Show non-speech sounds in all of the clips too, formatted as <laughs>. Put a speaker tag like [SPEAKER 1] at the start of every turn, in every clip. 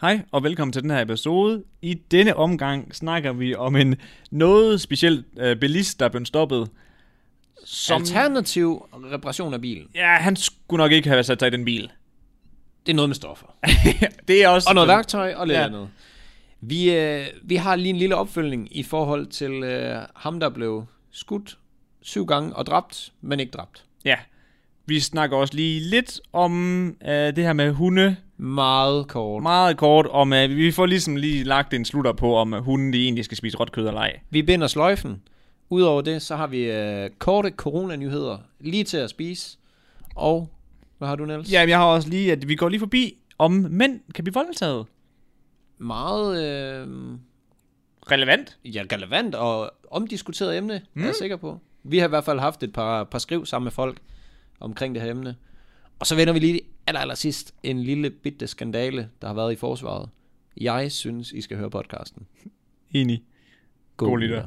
[SPEAKER 1] Hej og velkommen til den her episode. I denne omgang snakker vi om en noget speciel øh, bilist, der er blevet stoppet. Som,
[SPEAKER 2] Alternativ reparation af bilen.
[SPEAKER 1] ja, han skulle nok ikke have sat sig i den bil. <laughs>
[SPEAKER 2] Det er noget med stoffer.
[SPEAKER 1] det er også...
[SPEAKER 2] Og noget værktøj og lidt
[SPEAKER 1] Ja.
[SPEAKER 2] ja. andet. Vi, øh, vi har lige en lille opfølgning i forhold til øh, ham, der blev skudt syv gange og dræbt, men ikke dræbt.
[SPEAKER 1] Ja. Vi snakker også lige lidt om øh, det her med hunde.
[SPEAKER 2] Meget kort.
[SPEAKER 1] Meget kort om, øh, vi får ligesom lige lagt en slutter på, om øh, hunden de egentlig skal spise råt kød eller ej.
[SPEAKER 2] Vi binder sløjfen. Udover det, så har vi øh, korte coronanyheder lige til at spise. Og hvad har du, Niels?
[SPEAKER 1] Ja, jeg har også lige, at vi går lige forbi, om mænd kan blive voldtaget.
[SPEAKER 2] Meget øh,
[SPEAKER 1] Relevant.
[SPEAKER 2] ja, relevant og omdiskuteret emne, mm. er jeg sikker på. Vi har i hvert fald haft et par, par skriv sammen med folk omkring det her emne. Og så vender vi lige aller, aller sidst en lille bitte skandale, der har været i forsvaret. Jeg synes, I skal høre podcasten.
[SPEAKER 1] Enig. God lytter.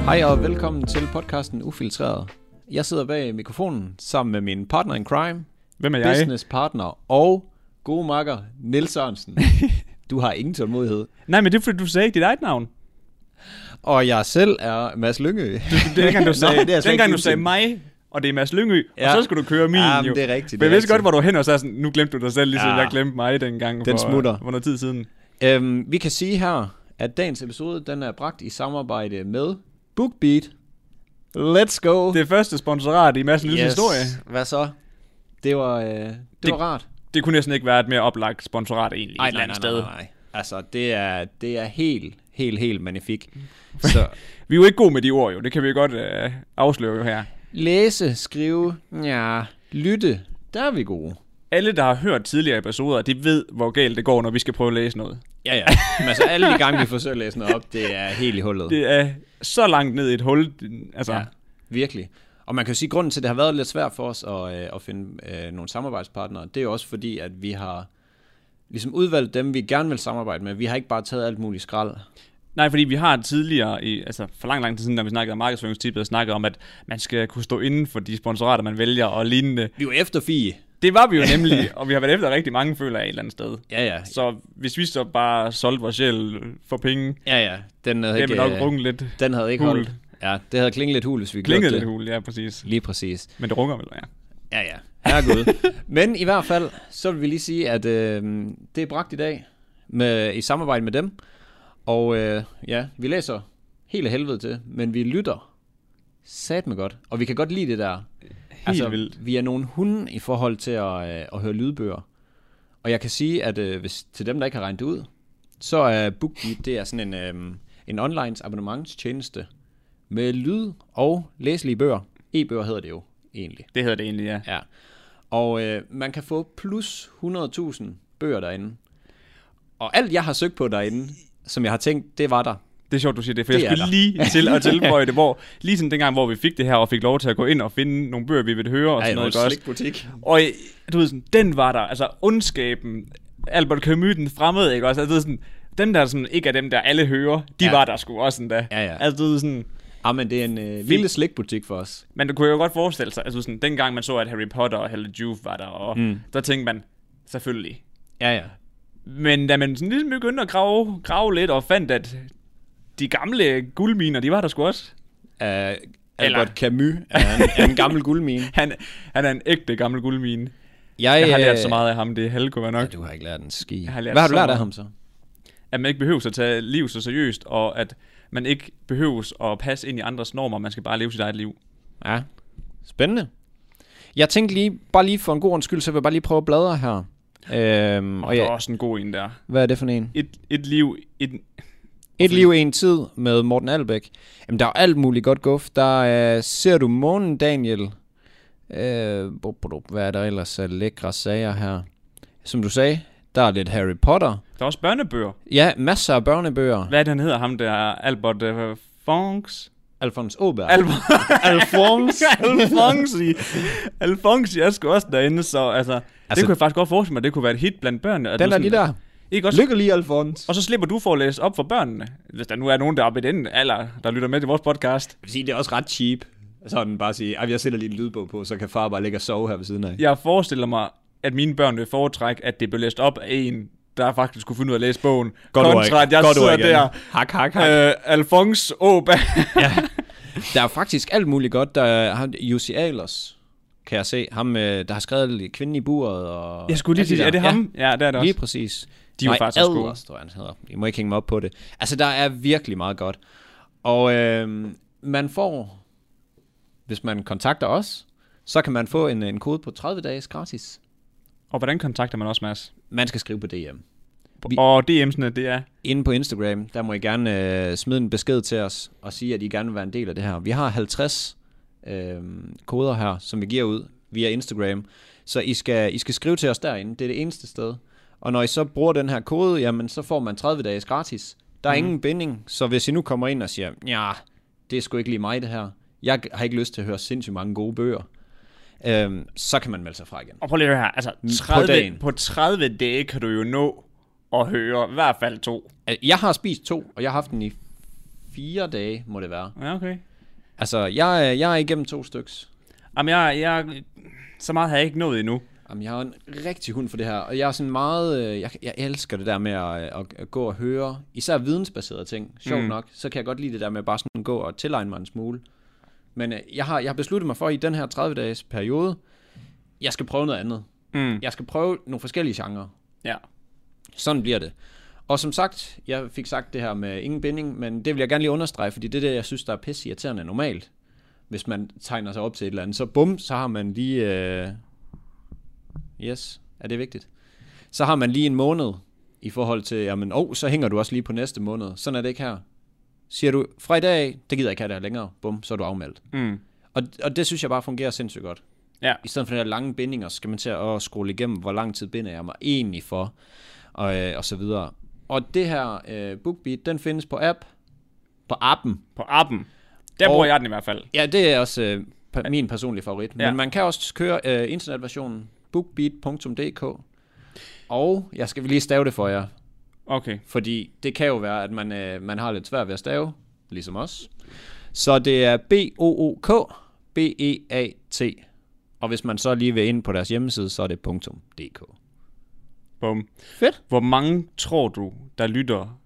[SPEAKER 2] Hej og velkommen til podcasten Ufiltreret. Jeg sidder bag mikrofonen sammen med min partner in crime,
[SPEAKER 1] Hvem er jeg?
[SPEAKER 2] business partner og gode makker Niels
[SPEAKER 1] <laughs>
[SPEAKER 2] Sørensen. Du har ingen tålmodighed.
[SPEAKER 1] Nej, men det er fordi, du sagde ikke dit eget navn.
[SPEAKER 2] Og jeg selv er Mads Lyngø.
[SPEAKER 1] Det er dengang, du sagde,
[SPEAKER 2] <laughs> Nå, det er slet
[SPEAKER 1] dengang,
[SPEAKER 2] ikke
[SPEAKER 1] du sagde
[SPEAKER 2] din-
[SPEAKER 1] mig, og det er Mads Lyngø, ja.
[SPEAKER 2] Ja.
[SPEAKER 1] og så skulle du køre min.
[SPEAKER 2] Jamen,
[SPEAKER 1] jo.
[SPEAKER 2] det er rigtigt, det
[SPEAKER 1] Men
[SPEAKER 2] er
[SPEAKER 1] jeg vidste godt,
[SPEAKER 2] rigtigt.
[SPEAKER 1] hvor du var hen, og så er sådan, nu glemte du dig selv, ligesom ja.
[SPEAKER 2] Ja.
[SPEAKER 1] jeg glemte mig dengang
[SPEAKER 2] Den
[SPEAKER 1] for, øh,
[SPEAKER 2] smutter.
[SPEAKER 1] for noget tid siden.
[SPEAKER 2] Øhm, vi kan sige her, at dagens episode den er bragt i samarbejde med BookBeat. Let's go!
[SPEAKER 1] Det første sponsorat i Mads Lyds yes. historie.
[SPEAKER 2] Hvad så? Det var, øh, det,
[SPEAKER 1] Det-
[SPEAKER 2] det var rart.
[SPEAKER 1] Det kunne næsten ikke være et mere oplagt sponsorat egentlig. et eller andet sted.
[SPEAKER 2] nej. Altså, det er, det er helt, helt, helt magnifik. <laughs> Så
[SPEAKER 1] Vi er jo ikke gode med de ord jo, det kan vi jo godt øh, afsløre jo her.
[SPEAKER 2] læse, skrive, ja, lytte, der er vi gode.
[SPEAKER 1] Alle, der har hørt tidligere episoder, de ved, hvor galt det går, når vi skal prøve at læse noget.
[SPEAKER 2] Ja, ja. Men altså, alle de gange, vi forsøger at læse noget op, det er helt i hullet.
[SPEAKER 1] Det er så langt ned i et hul. Altså, ja.
[SPEAKER 2] Ja, virkelig. Og man kan jo sige, at grunden til, at det har været lidt svært for os at, øh, at finde øh, nogle samarbejdspartnere, det er jo også fordi, at vi har ligesom udvalgt dem, vi gerne vil samarbejde med. Vi har ikke bare taget alt muligt skrald.
[SPEAKER 1] Nej, fordi vi har tidligere, i, altså for lang, lang tid siden, da vi snakkede om markedsføringstippet, snakket om, at man skal kunne stå inden for de sponsorater, man vælger og lignende.
[SPEAKER 2] Vi er jo efter Fie.
[SPEAKER 1] Det var vi jo nemlig, og vi har været efter rigtig mange føler af et eller andet sted.
[SPEAKER 2] Ja, ja.
[SPEAKER 1] Så hvis vi så bare solgte vores sjæl for penge,
[SPEAKER 2] Ja, ja. Den havde
[SPEAKER 1] det
[SPEAKER 2] ikke,
[SPEAKER 1] ville nok
[SPEAKER 2] øh,
[SPEAKER 1] runge lidt.
[SPEAKER 2] den havde ikke
[SPEAKER 1] hul.
[SPEAKER 2] holdt. Ja, det havde klinget lidt hul, hvis vi
[SPEAKER 1] Klingede
[SPEAKER 2] gjorde
[SPEAKER 1] lidt
[SPEAKER 2] det.
[SPEAKER 1] hul, ja præcis.
[SPEAKER 2] Lige præcis.
[SPEAKER 1] Men det runger vel, ja.
[SPEAKER 2] Ja, ja. Herregud. Men i hvert fald, så vil vi lige sige, at øh, det er bragt i dag med, i samarbejde med dem. Og øh, ja, vi læser helt af helvede til, men vi lytter sat med godt. Og vi kan godt lide det der. Altså,
[SPEAKER 1] Helt vildt.
[SPEAKER 2] Vi er nogle hunde i forhold til at, øh, at høre lydbøger. Og jeg kan sige, at øh, hvis, til dem, der ikke har regnet det ud, så er BookBeat, det er sådan en, øh, en online abonnementstjeneste med lyd og læselige bøger. E-bøger hedder det jo egentlig.
[SPEAKER 1] Det hedder det egentlig, ja.
[SPEAKER 2] Ja. Og øh, man kan få plus 100.000 bøger derinde. Og alt, jeg har søgt på derinde, som jeg har tænkt, det var der.
[SPEAKER 1] Det er sjovt, du siger det, for
[SPEAKER 2] Det
[SPEAKER 1] jeg
[SPEAKER 2] er
[SPEAKER 1] skulle
[SPEAKER 2] der.
[SPEAKER 1] lige til at tilføje det, hvor ligesom dengang, hvor vi fik det her, og fik lov til at gå ind og finde nogle bøger, vi ville høre og sådan noget. ikke også?
[SPEAKER 2] butik.
[SPEAKER 1] Og øh, du ved sådan, den var der, altså ondskaben, Albert Camus, den fremmede, ikke også? Altså, du ved sådan, dem der sådan, ikke er dem, der alle hører, de ja.
[SPEAKER 2] Ja.
[SPEAKER 1] var der sgu også endda.
[SPEAKER 2] Ja, ja.
[SPEAKER 1] Altså, du ved sådan,
[SPEAKER 2] Ah, men det er en øh, lille slikbutik for os.
[SPEAKER 1] men du kunne jo godt forestille sig, altså sådan, dengang man så, at Harry Potter og Hella Juve var der, og mm. der tænkte man, selvfølgelig.
[SPEAKER 2] Ja, ja.
[SPEAKER 1] Men da man sådan ligesom begyndte at grave, grave lidt, og fandt, at de gamle guldminer, de var der sgu også.
[SPEAKER 2] Uh,
[SPEAKER 1] Eller-
[SPEAKER 2] Albert Camus er en, er en gammel guldmine.
[SPEAKER 1] Han, han er en ægte gammel guldmine. <laughs>
[SPEAKER 2] Jeg,
[SPEAKER 1] Jeg har lært
[SPEAKER 2] øh,
[SPEAKER 1] så meget af ham, det er halvgået nok.
[SPEAKER 2] Ja, du har ikke lært en ski.
[SPEAKER 1] har lært
[SPEAKER 2] Hvad har du
[SPEAKER 1] så
[SPEAKER 2] lært af
[SPEAKER 1] meget.
[SPEAKER 2] ham så?
[SPEAKER 1] at man ikke behøver at tage liv så seriøst, og at man ikke behøver at passe ind i andres normer, man skal bare leve sit eget liv.
[SPEAKER 2] Ja, spændende. Jeg tænkte lige, bare lige for en god ordens skyld, så vil jeg bare lige prøve at bladre her. Øhm, og
[SPEAKER 1] Og der er
[SPEAKER 2] ja,
[SPEAKER 1] også en god en der.
[SPEAKER 2] hvad er det for en?
[SPEAKER 1] Et, et liv, et,
[SPEAKER 2] Et liv, en tid med Morten Albæk. Jamen, der er jo alt muligt godt guf. Der øh, ser du månen, Daniel. Øh, bup, bup, bup. hvad er der ellers af lækre sager her? Som du sagde, der er lidt Harry Potter.
[SPEAKER 1] der er også børnebøger.
[SPEAKER 2] Ja, masser af børnebøger.
[SPEAKER 1] Hvad er det, han hedder ham der? Albert uh, Fonks?
[SPEAKER 2] Alfons
[SPEAKER 1] <laughs>
[SPEAKER 2] Åberg.
[SPEAKER 1] Albert
[SPEAKER 2] Alfons.
[SPEAKER 1] Alfonsi. Alfonsi er sgu også derinde, så altså, altså, det
[SPEAKER 2] Altså-
[SPEAKER 1] kunne jeg faktisk godt forestille mig, det kunne være et hit blandt børnene. at
[SPEAKER 2] Den
[SPEAKER 1] du
[SPEAKER 2] er
[SPEAKER 1] sådan-
[SPEAKER 2] lige der.
[SPEAKER 1] Ikke også?
[SPEAKER 2] Lykke lige, Alfons.
[SPEAKER 1] Og så slipper du for at læse op for børnene, hvis der nu er nogen, der er oppe i den alder, der lytter med til vores podcast.
[SPEAKER 2] Jeg vil sige, det er også ret cheap. Sådan bare sige, at jeg sætter lige en lydbog på, så kan far bare ligge og sove her ved siden af.
[SPEAKER 1] Jeg forestiller mig, at mine børn vil foretrække, at det blev læst op af en, der faktisk kunne finde ud af at læse bogen. kontra, at jeg sidder der.
[SPEAKER 2] Hak, hak, hak.
[SPEAKER 1] Øh, Alfons Åberg.
[SPEAKER 2] Der er faktisk alt muligt godt. Der er ham, Jussi Ahlers, kan jeg se. Ham, øh, der har skrevet Kvinden i buret. Og
[SPEAKER 1] <laughs> Jeg skulle lige
[SPEAKER 2] alt
[SPEAKER 1] sige,
[SPEAKER 2] der.
[SPEAKER 1] er det
[SPEAKER 2] Ja.
[SPEAKER 1] ham? Ja, det er det
[SPEAKER 2] Lige
[SPEAKER 1] også.
[SPEAKER 2] præcis.
[SPEAKER 1] De er jo faktisk også gode.
[SPEAKER 2] Adlers, tror jeg, han hedder. I må ikke hænge mig op på det. Altså, der er virkelig meget godt. Og øh, man får, hvis man kontakter os, så kan man få en, en kode på 30 dages gratis.
[SPEAKER 1] Og hvordan kontakter man også Mads?
[SPEAKER 2] Man skal skrive på DM. Vi-
[SPEAKER 1] Og DM'sene, det er...
[SPEAKER 2] Inde på Instagram, der må I gerne øh, smide en besked til os og sige, at I gerne vil være en del af det her. Vi har 50 øh, koder her, som vi giver ud via Instagram. Så I skal, I skal skrive til os derinde. Det er det eneste sted. Og når I så bruger den her kode, jamen så får man 30 dages gratis. Der er mm. ingen binding, så hvis I nu kommer ind og siger, ja, det er sgu ikke lige mig det her. Jeg har ikke lyst til at høre sindssygt mange gode bøger. Øhm, så kan man melde sig fra igen.
[SPEAKER 1] Og prøv lige at høre her. Altså, 30,
[SPEAKER 2] På
[SPEAKER 1] på,
[SPEAKER 2] dagen.
[SPEAKER 1] på 30 dage kan du jo nå at høre i hvert fald to.
[SPEAKER 2] Øh, Jeg har spist to, og jeg har haft den i fire dage, må det være.
[SPEAKER 1] Ja, okay.
[SPEAKER 2] Altså, jeg, er- jeg er igennem to styks.
[SPEAKER 1] Jamen, jeg, jeg, så meget har jeg ikke nået endnu.
[SPEAKER 2] Jamen, jeg har en rigtig hund for det her, og jeg er sådan meget, øh, jeg, jeg elsker det der med at, at, at gå og høre, især vidensbaserede ting, sjovt mm. nok, så kan jeg godt lide det der med bare sådan gå og tilegne mig en smule. Men øh, jeg har, jeg har besluttet mig for i den her 30-dages periode, jeg skal prøve noget andet.
[SPEAKER 1] Mm.
[SPEAKER 2] Jeg skal prøve nogle forskellige genrer.
[SPEAKER 1] Ja.
[SPEAKER 2] Sådan bliver det. Og som sagt, jeg fik sagt det her med ingen binding, men det vil jeg gerne lige understrege, fordi det er det, jeg synes, der er pisse irriterende normalt. Hvis man tegner sig op til et eller andet, så bum, så har man lige... Øh... Yes, er det vigtigt? Så har man lige en måned i forhold til, jamen, åh, oh, så hænger du også lige på næste måned. Sådan er det ikke her. Siger du, fra i dag, af, det gider jeg ikke have det her længere, bum, så er du afmeldt.
[SPEAKER 1] Mm.
[SPEAKER 2] Og, og det synes jeg bare fungerer sindssygt godt.
[SPEAKER 1] Ja.
[SPEAKER 2] I stedet for de her lange bindinger, så skal man til at scrolle igennem, hvor lang tid binder jeg mig egentlig for, og, øh, og så videre. Og det her øh, BookBeat, den findes på app, på appen.
[SPEAKER 1] På appen. Der
[SPEAKER 2] Og-
[SPEAKER 1] bruger jeg den i hvert fald.
[SPEAKER 2] Ja, det er også øh, pa- min personlige favorit. Ja.
[SPEAKER 1] Ja.
[SPEAKER 2] Men man kan også køre øh, internetversionen bookbeat.dk. Og jeg skal lige stave det for jer,
[SPEAKER 1] Okay.
[SPEAKER 2] fordi det kan jo være, at man, øh, man har lidt svært ved at stave, ligesom os. Så det er B-O-O-K, B-E-A-T. E Og hvis man så lige vil ind på deres hjemmeside, så er det .dk.
[SPEAKER 1] Bum.
[SPEAKER 2] Fedt.
[SPEAKER 1] Hvor mange tror du, der lytter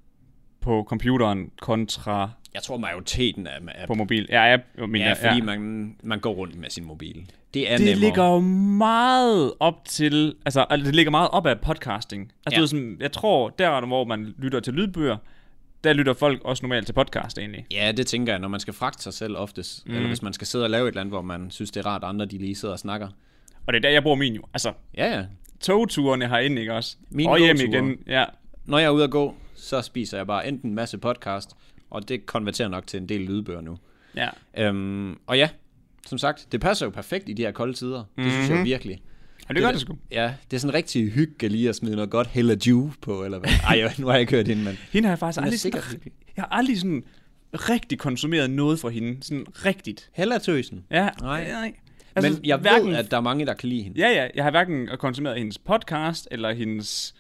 [SPEAKER 1] på computeren kontra
[SPEAKER 2] Jeg tror, majoriteten af dem er
[SPEAKER 1] på mobil? Ja, app, jeg mener,
[SPEAKER 2] ja, fordi man, man går rundt med sin mobil. Det er
[SPEAKER 1] det
[SPEAKER 2] nemmere.
[SPEAKER 1] ligger jo meget op til, altså altså, det ligger meget op af podcasting. Altså, ja.
[SPEAKER 2] Ja.
[SPEAKER 1] det er sådan, jeg tror, der hvor man lytter til lydbøger, der lytter folk også normalt til podcast egentlig.
[SPEAKER 2] Ja, det tænker jeg, når man skal fragte sig selv oftest. Mm. Eller hvis man skal sidde og lave et eller andet, hvor man synes, det er rart, at andre de lige sidder og snakker.
[SPEAKER 1] Og det er der, jeg bruger min jo. Altså,
[SPEAKER 2] Ja, ja.
[SPEAKER 1] togturene herinde, ikke også?
[SPEAKER 2] Mine
[SPEAKER 1] og hjem
[SPEAKER 2] gåture.
[SPEAKER 1] igen, ja.
[SPEAKER 2] Når jeg er ude at gå, så spiser jeg bare enten en masse podcast, og det konverterer nok til en del lydbøger nu.
[SPEAKER 1] ja.
[SPEAKER 2] Øhm, og ja, som sagt, det passer jo perfekt i de her kolde tider. Det mm-hmm. synes jeg virkelig.
[SPEAKER 1] Og Mhm. det gør det sgu.
[SPEAKER 2] Ja, det er sådan rigtig hygge lige at smide noget godt Hella Jew på, eller hvad? Ej, nu har jeg ikke hørt hende, men...
[SPEAKER 1] Hende har jeg faktisk aldrig,
[SPEAKER 2] sikkert
[SPEAKER 1] sådan,
[SPEAKER 2] hyggelig.
[SPEAKER 1] jeg har aldrig sådan rigtig konsumeret noget fra hende. Sådan rigtigt.
[SPEAKER 2] Hella Tøsen.
[SPEAKER 1] Ja.
[SPEAKER 2] Nej.
[SPEAKER 1] Altså,
[SPEAKER 2] men jeg
[SPEAKER 1] hverken,
[SPEAKER 2] ved, at der er mange, der kan lide hende.
[SPEAKER 1] Ja, ja. Jeg har hverken konsumeret hendes podcast, eller hendes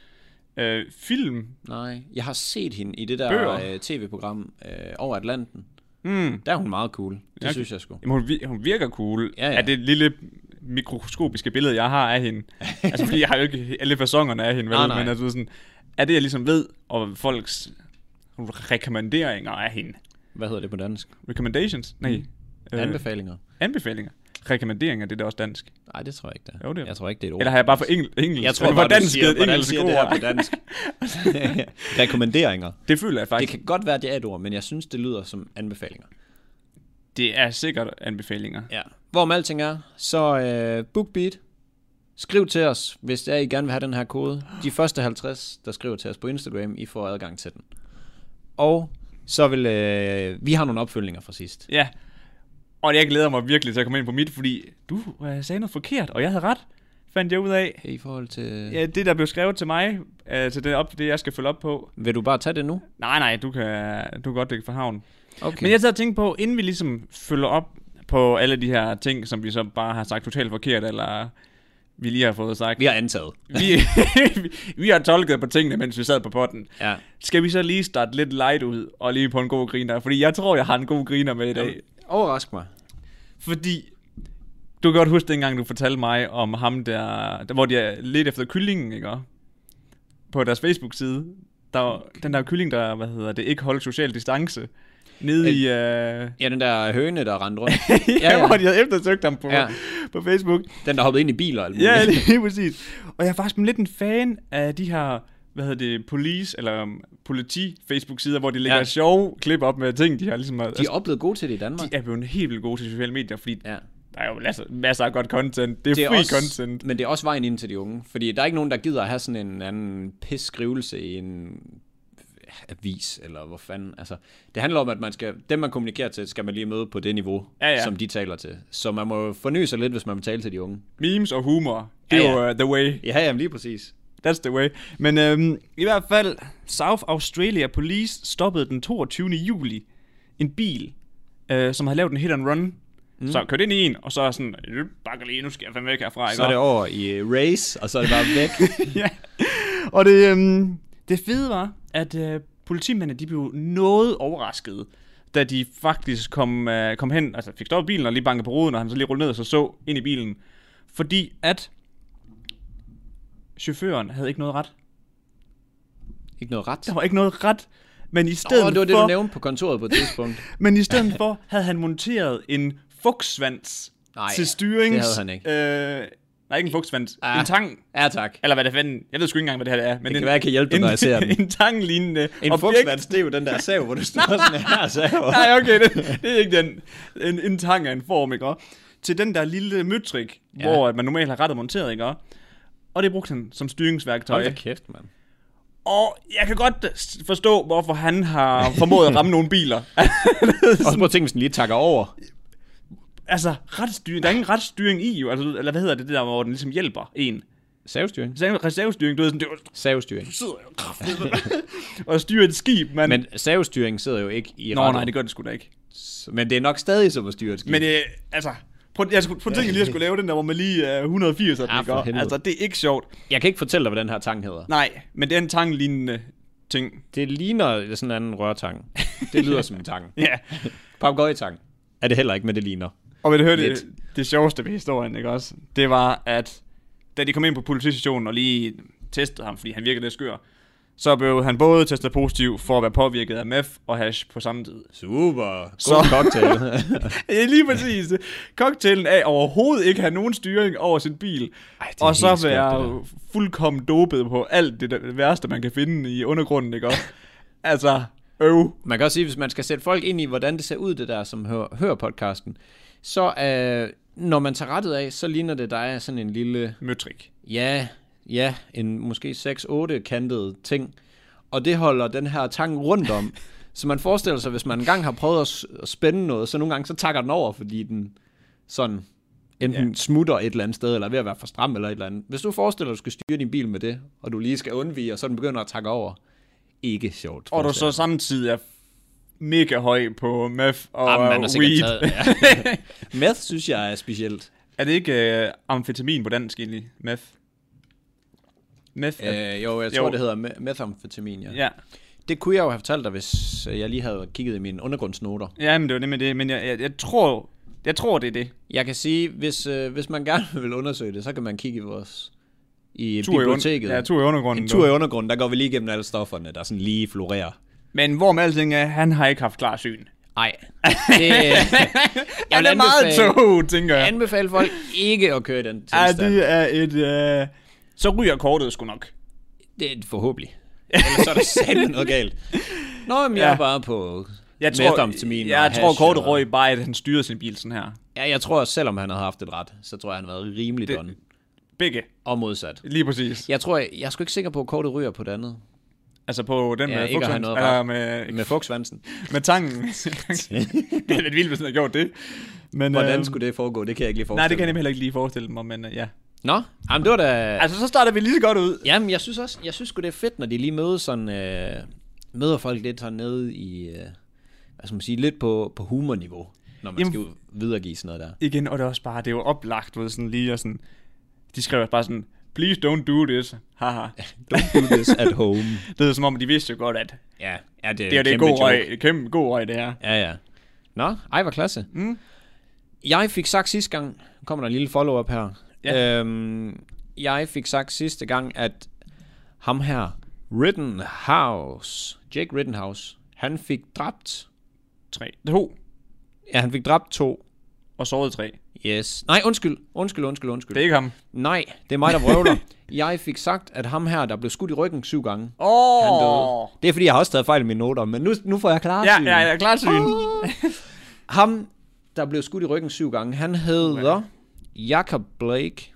[SPEAKER 1] øh, film.
[SPEAKER 2] Nej, jeg har set hende i det der
[SPEAKER 1] Bøger.
[SPEAKER 2] øh, tv-program øh, over Atlanten.
[SPEAKER 1] Mm.
[SPEAKER 2] Der er hun meget cool. Det
[SPEAKER 1] Ja,
[SPEAKER 2] synes jeg sgu.
[SPEAKER 1] Jamen, hun, vir- hun virker cool.
[SPEAKER 2] Ja, ja.
[SPEAKER 1] Af det lille mikroskopiske billede, jeg har af hende. altså, fordi jeg har jo ikke alle fasongerne af hende, vel?
[SPEAKER 2] <laughs> Nej, nej.
[SPEAKER 1] Men altså, du ved sådan, er det, jeg ligesom ved, og folks rekommenderinger af hende.
[SPEAKER 2] Hvad hedder det på dansk?
[SPEAKER 1] Recommendations? Nej. Mm.
[SPEAKER 2] Øh. Anbefalinger?
[SPEAKER 1] Anbefalinger. Rekommenderinger, det er da også dansk.
[SPEAKER 2] Nej, det tror jeg ikke, det er.
[SPEAKER 1] Jo, det er-
[SPEAKER 2] Jeg tror ikke, det er et ord.
[SPEAKER 1] Eller har jeg bare for engel, engelsk?
[SPEAKER 2] Jeg tror
[SPEAKER 1] Eller
[SPEAKER 2] bare,
[SPEAKER 1] hvordan
[SPEAKER 2] du siger,
[SPEAKER 1] skal
[SPEAKER 2] hvordan
[SPEAKER 1] engelske
[SPEAKER 2] siger det her
[SPEAKER 1] ord?
[SPEAKER 2] på
[SPEAKER 1] <laughs>
[SPEAKER 2] dansk? <laughs> Rekommenderinger.
[SPEAKER 1] Det føler jeg
[SPEAKER 2] Det
[SPEAKER 1] faktisk. Det,
[SPEAKER 2] kan godt være, det er et ord, men jeg synes, det lyder som anbefalinger.
[SPEAKER 1] det er sikkert anbefalinger.
[SPEAKER 2] Ja. Hvorom alting er, så øh, BookBeat, skriv til os, hvis det er, I gerne vil have den her kode. De første 50, der skriver til os på Instagram, I får adgang til den. Og så vil... Øh, vi har nogle opfølgninger fra sidst.
[SPEAKER 1] Ja. Og jeg glæder mig virkelig til at komme ind på mit, fordi du øh, sagde noget forkert, og jeg havde ret, fandt jeg ud af.
[SPEAKER 2] I forhold til... Ja.
[SPEAKER 1] Ja, det, der blev skrevet til mig, øh, til det, op, det, jeg skal følge op på.
[SPEAKER 2] Vil du bare tage det nu?
[SPEAKER 1] Nej, nej, du kan, du kan godt lægge for havn.
[SPEAKER 2] Okay.
[SPEAKER 1] Men jeg sad og tænkte på, inden vi ligesom følger op på alle de her ting, som vi så bare har sagt totalt forkert, eller vi lige har fået sagt.
[SPEAKER 2] Vi har antaget.
[SPEAKER 1] Vi, vi, <laughs> vi har tolket på tingene, mens vi sad på potten.
[SPEAKER 2] Ja.
[SPEAKER 1] Skal vi så lige starte lidt light ud, og lige på en god griner? Fordi jeg tror, jeg har en god griner med i dag.
[SPEAKER 2] Overrask mig.
[SPEAKER 1] Fordi du kan godt huske dengang, du fortalte mig om ham der, der hvor de er lidt efter kyllingen, ikke? også? På deres Facebook-side. Der var den der kylling, der, hvad hedder det, ikke holdt social distance. Nede i... Øh, <laughs>
[SPEAKER 2] Ja, den der høne, der rendte rundt.
[SPEAKER 1] ja, ja, hvor de havde eftersøgt ham på, ja.
[SPEAKER 2] Ja.
[SPEAKER 1] på Facebook.
[SPEAKER 2] Den, der hoppede ind i biler og alt
[SPEAKER 1] Ja,
[SPEAKER 2] muligt.
[SPEAKER 1] lige <laughs> præcis. Og jeg er faktisk lidt en fan af de her, hvad hedder det, police, eller um, politi-Facebook-sider, hvor de lægger ja.
[SPEAKER 2] Ja.
[SPEAKER 1] sjove klip op med ting, de har ligesom...
[SPEAKER 2] De er oplevet gode til det i Danmark.
[SPEAKER 1] de er blevet helt vildt gode til sociale medier, fordi
[SPEAKER 2] Ja.
[SPEAKER 1] der er jo masser, masser af godt content. Det er, det er free også... content.
[SPEAKER 2] Men det er også vejen ind til de unge. Fordi der er ikke nogen, der gider at have sådan en anden pis skrivelse i en avis, eller hvor fanden. Altså, det handler om, at man skal, dem, man kommunikerer til, skal man lige møde på det niveau,
[SPEAKER 1] Ja, ja.
[SPEAKER 2] som de taler til. Så man må forny sig lidt, hvis man vil tale til de unge.
[SPEAKER 1] Memes og humor, det
[SPEAKER 2] Ja,
[SPEAKER 1] er jo
[SPEAKER 2] ja.
[SPEAKER 1] uh, the way.
[SPEAKER 2] Ja, jamen lige præcis.
[SPEAKER 1] That's the way. Men øhm, i hvert fald, South Australia Police stoppede den 22. juli en bil, øh, som havde lavet en hit and run. Mm. Så kørte ind i en, og så er sådan, "Øh, bakker lige, nu skal jeg fandme væk herfra. ikke
[SPEAKER 2] Så er
[SPEAKER 1] også?"
[SPEAKER 2] det over i øh, race, og så er det bare væk. <laughs>
[SPEAKER 1] <laughs> ja. Og det, øhm, det fede var, at øh, politimændene de blev noget overraskede, da de faktisk kom, øh, kom hen, altså fik stoppet bilen og lige bankede på ruden, og han så lige rullede ned og så, så ind i bilen. Fordi at chaufføren havde ikke noget ret.
[SPEAKER 2] ikke noget ret.
[SPEAKER 1] Der var ikke noget ret. Men i stedet,
[SPEAKER 2] Åh, oh, det var det,
[SPEAKER 1] for,
[SPEAKER 2] du nævnte på kontoret på et tidspunkt.
[SPEAKER 1] men i stedet for havde han monteret en fugtsvans
[SPEAKER 2] Nej,
[SPEAKER 1] til styrings...
[SPEAKER 2] det havde han ikke.
[SPEAKER 1] Øh, nej, ikke en fugtsvans. Ah.
[SPEAKER 2] Ah.
[SPEAKER 1] En tang.
[SPEAKER 2] Ja, tak.
[SPEAKER 1] Eller hvad det fanden... Jeg ved sgu ikke engang, hvad det her er. Men det
[SPEAKER 2] kan være, jeg kan hjælpe dig, når jeg ser den.
[SPEAKER 1] En tanglignende
[SPEAKER 2] En fugtsvans, det er jo den der sav, hvor du står sådan her sav.
[SPEAKER 1] Nej, okay, det, det er ikke den. En, en tang er en form, ikke også? Til den der lille møtrik, ja.
[SPEAKER 2] Ja.
[SPEAKER 1] hvor at man normalt har rettet monteret, ikke også? Og det brugte han som styringsværktøj.
[SPEAKER 2] Hold da kæft, mand.
[SPEAKER 1] Og jeg kan godt øh, s- forstå, hvorfor han har formået at ramme nogle biler.
[SPEAKER 2] Og så prøv at tænke, hvis den lige takker over.
[SPEAKER 1] altså, retstyring, der er ingen retstyring i, jo. Altså, eller hvad hedder det, det der, hvor den ligesom hjælper en?
[SPEAKER 2] Savstyring.
[SPEAKER 1] Så er der Reservestyring, du ved sådan, det er jo-
[SPEAKER 2] Savstyring.
[SPEAKER 1] sidder jo kraftedeme
[SPEAKER 2] <laughs>
[SPEAKER 1] og styrer et skib, mand. Men,
[SPEAKER 2] Men savstyring sidder jo ikke i
[SPEAKER 1] Nå,
[SPEAKER 2] rattet.
[SPEAKER 1] nej, det gør det sgu da ikke.
[SPEAKER 2] Så- Men det er nok stadig som at styre et skib.
[SPEAKER 1] Men øh, altså, prøv, jeg skulle, prøv at tænke lige at skulle lave den der, hvor man lige øh, 180
[SPEAKER 2] Ah,
[SPEAKER 1] ah,
[SPEAKER 2] for helvede.
[SPEAKER 1] Altså, det er ikke sjovt.
[SPEAKER 2] Jeg kan ikke fortælle dig, hvad den her tang hedder.
[SPEAKER 1] Nej, men det er en tanglignende ting.
[SPEAKER 2] Det ligner sådan en anden rørtang. <laughs> Det lyder som en tang.
[SPEAKER 1] Ja,
[SPEAKER 2] Papagøjetang er det heller ikke, men det ligner.
[SPEAKER 1] og vil du høre det,
[SPEAKER 2] Lidt.
[SPEAKER 1] det sjoveste ved historien, ikke også? Det var, at da de kom ind på politistationen og lige testede ham, fordi han virkede lidt skør, så blev han både testet positiv for at være påvirket af meth og hash på samme tid.
[SPEAKER 2] Super. God
[SPEAKER 1] Så-
[SPEAKER 2] Så. <laughs> cocktail.
[SPEAKER 1] Ja, lige præcis. Cocktailen af overhovedet ikke have nogen styring over sin bil. Ej,
[SPEAKER 2] Ej, det er
[SPEAKER 1] og så
[SPEAKER 2] helt skørt, det
[SPEAKER 1] være fuldkommen dopet på alt det der værste, man kan finde i undergrunden, ikke også? altså, øv.
[SPEAKER 2] man kan også sige, hvis man skal sætte folk ind i, hvordan det ser ud, det der, som hører, hører podcasten, så øh, når man tager rettet af, så ligner det, der er sådan en lille
[SPEAKER 1] Møtrik.
[SPEAKER 2] Ja, ja, en måske 6-8 kantet ting. Og det holder den her tang rundt
[SPEAKER 1] <laughs>
[SPEAKER 2] om. så man forestiller sig, hvis man engang har prøvet at s- at spænde noget, så nogle gange så takker den over, fordi den sådan enten ja. smutter et eller andet sted, eller er ved at være for stram eller et eller andet. Hvis du forestiller dig, at du skal styre din bil med det, og du lige skal undvige, og så den begynder at takke over. Ikke sjovt.
[SPEAKER 1] Og du så
[SPEAKER 2] forestiller
[SPEAKER 1] samtidig er mega høj på meth og
[SPEAKER 2] jeg mig. Ah,
[SPEAKER 1] Jamen,
[SPEAKER 2] man har sikkert
[SPEAKER 1] weed.
[SPEAKER 2] taget, ja. <laughs> Meth synes jeg er specielt.
[SPEAKER 1] <laughs> Er det ikke øh, amfetamin på dansk egentlig? Meth? Meth? er-
[SPEAKER 2] Øh, jo, jeg tror,
[SPEAKER 1] Jo.
[SPEAKER 2] jo. det hedder me- methamfetamin, ja.
[SPEAKER 1] Ja.
[SPEAKER 2] Det kunne jeg jo have fortalt dig, hvis jeg lige havde kigget i mine undergrundsnoter.
[SPEAKER 1] ja, men det var nemlig det. Men jeg, jeg, jeg, tror, jeg tror, det er det.
[SPEAKER 2] Jeg kan sige, hvis, øh, hvis man gerne <laughs> vil undersøge det, så kan man kigge i vores i
[SPEAKER 1] Tur i,
[SPEAKER 2] biblioteket.
[SPEAKER 1] under, ja, tur i undergrunden.
[SPEAKER 2] en tur i undergrunden, der går vi lige igennem alle stofferne, der sådan lige florerer.
[SPEAKER 1] Men hvor med alting er, han har ikke haft klar syn.
[SPEAKER 2] <laughs> Nej. øh, Jeg
[SPEAKER 1] Han er meget tog, tænker jeg.
[SPEAKER 2] anbefale folk ikke at køre i den
[SPEAKER 1] Ja,
[SPEAKER 2] tilstand.
[SPEAKER 1] det er et... Øh... Så ryger kortet sgu nok.
[SPEAKER 2] det er forhåbentlig. <laughs> Ellers så er der sandt noget galt. Nå, men ja. jeg
[SPEAKER 1] Ja.
[SPEAKER 2] er bare på
[SPEAKER 1] Jeg tror,
[SPEAKER 2] methamfetamin og
[SPEAKER 1] jeg
[SPEAKER 2] hash
[SPEAKER 1] tror kortet
[SPEAKER 2] og-
[SPEAKER 1] røg bare, at han styrede sin bil sådan her.
[SPEAKER 2] Ja, jeg tror, selvom han havde haft et ret, så tror jeg, han havde været rimelig
[SPEAKER 1] Det-
[SPEAKER 2] done.
[SPEAKER 1] Begge.
[SPEAKER 2] Og modsat.
[SPEAKER 1] Lige præcis.
[SPEAKER 2] Jeg tror, jeg, jeg er sgu ikke sikker på, at kortet ryger på det andet.
[SPEAKER 1] Altså på den
[SPEAKER 2] Ja,
[SPEAKER 1] med,
[SPEAKER 2] ikke at have
[SPEAKER 1] fugtsvans-
[SPEAKER 2] noget
[SPEAKER 1] eller
[SPEAKER 2] ret.
[SPEAKER 1] med,
[SPEAKER 2] Med fugtsvansen.
[SPEAKER 1] med
[SPEAKER 2] <laughs>
[SPEAKER 1] tangen. det er lidt vildt, hvis han har gjort det. Men,
[SPEAKER 2] Hvordan
[SPEAKER 1] øhm,
[SPEAKER 2] skulle det foregå? Det kan jeg ikke lige forestille
[SPEAKER 1] Nej, det kan jeg nemlig heller ikke lige forestille mig, men øh, ja.
[SPEAKER 2] Nå, jamen det var da...
[SPEAKER 1] Altså, så starter vi lige så godt ud.
[SPEAKER 2] Jamen, jeg synes også, jeg synes sgu, det er fedt, når de lige mødes sådan... Øh, møder folk lidt sådan nede i... Øh, hvad skal man sige? Lidt på, på humorniveau, når man
[SPEAKER 1] Jamen-
[SPEAKER 2] jamen, skal ud- videregive sådan noget der.
[SPEAKER 1] Igen, og det er også bare, det er jo oplagt, du ved, sådan lige og sådan, De skrev bare sådan, please don't do this, haha.
[SPEAKER 2] Don't do this at home.
[SPEAKER 1] Det er som om, de vidste jo godt, at
[SPEAKER 2] Ja, ja det,
[SPEAKER 1] det, her, det er
[SPEAKER 2] kæmpe
[SPEAKER 1] god
[SPEAKER 2] joke.
[SPEAKER 1] røg, det er kæmpe god røg, det her.
[SPEAKER 2] Ja, ja. Nå, ej, hvor klasse.
[SPEAKER 1] Mm.
[SPEAKER 2] Jeg fik sagt sidste gang, nu kommer der en lille follow-up her.
[SPEAKER 1] Ja.
[SPEAKER 2] Øhm, jeg fik sagt sidste gang, at ham her, Rittenhouse, Jake Rittenhouse, han fik dræbt,
[SPEAKER 1] Tre. To.
[SPEAKER 2] ja, han fik dræbt to.
[SPEAKER 1] Og såret tre.
[SPEAKER 2] Yes. Nej, undskyld, undskyld, undskyld, undskyld.
[SPEAKER 1] Det er ikke ham.
[SPEAKER 2] Nej, det er mig, der vrøvler. <laughs> jeg fik sagt, at ham her, der blev skudt i ryggen syv gange,
[SPEAKER 1] Åh!
[SPEAKER 2] han døde. Det er fordi, jeg har også taget fejl i mine noter, men nu, nu får jeg klar
[SPEAKER 1] Ja, ja, ja, klart syn.
[SPEAKER 2] Ham, der blev skudt i ryggen syv gange, han hedder Jacob Blake.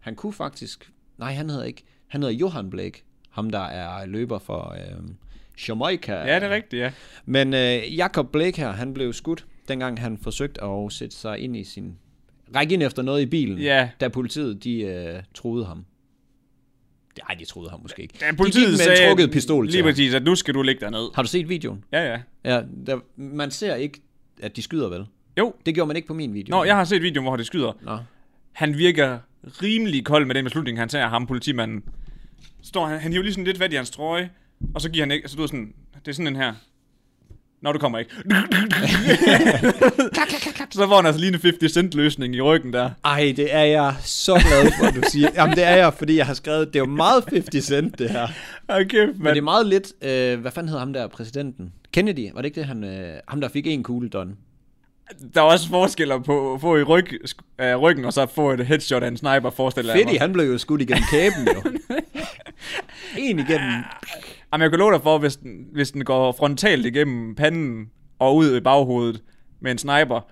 [SPEAKER 2] Han kunne faktisk... Nej, han hedder ikke. Han hedder Johan Blake. Ham, der er løber for øh, Jamaica.
[SPEAKER 1] Ja, det er rigtigt, ja.
[SPEAKER 2] Men øh, Jacob Blake her, han blev skudt, dengang han forsøgte at sætte sig ind i sin... Række ind efter noget i bilen,
[SPEAKER 1] Ja.
[SPEAKER 2] da politiet, de øh, troede ham. Nej, de troede ham måske ikke.
[SPEAKER 1] ja
[SPEAKER 2] de gik med en trukket pistol til
[SPEAKER 1] lige
[SPEAKER 2] ham.
[SPEAKER 1] præcis, at nu skal du ligge derned.
[SPEAKER 2] Har du set videoen?
[SPEAKER 1] Ja, ja.
[SPEAKER 2] Ja, der, man ser ikke, at de skyder vel?
[SPEAKER 1] Jo.
[SPEAKER 2] Det gjorde man ikke på min video.
[SPEAKER 1] Nå, jeg har set videoen, hvor det skyder.
[SPEAKER 2] Nå.
[SPEAKER 1] Han virker rimelig kold med den beslutning, han tager ham, politimanden. Står han, han hiver lige sådan lidt fat i hans trøje, og så giver han ikke, så du ved sådan, det er sådan den her. Nå, du kommer
[SPEAKER 2] <laughs>
[SPEAKER 1] ikke. <laughs> så får han altså lige en 50 cent løsning i ryggen der.
[SPEAKER 2] Ej, det er jeg så glad for, at du siger. Jamen, det er jeg, fordi jeg har skrevet, det er jo meget 50 cent, det her.
[SPEAKER 1] Ej, kæft,
[SPEAKER 2] Men det er
[SPEAKER 1] mand.
[SPEAKER 2] meget lidt, øh, hvad fanden hed ham der, præsidenten? Kennedy, var det ikke det, han, øh, ham der fik en kugle, Don?
[SPEAKER 1] Der er også forskeller på at få i ryg, øh, ryggen, og så at få et headshot af en sniper, forestiller jeg
[SPEAKER 2] Fetty,
[SPEAKER 1] mig.
[SPEAKER 2] han blev jo skudt igennem kæben, <laughs> jo. en igennem.
[SPEAKER 1] Jamen, jeg kan love dig for, hvis den, hvis den går frontalt igennem panden og ud i baghovedet med en sniper,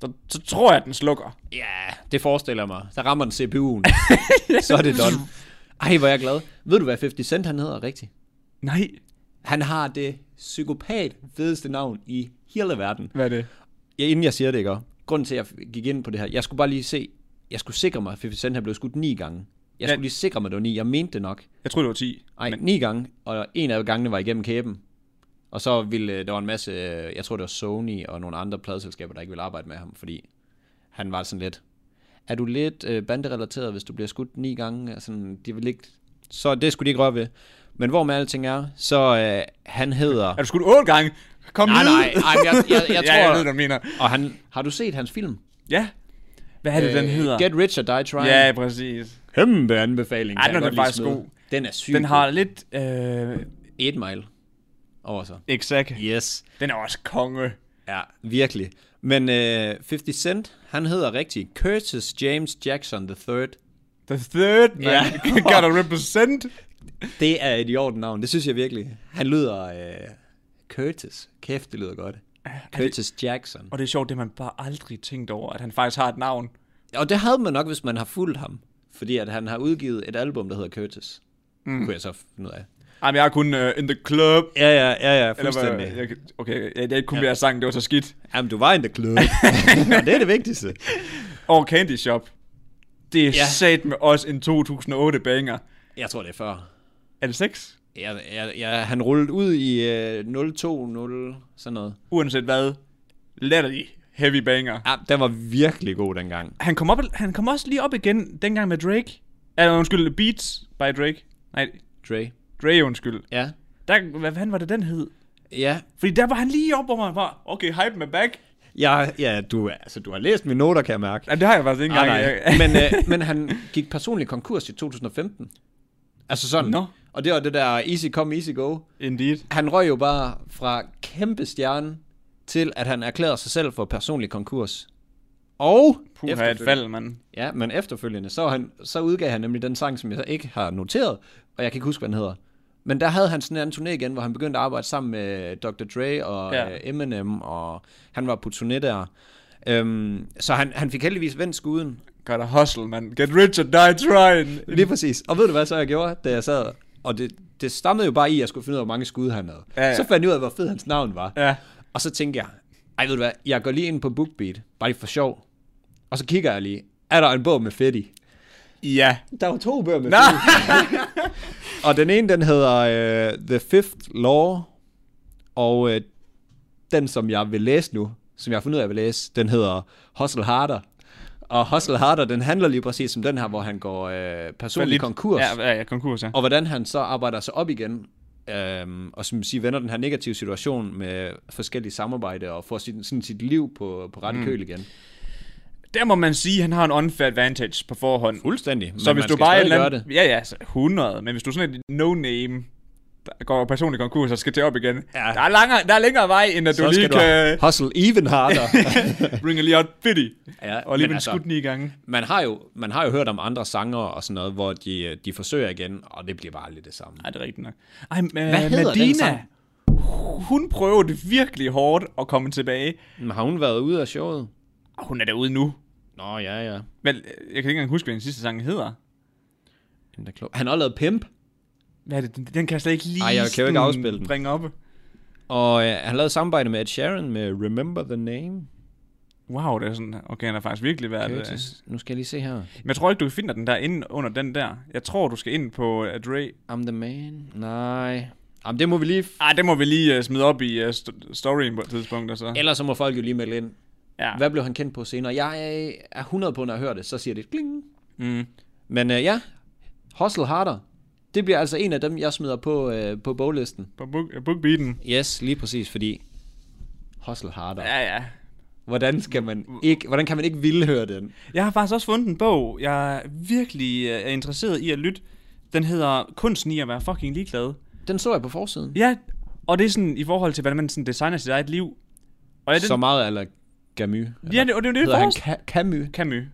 [SPEAKER 1] så, så tror jeg, at den slukker.
[SPEAKER 2] Ja, det forestiller jeg mig. Så rammer den <laughs> CPU'en. så er det Don. Ej, hvor er jeg glad. Ved du, hvad 50 Cent han hedder rigtigt?
[SPEAKER 1] Nej.
[SPEAKER 2] Han har det psykopat fedeste navn i hele verden.
[SPEAKER 1] Hvad er det?
[SPEAKER 2] ja, inden jeg siger det, ikke? også? Grunden til, at jeg gik ind på det her, jeg skulle bare lige se, jeg skulle sikre mig, at 50 Cent havde blevet skudt ni gange. Jeg
[SPEAKER 1] Ja.
[SPEAKER 2] skulle lige sikre mig, at det var ni. Jeg mente det nok.
[SPEAKER 1] Jeg tror det var 10.
[SPEAKER 2] Ej, Men... ni gange, og en af gangene var igennem kæben. Og så ville, øh, der var en masse, øh, jeg tror det var Sony og nogle andre pladeselskaber, der ikke ville arbejde med ham, fordi han var sådan lidt, er du lidt øh, banderelateret, hvis du bliver skudt ni gange? Og Sådan, de vil ikke, så det skulle de ikke røre ved. Men hvor med alting er, så øh, han
[SPEAKER 1] <laughs>
[SPEAKER 2] hedder...
[SPEAKER 1] Er du skudt 8 gange? Kom
[SPEAKER 2] Nej,
[SPEAKER 1] nu!
[SPEAKER 2] nej, nej, jeg, jeg, jeg, jeg tror...
[SPEAKER 1] <laughs> ja, jeg ved, hvad du mener.
[SPEAKER 2] Og han, har du set hans film?
[SPEAKER 1] Ja. Hvad er det, øh, den hedder?
[SPEAKER 2] Get Rich or Die Trying.
[SPEAKER 1] ja, præcis.
[SPEAKER 2] kæmpe anbefaling.
[SPEAKER 1] Ej, den
[SPEAKER 2] kan jeg
[SPEAKER 1] er
[SPEAKER 2] godt lige
[SPEAKER 1] faktisk
[SPEAKER 2] smide.
[SPEAKER 1] god.
[SPEAKER 2] Den er syg.
[SPEAKER 1] Den har lidt... Øh,
[SPEAKER 2] 8 mile over sig.
[SPEAKER 1] exakt.
[SPEAKER 2] Yes.
[SPEAKER 1] Den er også konge.
[SPEAKER 2] Ja, virkelig. Men øh, 50 Cent, han hedder rigtig Curtis James Jackson III.
[SPEAKER 1] The third, man.
[SPEAKER 2] Ja.
[SPEAKER 1] <laughs> Gotta represent.
[SPEAKER 2] Det er et i orden navn, det synes jeg virkelig. Han lyder... Øh, Curtis. Kæft, det lyder godt. Curtis Jackson.
[SPEAKER 1] Og det er sjovt, det har man bare aldrig tænkt over, at han faktisk har et navn.
[SPEAKER 2] Og det havde man nok, hvis man har fulgt ham. Fordi at han har udgivet et album, der hedder Curtis. Mm. Kunne jeg så finde ud af.
[SPEAKER 1] Jamen, jeg er kun uh, in the club.
[SPEAKER 2] Ja, ja, ja, ja,
[SPEAKER 1] Eller hvad? Jeg, kan- okay, jeg, jeg kunne blive ja. sang, det var så skidt.
[SPEAKER 2] Jamen, du var in the <laughs> club. og det er det vigtigste.
[SPEAKER 1] Og Candy Shop. Det er
[SPEAKER 2] Ja.
[SPEAKER 1] ja. sat med os en 2008 banger.
[SPEAKER 2] Jeg tror, det er før.
[SPEAKER 1] Er det 6?
[SPEAKER 2] Jeg, jeg, jeg, han rullede ud i øh, 020, sådan noget.
[SPEAKER 1] Uanset hvad. Latterlig heavy banger.
[SPEAKER 2] Ja, den var virkelig god dengang.
[SPEAKER 1] Han kom, op, han kom også lige op igen, dengang med Drake. Eller undskyld, Beats by Drake. Nej,
[SPEAKER 2] Dre.
[SPEAKER 1] Dre undskyld.
[SPEAKER 2] Ja.
[SPEAKER 1] Der, hvad fanden var det, den hed?
[SPEAKER 2] Ja.
[SPEAKER 1] Fordi der var han lige op, hvor man var, okay, hype med back.
[SPEAKER 2] Ja, ja du, er- altså, du har læst mine noter, kan jeg mærke.
[SPEAKER 1] Jamen, det har jeg faktisk ikke
[SPEAKER 2] Nej,
[SPEAKER 1] engang. <laughs>
[SPEAKER 2] <laughs> nej. Men, øh, men han gik personligt konkurs i 2015. Altså sådan.
[SPEAKER 1] Nå.
[SPEAKER 2] Og det var det der easy come, easy go.
[SPEAKER 1] Indeed.
[SPEAKER 2] Han røg jo bare fra kæmpe stjerne til, at han erklærede sig selv for personlig konkurs. Og
[SPEAKER 1] Puh, et fald, mand.
[SPEAKER 2] Ja, men efterfølgende, så, var han, så udgav han nemlig den sang, som jeg så ikke har noteret, og jeg kan ikke huske, hvad den hedder. Men der havde han sådan en turné igen, hvor han begyndte at arbejde sammen med Dr. Dre og
[SPEAKER 1] Ja.
[SPEAKER 2] ja. Eminem, og han var på turné der. Øhm, så han, han fik heldigvis vendt skuden.
[SPEAKER 1] Gotta hustle, man. Get rich or die trying.
[SPEAKER 2] Lige præcis. Og ved du, hvad så jeg gjorde, da jeg sad? Og det, det stammede jo bare i, at jeg skulle finde ud af, hvor mange skud han havde.
[SPEAKER 1] Ja, ja.
[SPEAKER 2] Så fandt jeg ud af, hvor fed hans navn var.
[SPEAKER 1] Ja.
[SPEAKER 2] Og så tænkte jeg, ej ved du hvad, jeg går lige ind på BookBeat, bare lige for sjov. Og så kigger jeg lige, er der en bog med fedt i?
[SPEAKER 1] Ja.
[SPEAKER 2] Der var to bøger med
[SPEAKER 1] Nå.
[SPEAKER 2] film. <laughs> og den ene, den hedder uh, The Fifth Law, og uh, den, som jeg vil læse nu, som jeg har fundet ud af, at jeg vil læse, den hedder Hustle Harder. Og Hustle Harder, den handler lige præcis som den her, hvor han går øh, personlig konkurs.
[SPEAKER 1] Ja, ja, ja, konkurs, ja.
[SPEAKER 2] Og hvordan han så arbejder sig op igen, øhm, og som siger, vender den her negative situation med forskellige samarbejder, og får sin, sådan sit liv på, på rette mm. køl igen.
[SPEAKER 1] Der må man sige, at han har en unfair advantage på forhånd.
[SPEAKER 2] Fuldstændig.
[SPEAKER 1] Så hvis du bare er en eller anden, Ja, ja, så 100. Men hvis du er sådan et no-name, der går personlig konkurs og skal til op igen. Ja. Der, er langere, der er længere vej, end at
[SPEAKER 2] så
[SPEAKER 1] du lige
[SPEAKER 2] skal du
[SPEAKER 1] <laughs> kan
[SPEAKER 2] hustle even
[SPEAKER 1] <laughs>
[SPEAKER 2] harder.
[SPEAKER 1] bringe lige op bitty.
[SPEAKER 2] Ja,
[SPEAKER 1] og lige
[SPEAKER 2] men
[SPEAKER 1] vinde
[SPEAKER 2] altså-
[SPEAKER 1] skudt ni gange.
[SPEAKER 2] man, har jo, man har jo hørt om andre sanger og sådan noget, hvor de, øh, de forsøger igen, og det bliver bare lidt det samme.
[SPEAKER 1] Nej, det er rigtigt nok. Ej, men, Hvad
[SPEAKER 2] hedder den
[SPEAKER 1] Medina,
[SPEAKER 2] sang?
[SPEAKER 1] hun prøver det virkelig hårdt at komme tilbage.
[SPEAKER 2] Men har hun været ude af showet?
[SPEAKER 1] Og hun er derude nu.
[SPEAKER 2] Nå, ja, ja.
[SPEAKER 1] Men øh, jeg kan ikke engang huske, hvad den sidste sang hedder.
[SPEAKER 2] Den er klog. Han har lavet Pimp,
[SPEAKER 1] Hvad er det? Den, den kan jeg slet ikke lige
[SPEAKER 2] Ej, jeg kan jo
[SPEAKER 1] sådan
[SPEAKER 2] ikke afspille den.
[SPEAKER 1] bringe op.
[SPEAKER 2] og øh, han lavede samarbejde med Ed Sheeran med Remember the Name.
[SPEAKER 1] Wow, det er sådan, okay, han har faktisk virkelig været... Okay,
[SPEAKER 2] Curtis. Nu skal jeg lige se her.
[SPEAKER 1] men jeg tror ikke, du finder den der inde under den der. Jeg tror, du skal ind på uh, Dre.
[SPEAKER 2] I'm the man. Nej. Jamen, det må vi lige...
[SPEAKER 1] Ah, det må vi lige uh, smide op i uh, st- storyen på et tidspunkt, og så.
[SPEAKER 2] Ellers så må folk jo lige melde ind.
[SPEAKER 1] Ja.
[SPEAKER 2] Hvad blev han kendt på senere? Jeg er 100 på, når jeg hører det, så siger det kling.
[SPEAKER 1] Mm.
[SPEAKER 2] Men øh, ja, Hustle Harder. Det bliver altså en af dem, jeg smider på, øh, på boglisten.
[SPEAKER 1] På book, uh, bookbeaten.
[SPEAKER 2] Yes, lige præcis, fordi Hustle Harder.
[SPEAKER 1] Ja, ja.
[SPEAKER 2] Hvordan, skal man ikke, hvordan kan man ikke ville høre den?
[SPEAKER 1] Jeg har faktisk også fundet en bog, jeg virkelig øh, er interesseret i at lytte. Den hedder Kunsten i at være fucking ligeglad.
[SPEAKER 2] Den så jeg på forsiden.
[SPEAKER 1] Ja, og det er sådan i forhold til, hvordan man sådan designer sit eget liv. Og ja, den,
[SPEAKER 2] Så meget eller Camus.
[SPEAKER 1] ja det, og det er jo det,
[SPEAKER 2] Hedder
[SPEAKER 1] jeg
[SPEAKER 2] han
[SPEAKER 1] forestiller
[SPEAKER 2] Ca- Camus?
[SPEAKER 1] Camus.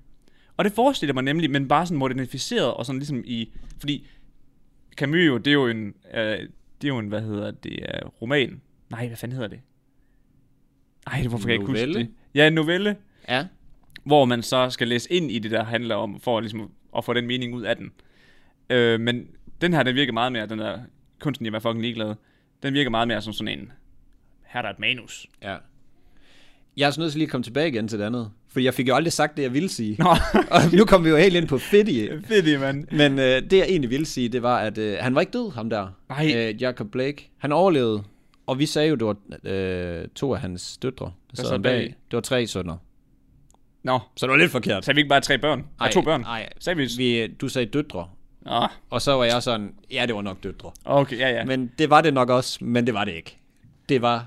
[SPEAKER 1] Og det forestiller mig nemlig, men bare sådan modernificeret og sådan ligesom i... Fordi Camus jo, det er jo en... Øh, det er jo en, hvad hedder det, øh, roman. Nej, hvad fanden hedder det? Ej, hvorfor kan jeg ikke huske
[SPEAKER 2] Novelle?
[SPEAKER 1] det? Ja, en novelle.
[SPEAKER 2] Ja.
[SPEAKER 1] hvor man så skal læse ind i det, der handler om, for ligesom at få den mening ud af den. Øh, men den her, den virker meget mere, den der kunsten, jeg var fucking ligeglad, den virker meget mere som sådan en, her er der et manus.
[SPEAKER 2] Ja. Jeg er så nødt til lige at komme tilbage igen til det andet. Fordi jeg fik jo aldrig sagt det, jeg ville sige.
[SPEAKER 1] Nå,
[SPEAKER 2] <laughs>
[SPEAKER 1] <laughs>
[SPEAKER 2] Og nu kom vi jo helt ind på Fiddy.
[SPEAKER 1] fedt, mand.
[SPEAKER 2] Men øh, det, jeg egentlig ville sige, det var, at øh, han var ikke død, ham der.
[SPEAKER 1] Nej.
[SPEAKER 2] Øh, Jacob Blake. Han overlevede. Og vi sagde jo, det var øh, to af hans døtre, der sad
[SPEAKER 1] sad
[SPEAKER 2] ham bag.
[SPEAKER 1] bag.
[SPEAKER 2] Det var tre sønner.
[SPEAKER 1] Nå,
[SPEAKER 2] Så det var lidt forkert.
[SPEAKER 1] så er vi ikke bare tre børn? Ej, ja, to børn.
[SPEAKER 2] Nej,
[SPEAKER 1] Sagde vi... vi...
[SPEAKER 2] vi, du sagde døtre.
[SPEAKER 1] Ah,
[SPEAKER 2] Og så var jeg sådan, ja, det var nok døtre.
[SPEAKER 1] okay, ja, ja.
[SPEAKER 2] Ja.
[SPEAKER 1] Men...
[SPEAKER 2] Men det var det nok også, men det var det ikke. Det var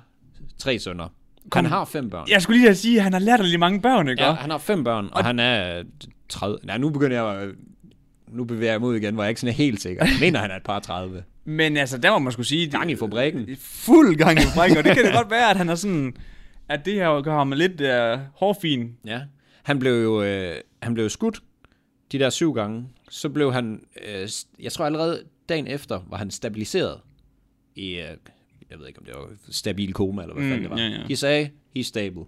[SPEAKER 2] tre sønner. Han har fem børn.
[SPEAKER 1] Jeg skulle lige at sige, at han har lært lige mange børn, ikke?
[SPEAKER 2] Ja, han har fem børn, og, og han er øh, 30. Nej, nu begynder jeg... øh, Nu bevæger jeg mig ud igen, hvor jeg ikke sådan er helt sikker. Jeg mener, han er et par 30.
[SPEAKER 1] Men altså, der må man skulle sige...
[SPEAKER 2] Gang i fabrikken.
[SPEAKER 1] Fuld gang i fabrikken, og det kan det godt være, at han er sådan... At det her jo gør ham lidt uh, hårfin.
[SPEAKER 2] Ja. Han blev jo øh, han blev jo skudt de der syv gange. Så blev han... Øh, s- jeg tror allerede dagen efter var han stabiliseret i... Øh, jeg ved ikke, om det var stabil koma, eller hvad
[SPEAKER 1] Mm,
[SPEAKER 2] mm, fanden det var.
[SPEAKER 1] ja, ja.
[SPEAKER 2] De sagde, he's stable.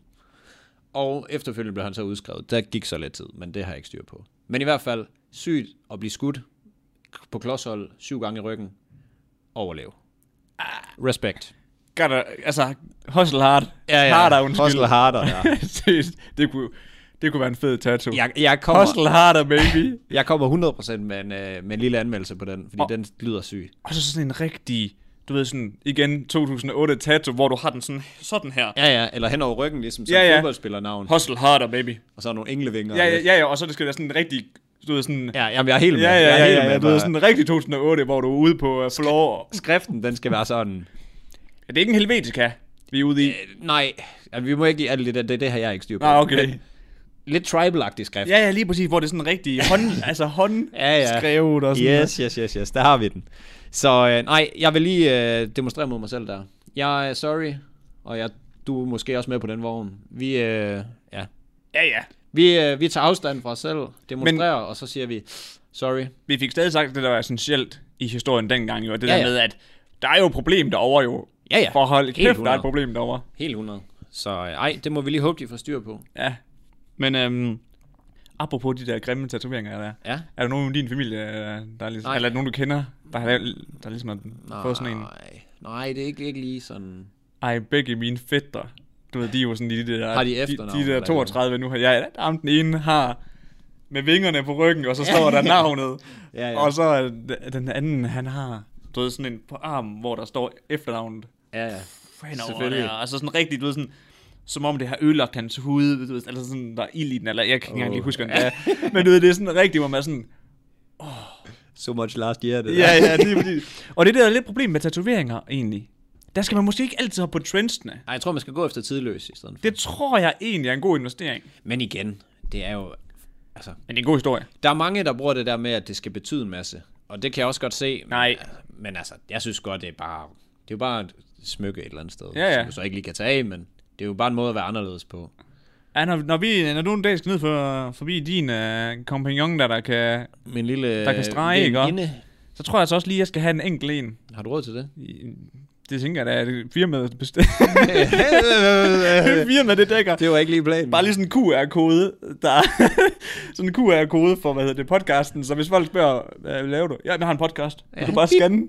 [SPEAKER 2] Og efterfølgende blev han så udskrevet. Der gik så lidt tid, men det har jeg ikke styr på. Men i hvert fald, sygt at blive skudt på klodshold syv gange i ryggen. Overlev. Ah. Respekt.
[SPEAKER 1] Gør der, altså, hustle hard. Harder, undskyld. <laughs>
[SPEAKER 2] Hustle harder, ja.
[SPEAKER 1] Seriøst, det kunne, det kunne være en fed tattoo.
[SPEAKER 2] Jeg, jeg kommer,
[SPEAKER 1] Hustle harder, baby.
[SPEAKER 2] Jeg kommer 100% med en, øh, med en lille anmeldelse på den, fordi
[SPEAKER 1] Og-
[SPEAKER 2] oh. den lyder syg.
[SPEAKER 1] og så sådan en rigtig, du ved sådan, igen, 2008 tattoo, hvor du har den sådan, sådan her.
[SPEAKER 2] Ja, ja, eller hen over ryggen, ligesom som
[SPEAKER 1] Ja,
[SPEAKER 2] ja,
[SPEAKER 1] ja.
[SPEAKER 2] ja. fodboldspillernavn,
[SPEAKER 1] Hustle harder, baby.
[SPEAKER 2] og så nogle englevinger.
[SPEAKER 1] Ja,
[SPEAKER 2] og
[SPEAKER 1] ja,
[SPEAKER 2] lidt-
[SPEAKER 1] ja, ja, og så det skal være sådan en rigtig, du ved sådan,
[SPEAKER 2] ja. Jamen, jeg er helt med.
[SPEAKER 1] ja,
[SPEAKER 2] jeg
[SPEAKER 1] ja,
[SPEAKER 2] er
[SPEAKER 1] ja,
[SPEAKER 2] helt
[SPEAKER 1] ja,
[SPEAKER 2] med,
[SPEAKER 1] ja du ved
[SPEAKER 2] bare-
[SPEAKER 1] sådan en rigtig 2008, hvor du er ude på uh, floor.
[SPEAKER 2] Skriften, den skal være sådan...
[SPEAKER 1] Ja, det er ikke en helvetica, vi er ude i.
[SPEAKER 2] Øh, nej, altså, vi må ikke give alt det der, det, det her, jeg ikke styr på.
[SPEAKER 1] Nej, okay.
[SPEAKER 2] Lidt tribal-agtig skrift.
[SPEAKER 1] Ja, ja, lige præcis, hvor det er sådan rigtig hånd, <laughs> altså hånd
[SPEAKER 2] Ja, ja.
[SPEAKER 1] skrevet og sådan
[SPEAKER 2] Yes, yes, yes, yes, der har vi den. Så øh, nej, jeg vil lige øh, demonstrere mod mig selv der. Jeg er sorry, og jeg, du er måske også med på den vogn. Vi, øh, ja,
[SPEAKER 1] Ja, ja.
[SPEAKER 2] Vi, øh, vi tager afstand fra os selv, demonstrerer, Men... og så siger vi, sorry.
[SPEAKER 1] vi fik stadig sagt det, der var essentielt i historien dengang jo, og det ja,
[SPEAKER 2] Ja,
[SPEAKER 1] der
[SPEAKER 2] ja.
[SPEAKER 1] med, at der er jo et problem derovre jo.
[SPEAKER 2] Ja, ja.
[SPEAKER 1] For hold kæft,
[SPEAKER 2] Helt
[SPEAKER 1] der er et
[SPEAKER 2] 100.
[SPEAKER 1] problem derovre.
[SPEAKER 2] Helt 100. Så øh, ej, det må vi lige håbe, de får styr på.
[SPEAKER 1] Ja. Men øhm, apropos de der grimme tatoveringer, der er.
[SPEAKER 2] Ja.
[SPEAKER 1] Er der nogen i din familie, øh, der er ligesom,
[SPEAKER 2] Nej.
[SPEAKER 1] eller nogen du kender, der har lavet, der ligesom har fået sådan en?
[SPEAKER 2] Nej, nej, det er ikke, ikke lige sådan...
[SPEAKER 1] Ej, begge mine fætter. Du ved, de er jo sådan lige det der...
[SPEAKER 2] Har de
[SPEAKER 1] De,
[SPEAKER 2] efternavn,
[SPEAKER 1] de
[SPEAKER 2] eller
[SPEAKER 1] der
[SPEAKER 2] hvad?
[SPEAKER 1] 32 nu har jeg. Ja, den ene har med vingerne på ryggen, og så står
[SPEAKER 2] <laughs>
[SPEAKER 1] der navnet.
[SPEAKER 2] Ja, ja.
[SPEAKER 1] Og så er d- den anden, han har, du ved, sådan en på armen, hvor der står efternavnet.
[SPEAKER 2] Ja, ja.
[SPEAKER 1] Fanden over
[SPEAKER 2] Selvfølgelig.
[SPEAKER 1] der. Altså sådan rigtig, du ved, sådan, som om det har ødelagt hans hud, du ved, eller sådan, der er ild i den, eller jeg kan ikke engang lige huske, hvad det er. Men du ved, det er sådan rigtigt, hvor man er sådan,
[SPEAKER 2] So much last year, det
[SPEAKER 1] ja, ja, lige præcis. Og det er det, der er lidt problem med tatoveringer, egentlig. Der skal man måske ikke altid hoppe på trendsene.
[SPEAKER 2] Ej, jeg tror, man skal gå efter tidløs i stedet for.
[SPEAKER 1] Det tror jeg egentlig er en god investering.
[SPEAKER 2] Men igen, det er jo... Altså,
[SPEAKER 1] Men det er en god historie.
[SPEAKER 2] der er mange, der bruger det der med, at det skal betyde en masse. Og det kan jeg også godt se. men-
[SPEAKER 1] Nej.
[SPEAKER 2] Men altså, jeg synes godt, det er bare... Det er jo bare et smykke et eller andet sted,
[SPEAKER 1] Ja, ja.
[SPEAKER 2] som du så ikke lige kan tage af, men det er jo bare en måde at være anderledes på.
[SPEAKER 1] Ja, når, når, vi, når du en dag skal ned for, forbi din øh, kompagnon, der, der kan...
[SPEAKER 2] Min lille... øh,
[SPEAKER 1] Der kan strege, ikke?
[SPEAKER 2] veninde.
[SPEAKER 1] Så tror jeg altså også lige, at jeg skal have en enkelt en.
[SPEAKER 2] Har du råd til det?
[SPEAKER 1] I- Det tænker jeg da, at det er firmaet der <laughs> bestemmer. firmaet, det dækker.
[SPEAKER 2] det var ikke lige planen.
[SPEAKER 1] Bare lige sådan en QR-kode, der <laughs> sådan en QR-kode for, hvad hedder det, podcasten. Så hvis folk spørger, hvad laver du? Ja, jeg har en podcast. Du kan bare scanne.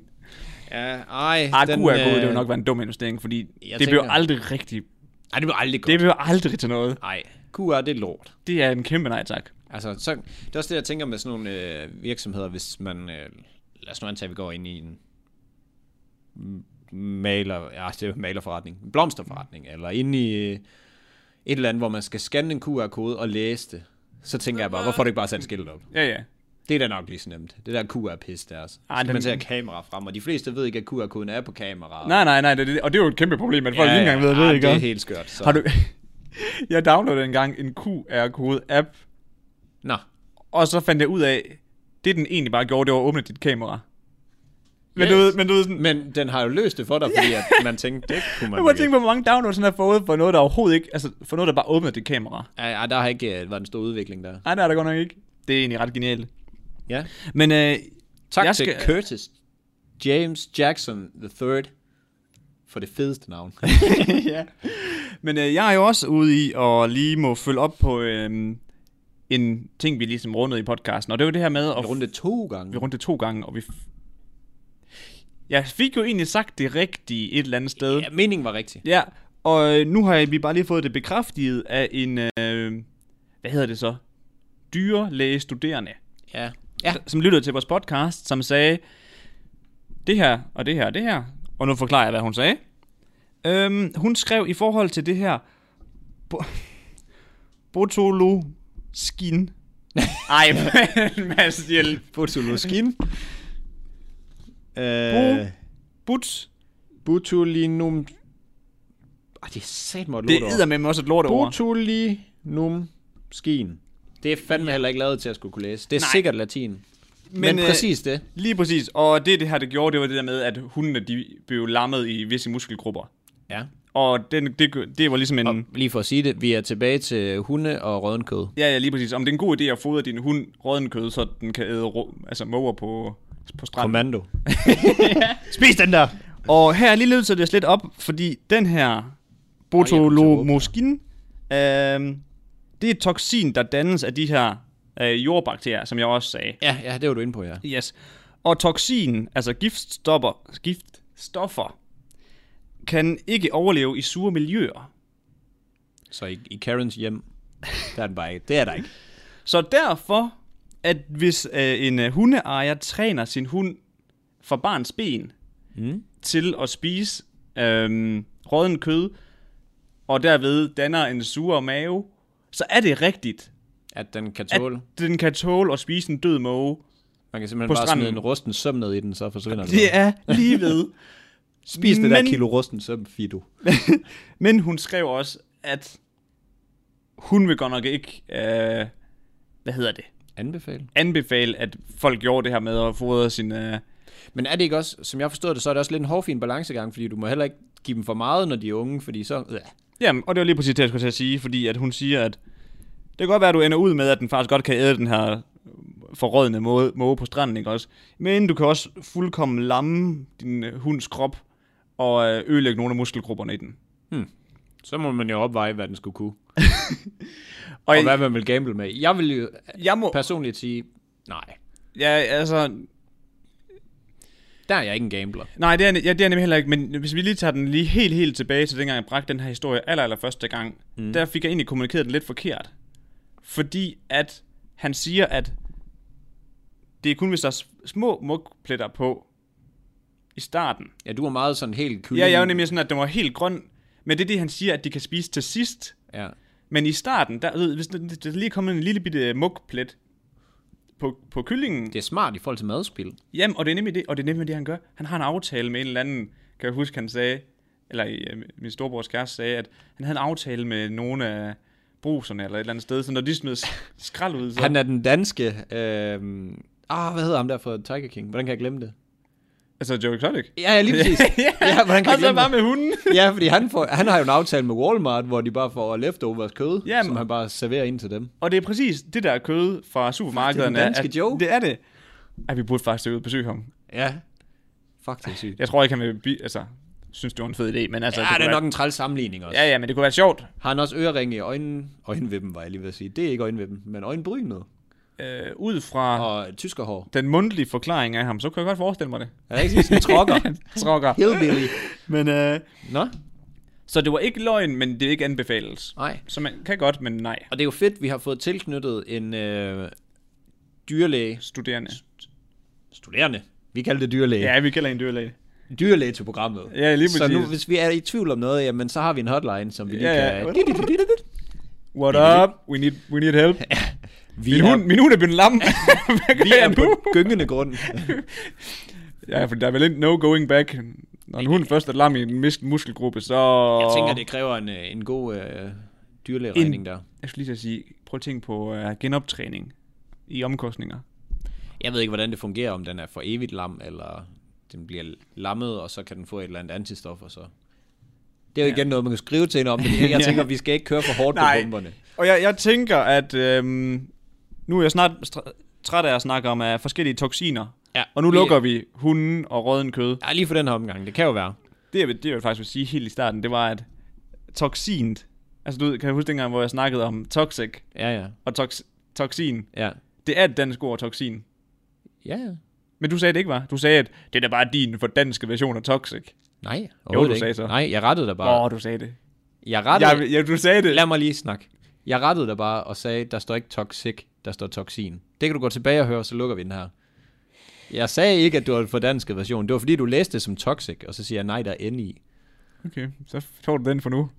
[SPEAKER 2] Ja, ej.
[SPEAKER 1] Ah, QR-kode,
[SPEAKER 2] øh,
[SPEAKER 1] det ville nok være en dum investering, fordi det
[SPEAKER 2] tænker-
[SPEAKER 1] bliver aldrig rigtigt.
[SPEAKER 2] Ej, det blev aldrig godt.
[SPEAKER 1] Det bliver aldrig til noget.
[SPEAKER 2] Ej, QR, det er lort.
[SPEAKER 1] Det er en kæmpe nej tak.
[SPEAKER 2] Altså, så, det er også det, jeg tænker med sådan nogle øh, virksomheder, hvis man... Øh, lad os nu antage, at vi går ind i en m- maler, ja, det er jo malerforretning, en blomsterforretning, eller ind i øh, et eller andet, hvor man skal scanne en QR-kode og læse det. Så tænker jeg bare, hvorfor er det ikke bare sat skilt op?
[SPEAKER 1] Ja, ja.
[SPEAKER 2] Det er da nok lige så nemt. Det der QR-pis der. Så
[SPEAKER 1] Ej,
[SPEAKER 2] skal
[SPEAKER 1] den-
[SPEAKER 2] man tage kamera frem, og de fleste ved ikke, at QR-koden er på kamera.
[SPEAKER 1] Nej, nej, nej, det, er det, og det er jo et kæmpe problem, at folk ikke engang ved, Ah, det,
[SPEAKER 2] ej,
[SPEAKER 1] ikke?
[SPEAKER 2] det er helt skørt. Så.
[SPEAKER 1] Har du... <laughs> jeg downloadede engang en QR-kode-app,
[SPEAKER 2] Nå,
[SPEAKER 1] og så fandt jeg ud af, det den egentlig bare gjorde, det var at åbne dit kamera. Men du
[SPEAKER 2] Yes.
[SPEAKER 1] ved, men du ved sådan...
[SPEAKER 2] men den har jo løst det for dig, fordi at man tænkte, det kunne man
[SPEAKER 1] Jeg må
[SPEAKER 2] ikke.
[SPEAKER 1] tænke på, hvor mange downloads han har fået for noget, der overhovedet ikke... Altså, for noget, der bare åbner dit kamera.
[SPEAKER 2] Ej, ej, der har ikke øh, været en stor udvikling der.
[SPEAKER 1] Nej, det er der godt nok ikke. Det er egentlig ret genialt.
[SPEAKER 2] Ja.
[SPEAKER 1] Men øh, <laughs>
[SPEAKER 2] Tak
[SPEAKER 1] jeg
[SPEAKER 2] til
[SPEAKER 1] skal-
[SPEAKER 2] Curtis James Jackson III for det fedeste navn.
[SPEAKER 1] ja. Men øh, jeg er jo også ude i at lige må følge op på øh, en ting, vi ligesom rundede i podcasten, og det var det her med at...
[SPEAKER 2] Runde to
[SPEAKER 1] Vi
[SPEAKER 2] gange.
[SPEAKER 1] rundte to gange, og vi... F- jeg fik jo egentlig sagt det rigtige et eller andet sted.
[SPEAKER 2] Ja, meningen var rigtig.
[SPEAKER 1] Ja, og øh, nu har jeg- vi bare lige fået det bekræftet af en... Øh, hvad hedder det så? Dyrelægestuderende,
[SPEAKER 2] Ja. Ja.
[SPEAKER 1] som lyttede til vores podcast, som sagde... Det her, og det her, og det her. Og nu forklarer jeg, hvad hun sagde. Øhm, hun skrev i forhold til det her... Bo- Botolo skin. Ej, <laughs> men Mads, hjælp.
[SPEAKER 2] Botuliskin. Øh,
[SPEAKER 1] Bo- Buts
[SPEAKER 2] Botulinum. Ah, det er satme et
[SPEAKER 1] Det
[SPEAKER 2] lort
[SPEAKER 1] er
[SPEAKER 2] ord.
[SPEAKER 1] med også et lort over.
[SPEAKER 2] Botulinum skin. Det er fandme heller ikke lavet til at skulle kunne læse. Det er
[SPEAKER 1] Nej.
[SPEAKER 2] sikkert latin. Men,
[SPEAKER 1] øh,
[SPEAKER 2] præcis det.
[SPEAKER 1] Lige præcis. Og det, det her, det gjorde, det var det der med, at hundene, de blev lammet i visse muskelgrupper.
[SPEAKER 2] Ja.
[SPEAKER 1] Og den, det, det var ligesom en...
[SPEAKER 2] Og lige for at sige det, vi er tilbage til hunde og røddenkød.
[SPEAKER 1] Ja, ja, lige præcis. Om det er en god idé at fodre din hund rådden kød, så den kan æde rå, altså måger på, på stranden.
[SPEAKER 2] Kommando. <laughs> Spis den der!
[SPEAKER 1] Og her er lige lød så det lidt op, fordi den her botulomoskin, øh, det er et toksin, der dannes af de her øh, jordbakterier, som jeg også sagde.
[SPEAKER 2] Ja, ja, det var du inde på, ja.
[SPEAKER 1] Yes. Og toksin, altså giftstopper, giftstoffer, kan ikke overleve i sure miljøer.
[SPEAKER 2] Så i, i Karens hjem, der er den bare ikke. Det er der ikke.
[SPEAKER 1] Så derfor, at hvis øh, en øh, hundeejer træner sin hund fra barns ben
[SPEAKER 2] Mm.
[SPEAKER 1] til at spise øh, råden kød, og derved danner en sur mave, så er det rigtigt,
[SPEAKER 2] At den kan
[SPEAKER 1] at
[SPEAKER 2] tåle.
[SPEAKER 1] den kan tåle at spise en død måge.
[SPEAKER 2] Man kan simpelthen
[SPEAKER 1] på
[SPEAKER 2] bare
[SPEAKER 1] stranden.
[SPEAKER 2] smide en rusten søm ned i den, så forsvinder den.
[SPEAKER 1] Det er lige ved.
[SPEAKER 2] Spis det der
[SPEAKER 1] men-
[SPEAKER 2] kilo rusten søm, Fido.
[SPEAKER 1] Men hun skrev også, at hun vil godt nok ikke, øh, hvad hedder det,
[SPEAKER 2] Anbefale.
[SPEAKER 1] anbefale, at folk gjorde det her med at fodre sin... Øh,
[SPEAKER 2] Men er det ikke også, som jeg forstod det, så er det også lidt en hårfin balancegang, fordi du må heller ikke give dem for meget, når de er unge, fordi så... Øh. Ja.
[SPEAKER 1] jamen, og det var lige præcis det, jeg skulle til at sige, fordi at hun siger, at det kan godt være, at du ender ud med, at den faktisk godt kan æde den her forrådende måge, måge på stranden, ikke også? Men du kan også fuldkommen lamme din øh, hunds krop og øh, ødelægge nogle af muskelgrupperne i den.
[SPEAKER 2] Så må man jo opveje, hvad den skulle kunne.
[SPEAKER 1] Og,
[SPEAKER 2] Og hvad man vil gamble med. Jeg vil jo øh,
[SPEAKER 1] jeg må...
[SPEAKER 2] personligt sige, nej,
[SPEAKER 1] Ja, altså,
[SPEAKER 2] der er jeg ikke en gambler.
[SPEAKER 1] Nej, det er, ja, det er nemlig heller ikke, men hvis vi lige tager den lige helt, helt tilbage til dengang, jeg bragte den her historie aller, aller første gang, mm. der fik jeg egentlig kommunikeret den lidt forkert. Fordi at han siger, at det er kun, hvis der er s- små mugpletter på i starten.
[SPEAKER 2] Ja, du er meget sådan helt kylling. Mm.
[SPEAKER 1] Ja, jeg er jo nemlig sådan, at den var helt grøn, Men det er det, han siger, at de kan spise til sidst.
[SPEAKER 2] Ja.
[SPEAKER 1] Men i starten, der, ved, hvis der, der lige er kommet en lille bitte mugplet på, på kyllingen,
[SPEAKER 2] Det er smart i forhold til madspil.
[SPEAKER 1] Jamen, og det er nemlig det, og det er nemlig det, han gør. Han har en aftale med en eller anden, kan jeg huske, han sagde, eller øh, min storebrors kæreste sagde, at han havde en aftale med nogle af bruserne eller et eller andet sted, så når de smed s- skrald ud, så...
[SPEAKER 2] Han er den danske... Øh... Ah, hvad hedder ham der fra Tiger King? Hvordan kan jeg glemme det?
[SPEAKER 1] Altså Joe Exotic.
[SPEAKER 2] Ja, ja <laughs> lige præcis. ja, Altså, hvordan kan jeg
[SPEAKER 1] og så
[SPEAKER 2] glemme
[SPEAKER 1] bare
[SPEAKER 2] det?
[SPEAKER 1] med hunden.
[SPEAKER 2] Ja, fordi han, får, han har jo en aftale med Walmart, hvor de bare får leftovers kød,
[SPEAKER 1] Jamen.
[SPEAKER 2] som han bare serverer ind til dem.
[SPEAKER 1] Og det er præcis det der kød fra supermarkederne.
[SPEAKER 2] Det er den danske
[SPEAKER 1] at,
[SPEAKER 2] Joe.
[SPEAKER 1] Det er det. At vi burde faktisk ud og besøge ham.
[SPEAKER 2] Ja. Fuck, det er sygt.
[SPEAKER 1] Jeg tror ikke, han vil bi- altså, synes, det var en fed idé, men altså...
[SPEAKER 2] Ja,
[SPEAKER 1] kunne
[SPEAKER 2] det er
[SPEAKER 1] være,
[SPEAKER 2] nok en træls sammenligning også.
[SPEAKER 1] Ja, ja, men det kunne være sjovt.
[SPEAKER 2] Har han også øreringe i øjnene? Øjenvippen, var jeg lige ved at sige. Det er ikke øjenvippen, men øjenbrynet.
[SPEAKER 1] Øh, ud fra oh.
[SPEAKER 2] Og tyskerhår.
[SPEAKER 1] den mundtlige forklaring af ham, så kan jeg godt forestille mig det.
[SPEAKER 2] Er det ikke sådan en trokker?
[SPEAKER 1] Trokker.
[SPEAKER 2] Hillbilly.
[SPEAKER 1] Men øh,
[SPEAKER 2] Nå?
[SPEAKER 1] Så det var ikke løgn, men det er ikke anbefales.
[SPEAKER 2] Nej.
[SPEAKER 1] Så man kan godt, men nej.
[SPEAKER 2] Og det er jo fedt, vi har fået tilknyttet en øh, dyrlæge.
[SPEAKER 1] Studerende.
[SPEAKER 2] Studerende. Vi kalder det dyrlæge.
[SPEAKER 1] Ja, vi kalder en dyrlæge.
[SPEAKER 2] Dyrlæge til programmet.
[SPEAKER 1] Ja, lige
[SPEAKER 2] Så nu,
[SPEAKER 1] præcis.
[SPEAKER 2] hvis vi er i tvivl om noget, jamen, så har vi en hotline, som vi lige
[SPEAKER 1] Ja, ja.
[SPEAKER 2] kan...
[SPEAKER 1] What up? We need, we need help.
[SPEAKER 2] Vi
[SPEAKER 1] Min hund, min hund er <laughs> blevet lam. Hvad gør
[SPEAKER 2] vi
[SPEAKER 1] jeg
[SPEAKER 2] er
[SPEAKER 1] nu?
[SPEAKER 2] på
[SPEAKER 1] <laughs>
[SPEAKER 2] gyngende grund.
[SPEAKER 1] Ja, for der er vel ikke no going back. Når en hund først er lam i en mis- muskelgruppe, så...
[SPEAKER 2] Jeg tænker, det kræver en, øh, en god øh, dyrlægeregning der.
[SPEAKER 1] Jeg skulle lige til at sige, prøv at tænke på uh, genoptræning i omkostninger.
[SPEAKER 2] Jeg ved ikke, hvordan det fungerer, om den er for evigt lam, eller den bliver lammet, og så kan den få et eller andet antistof, og så... Det er jo igen noget, man kan skrive til en om.
[SPEAKER 1] <laughs>
[SPEAKER 2] Men jeg tænker, vi skal ikke køre for hårdt på pumperne.
[SPEAKER 1] Og jeg, jeg tænker, at øhm, nu er jeg snart str- træt af at snakke om uh, forskellige toksiner.
[SPEAKER 2] Ja,
[SPEAKER 1] Og nu
[SPEAKER 2] vi-
[SPEAKER 1] lukker vi hunden og rødden kød.
[SPEAKER 2] Ja, lige for den her omgang. Det kan jo være.
[SPEAKER 1] Det jeg, vil- det jeg vil faktisk vil sige helt i starten, det var, at toksint, altså du ved, kan jeg huske dengang, hvor jeg snakkede om toxic
[SPEAKER 2] Ja, ja.
[SPEAKER 1] og tox, toxin.
[SPEAKER 2] Ja,
[SPEAKER 1] Det er et dansk ord, toxin.
[SPEAKER 2] ja. ja.
[SPEAKER 1] Men du sagde det ikke, var? Du sagde, at det er da bare din for danske version af toxic.
[SPEAKER 2] Nej,
[SPEAKER 1] Jo, du
[SPEAKER 2] overhovedet
[SPEAKER 1] sagde
[SPEAKER 2] ikke.
[SPEAKER 1] så.
[SPEAKER 2] Nej, jeg rettede dig bare.
[SPEAKER 1] Åh, oh, du sagde det.
[SPEAKER 2] Jeg rettede...
[SPEAKER 1] Ja, ja, du sagde det.
[SPEAKER 2] Lad mig lige snakke. Jeg rettede dig bare og sagde, der står ikke toxic, der står toxin. Det kan du gå tilbage og høre, så lukker vi den her. Jeg sagde ikke, at du var den fordanske version. Det var fordi, du læste det som toxic, og så siger jeg, nej, der er N i.
[SPEAKER 1] Okay, så tog du den for nu.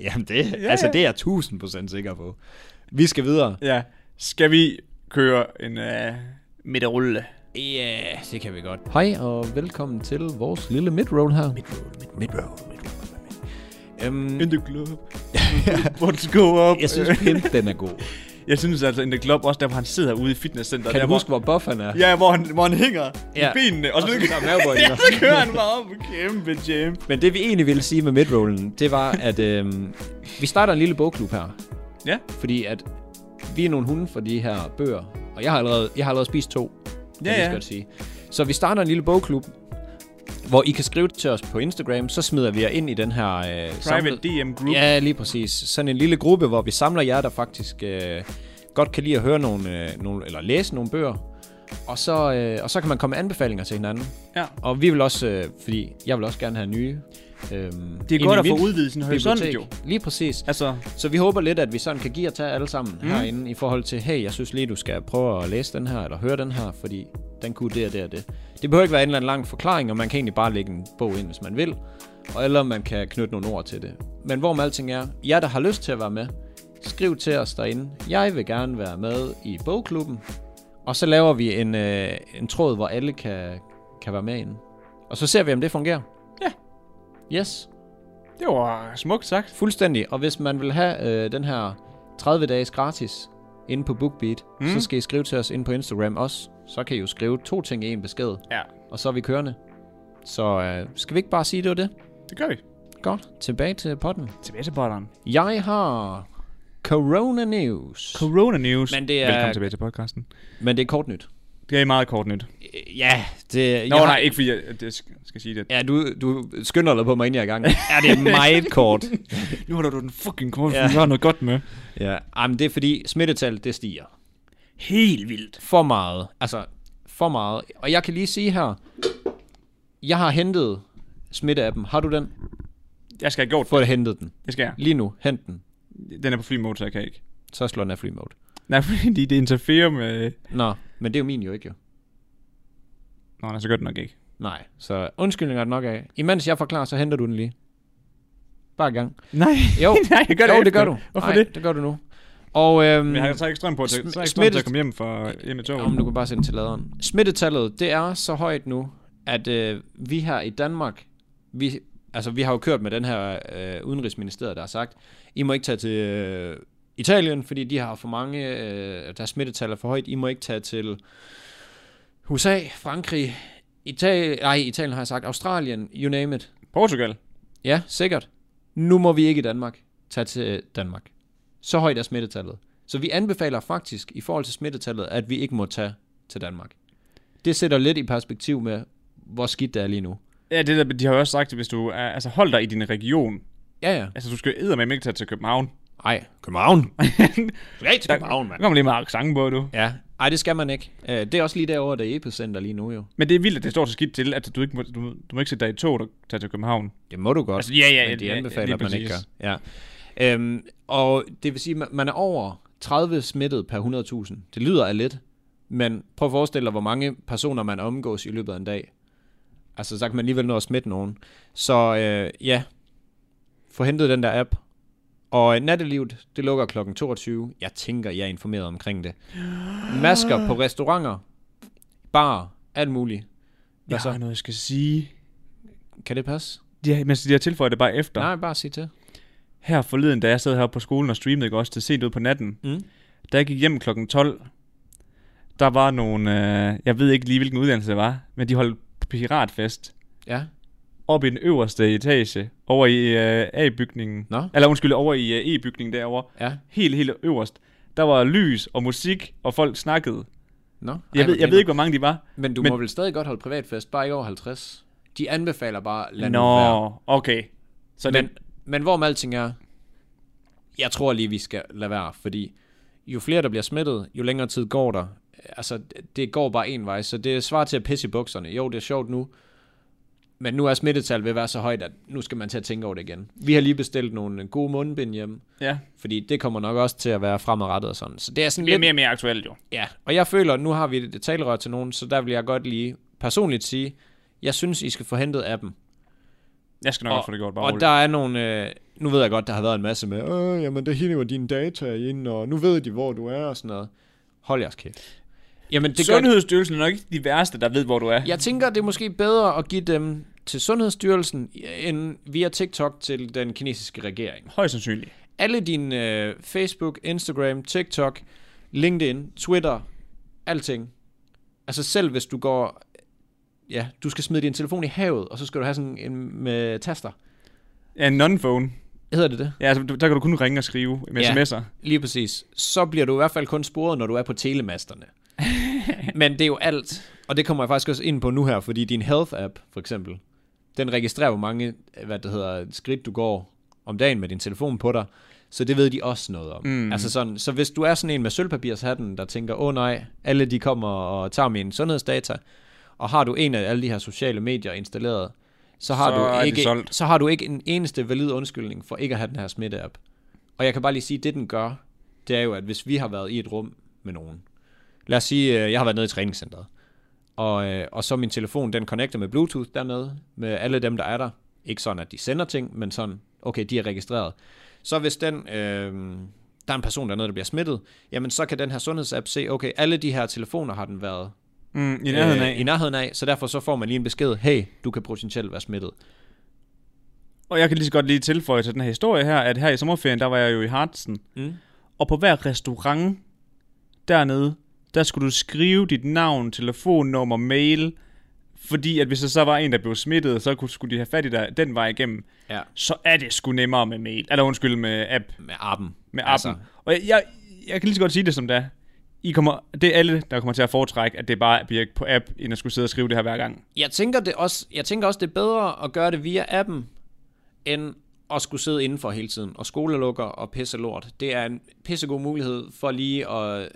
[SPEAKER 2] Jamen det, ja,
[SPEAKER 1] ja.
[SPEAKER 2] altså det er jeg 1000% sikker på. Vi skal videre.
[SPEAKER 1] Ja, skal vi køre en uh, midterrulle?
[SPEAKER 2] Ja, yeah, det kan vi godt. Hej og velkommen til vores lille midroll her. Midroll, midroll, midroll. Øhm,
[SPEAKER 1] the <laughs> club. What's go up?
[SPEAKER 2] jeg synes, <laughs> Pimp, den er god.
[SPEAKER 1] jeg synes altså, in the club, også der, hvor han sidder ude i fitnesscenteret.
[SPEAKER 2] Kan
[SPEAKER 1] der,
[SPEAKER 2] du huske, hvor buff han er?
[SPEAKER 1] Ja, hvor han, hvor han hænger
[SPEAKER 2] Ja.
[SPEAKER 1] ja. i benene, og så,
[SPEAKER 2] Og så tager
[SPEAKER 1] <laughs>
[SPEAKER 2] mavebøjninger.
[SPEAKER 1] ja, så kører han bare op på kæmpe jam.
[SPEAKER 2] Men det vi egentlig ville sige med midrollen, det var, at øhm, vi starter en lille bogklub her.
[SPEAKER 1] Ja.
[SPEAKER 2] Fordi at vi er nogle hunde for de her bøger, og jeg har allerede, jeg har allerede spist to, kan
[SPEAKER 1] Ja,
[SPEAKER 2] jeg lige
[SPEAKER 1] ja.
[SPEAKER 2] godt sige. Så vi starter en lille bogklub, hvor I kan skrive til os på Instagram, så smider vi jer ind i den her... Øh,
[SPEAKER 1] Private
[SPEAKER 2] samlede-
[SPEAKER 1] DM group.
[SPEAKER 2] Ja, lige præcis. Sådan en lille gruppe, hvor vi samler jer, der faktisk øh, godt kan lide at høre nogle, øh, nogle, eller læse nogle bøger. Og så, øh, og så kan man komme med anbefalinger til hinanden.
[SPEAKER 1] Ja.
[SPEAKER 2] Og vi vil også, øh, fordi jeg vil også gerne have nye. Øhm,
[SPEAKER 1] Det
[SPEAKER 2] ind
[SPEAKER 1] er godt
[SPEAKER 2] i
[SPEAKER 1] at få
[SPEAKER 2] mit
[SPEAKER 1] udvidet sin horisont
[SPEAKER 2] bibliotek.
[SPEAKER 1] jo.
[SPEAKER 2] Lige præcis.
[SPEAKER 1] Altså,
[SPEAKER 2] Så vi håber lidt, at vi sådan kan give og tage alle sammen mm. herinde i forhold til, hey, jeg synes lige, du skal prøve at læse den her, eller høre den her, fordi den kunne det og det og det. Det behøver ikke være en eller anden lang forklaring, og man kan egentlig bare lægge en bog ind, hvis man vil, og eller man kan knytte nogle ord til det. Men hvorom alting er, jer der har lyst til at være med, skriv til os derinde. Jeg vil gerne være med i bogklubben, og så laver vi en, øh, en tråd, hvor alle kan, kan være med inde. Og så ser vi, om det fungerer.
[SPEAKER 1] Ja.
[SPEAKER 2] Yes.
[SPEAKER 1] det var smukt sagt.
[SPEAKER 2] Fuldstændig. Og hvis man vil have øh, den her 30 dages gratis inde på BookBeat, mm. så skal I skrive til os inde på Instagram også. Så kan I jo skrive to ting i en besked,
[SPEAKER 1] Ja,
[SPEAKER 2] og så er vi kørende. Så øh, skal vi ikke bare sige, det var det?
[SPEAKER 1] det gør vi.
[SPEAKER 2] Godt. Tilbage til potten.
[SPEAKER 1] Tilbage til podderen.
[SPEAKER 2] Jeg har Corona News.
[SPEAKER 1] Corona news.
[SPEAKER 2] Men det er-
[SPEAKER 1] Velkommen tilbage til podcasten.
[SPEAKER 2] Men det er kort nyt.
[SPEAKER 1] Det er meget kort nyt.
[SPEAKER 2] Øh, Ja, det...
[SPEAKER 1] Nå
[SPEAKER 2] jeg
[SPEAKER 1] nej, ikke fordi jeg, at jeg sk- skal sige det.
[SPEAKER 2] Ja, du, du skynder dig på mig, inden jeg er i gang. <laughs> ja, det er meget kort.
[SPEAKER 1] Nu holder du den fucking kort,
[SPEAKER 2] Ja.
[SPEAKER 1] for vi har noget godt med.
[SPEAKER 2] <laughs> ja, jamen, det er fordi smittetallet, det stiger.
[SPEAKER 1] Helt vildt.
[SPEAKER 2] for meget. Altså, for meget. Og jeg kan lige sige her, jeg har hentet smitteappen. Har du den?
[SPEAKER 1] Jeg skal have gjort det.
[SPEAKER 2] Få det hentet den.
[SPEAKER 1] Det skal jeg.
[SPEAKER 2] Lige nu, hent den.
[SPEAKER 1] Den er på flymode, så jeg kan ikke.
[SPEAKER 2] Så slår den af free mode.
[SPEAKER 1] Nej, <laughs> fordi det interferer med...
[SPEAKER 2] Nå, men det er jo min jo ikke jo.
[SPEAKER 1] Nå, nej, så gør det nok ikke.
[SPEAKER 2] Nej, <laughs> så undskyldninger er det nok af. Imens jeg forklarer, så henter du den lige. Bare i gang.
[SPEAKER 1] Nej,
[SPEAKER 2] Jo,
[SPEAKER 1] nej, jeg <laughs> gør det
[SPEAKER 2] jo, det
[SPEAKER 1] efter.
[SPEAKER 2] gør du.
[SPEAKER 1] Hvorfor
[SPEAKER 2] Nej,
[SPEAKER 1] det?
[SPEAKER 2] det gør du nu. Og øhm,
[SPEAKER 1] Men jeg har så ikke strøm på, til,
[SPEAKER 2] Sm-
[SPEAKER 1] så har jeg ikke strøm til
[SPEAKER 2] smittet-
[SPEAKER 1] at komme hjem, for, hjem i toget.
[SPEAKER 2] Om du kan bare sende til laderen. Smittetallet, det er så højt nu, at øh, vi her i Danmark, vi, altså vi har jo kørt med den her øh, udenrigsministeriet, der har sagt, I må ikke tage til øh, Italien, fordi de har for mange, øh, der smittetal er for højt. I må ikke tage til USA, Frankrig, Italien, nej, Italien har jeg sagt, Australien, you name it.
[SPEAKER 1] Portugal.
[SPEAKER 2] Ja, sikkert. Nu må vi ikke i Danmark tage til øh, Danmark. Så højt er smittetallet. Så vi anbefaler faktisk i forhold til smittetallet, at vi ikke må tage til Danmark. Det sætter lidt i perspektiv med, hvor skidt det er lige nu.
[SPEAKER 1] Ja, det der, de har jo også sagt, at hvis du er, altså hold dig i din region.
[SPEAKER 2] Ja, ja.
[SPEAKER 1] Altså, du skal eddermame ikke tage til København. <laughs>
[SPEAKER 2] Ej. København. Rigtig
[SPEAKER 1] Der kommer lige meget accent på, du.
[SPEAKER 2] Ja. Ej, det skal man ikke. Øh, Det er også lige derovre, der er epicenter lige nu jo.
[SPEAKER 1] Men det er vildt, at det står så skidt til, at du ikke må, du, du må ikke sætte dig i tog og tage til København.
[SPEAKER 2] Det må du godt.
[SPEAKER 1] Altså, ja, ja,
[SPEAKER 2] men de
[SPEAKER 1] ja,
[SPEAKER 2] anbefaler,
[SPEAKER 1] lige
[SPEAKER 2] at man ikke
[SPEAKER 1] præcis.
[SPEAKER 2] gør. Ja. Øhm, og det vil sige, at man- man er over 30 smittet per 100.000. Det lyder af lidt, men prøv at forestille dig, hvor mange personer man omgås i løbet af en dag. Altså, så kan man alligevel nå at smitte nogen. Så øh, ja, få hentet den der app. Og øh, nattelivet, det lukker klokken 22. Jeg tænker, jeg er informeret omkring det. Masker på restauranter, bar, alt muligt. Hvad
[SPEAKER 1] Jeg
[SPEAKER 2] så?
[SPEAKER 1] har noget, jeg skal sige.
[SPEAKER 2] Kan det passe?
[SPEAKER 1] De har, men de har tilføjet det bare efter.
[SPEAKER 2] Nej, bare sig til.
[SPEAKER 1] Her forleden, da jeg sad her på skolen og streamede ikke også til sent ud på natten,
[SPEAKER 2] Mm.
[SPEAKER 1] da jeg gik hjem kl. 12, der var nogle, øh, jeg ved ikke lige, hvilken uddannelse det var, men de holdt piratfest
[SPEAKER 2] Ja.
[SPEAKER 1] oppe i den øverste etage, over i øh, A-bygningen.
[SPEAKER 2] Nå.
[SPEAKER 1] Eller undskyld, over i øh, E-bygningen derovre.
[SPEAKER 2] Ja.
[SPEAKER 1] Helt, helt øverst. Der var lys og musik, og folk snakkede.
[SPEAKER 2] Nå,
[SPEAKER 1] Jeg,
[SPEAKER 2] ej,
[SPEAKER 1] Ej, ved, jeg ved
[SPEAKER 2] hvor griner.
[SPEAKER 1] ikke, hvor mange de var.
[SPEAKER 2] Men du
[SPEAKER 1] men-
[SPEAKER 2] men... må vel stadig godt holde privatfest, bare ikke over 50. De anbefaler bare, lad nu være.
[SPEAKER 1] Nå, okay. Så den,
[SPEAKER 2] Men, men hvorom alting er, jeg tror lige, vi skal lade være, fordi jo flere, der bliver smittet, jo længere tid går der. Altså, det- det går bare en vej, så det svarer til at pisse i bukserne. Jo, det er sjovt nu, men nu er smittetallet ved at være så højt, at nu skal man til at tænke over det igen. Vi har lige bestilt nogle gode mundbind hjem,
[SPEAKER 1] ja,
[SPEAKER 2] fordi det kommer nok også til at være fremadrettet og sådan. Så det er sådan
[SPEAKER 1] det er
[SPEAKER 2] lidt...
[SPEAKER 1] mere og mere aktuelt jo.
[SPEAKER 2] Ja, og jeg føler, at nu har vi et et talerør til nogen, så der vil jeg godt lige personligt sige, jeg synes, I skal få hentet appen.
[SPEAKER 1] Jeg skal nok og, få det gjort bare
[SPEAKER 2] og der er nogle, øh, nu ved jeg godt, der har været en masse med, øh, jamen der hiver dine data ind, og nu ved de, hvor du er og sådan noget. Hold jeres kæft. Jamen det gør,
[SPEAKER 1] Sundhedsstyrelsen er nok ikke de værste, der ved, hvor du er.
[SPEAKER 2] jeg tænker, det er måske bedre at give dem til Sundhedsstyrelsen, øh, end via TikTok til den kinesiske regering.
[SPEAKER 1] Højst sandsynligt.
[SPEAKER 2] alle dine øh, Facebook, Instagram, TikTok, LinkedIn, Twitter, alting. Altså selv hvis du går, ja, du skal smide din telefon i havet, og så skal du have sådan en med taster.
[SPEAKER 1] Ja, en non-phone.
[SPEAKER 2] Hedder det det?
[SPEAKER 1] Ja, altså, du- der kan du kun ringe og skrive med
[SPEAKER 2] Ja.
[SPEAKER 1] sms'er.
[SPEAKER 2] Lige præcis. Så bliver du i hvert fald kun sporet, når du er på telemasterne. Men det er jo alt, og det kommer jeg faktisk også ind på nu her, fordi din health-app, for eksempel, den registrerer hvor mange, hvad det hedder, skridt du går om dagen med din telefon på dig, så det ved de også noget om. Mm. Altså sådan, så hvis du er sådan en med sølvpapirshatten, der tænker, åh oh, nej, alle de kommer og tager mine sundhedsdata, og har du en af alle de her sociale medier installeret, så har,
[SPEAKER 1] Så er
[SPEAKER 2] du
[SPEAKER 1] de
[SPEAKER 2] ikke,
[SPEAKER 1] solgt.
[SPEAKER 2] så har du ikke en eneste valid undskyldning for ikke at have den her smitte-app. Og jeg kan bare lige sige, at det den gør, det er jo, at hvis vi har været i et rum med nogen, lad os sige, øh, jeg har været nede i træningscenteret, og, øh, og så min telefon, den connecter med Bluetooth dernede, med alle dem, der er der. Ikke sådan, at de sender ting, men sådan, okay, de er registreret. Så hvis den, øh, der er en person dernede, der bliver smittet, jamen så kan den her sundhedsapp se, okay, alle de her telefoner har den været
[SPEAKER 1] Mm, I nærheden af.
[SPEAKER 2] øh, i nærheden af, så derfor så får man lige en besked, hey, du kan potentielt være smittet.
[SPEAKER 1] Og jeg kan lige så godt lige tilføje til den her historie her, at her i sommerferien, der var jeg jo i Hartsen.
[SPEAKER 2] Mm.
[SPEAKER 1] Og på hver restaurant dernede, der skulle du skrive dit navn, telefonnummer, mail. Fordi at hvis der så var en, der blev smittet, så kunne, skulle de have fat i dig den vej igennem.
[SPEAKER 2] Ja.
[SPEAKER 1] Så er det sgu nemmere med mail. Eller undskyld, med app.
[SPEAKER 2] Med appen.
[SPEAKER 1] med appen. Altså. Og jeg, jeg, jeg kan lige så godt sige det som det er. I kommer, det er alle, der kommer til at foretrække, at det bare bliver på app, end at skulle sidde og skrive det her hver gang.
[SPEAKER 2] jeg tænker, det også, jeg tænker også, det er bedre at gøre det via appen, end at skulle sidde indenfor hele tiden. Og skolelukker og pisse lort. Det er en pissegod mulighed for lige at...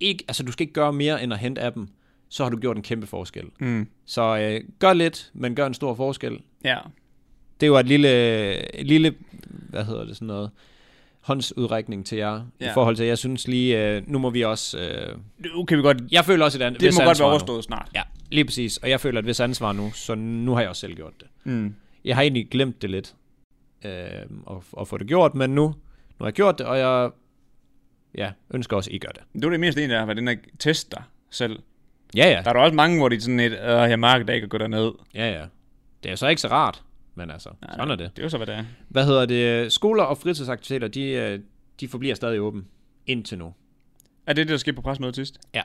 [SPEAKER 2] Ikke, altså, du skal ikke gøre mere end at hente appen. Så har du gjort en kæmpe forskel.
[SPEAKER 1] Mm.
[SPEAKER 2] Så øh, gør lidt, men gør en stor forskel.
[SPEAKER 1] Ja.
[SPEAKER 2] Det var et lille, et lille hvad hedder det sådan noget, håndsudrækning til jer, ja. i
[SPEAKER 1] Ja.
[SPEAKER 2] forhold til, at jeg synes lige, øh, nu må vi også, øh,
[SPEAKER 1] Nu kan vi godt...
[SPEAKER 2] jeg føler også et andet,
[SPEAKER 1] Det
[SPEAKER 2] vist
[SPEAKER 1] må godt
[SPEAKER 2] ansvar
[SPEAKER 1] være
[SPEAKER 2] nu.
[SPEAKER 1] overstået snart.
[SPEAKER 2] Ja, lige præcis, og jeg føler et vis ansvar nu, så nu har jeg også selv gjort det.
[SPEAKER 1] Mm.
[SPEAKER 2] Jeg har egentlig glemt det lidt. øh, at, at få det gjort, men nu, nu har jeg gjort det, og jeg ja, ønsker også, at I gør det.
[SPEAKER 1] Det var det mest en, der har været den her test dig selv.
[SPEAKER 2] Ja, ja.
[SPEAKER 1] Der er der også mange, hvor de sådan et, øh, jeg mærker da ikke at gå derned.
[SPEAKER 2] Ja, ja. Det er jo så ikke så rart, men altså, Nej, sådan er det.
[SPEAKER 1] Det er jo så, hvad det er.
[SPEAKER 2] Hvad hedder det? Skoler og fritidsaktiviteter, de, øh, de forbliver stadig åben indtil nu.
[SPEAKER 1] Er det det, der skete på pressemødet sidst?
[SPEAKER 2] Ja,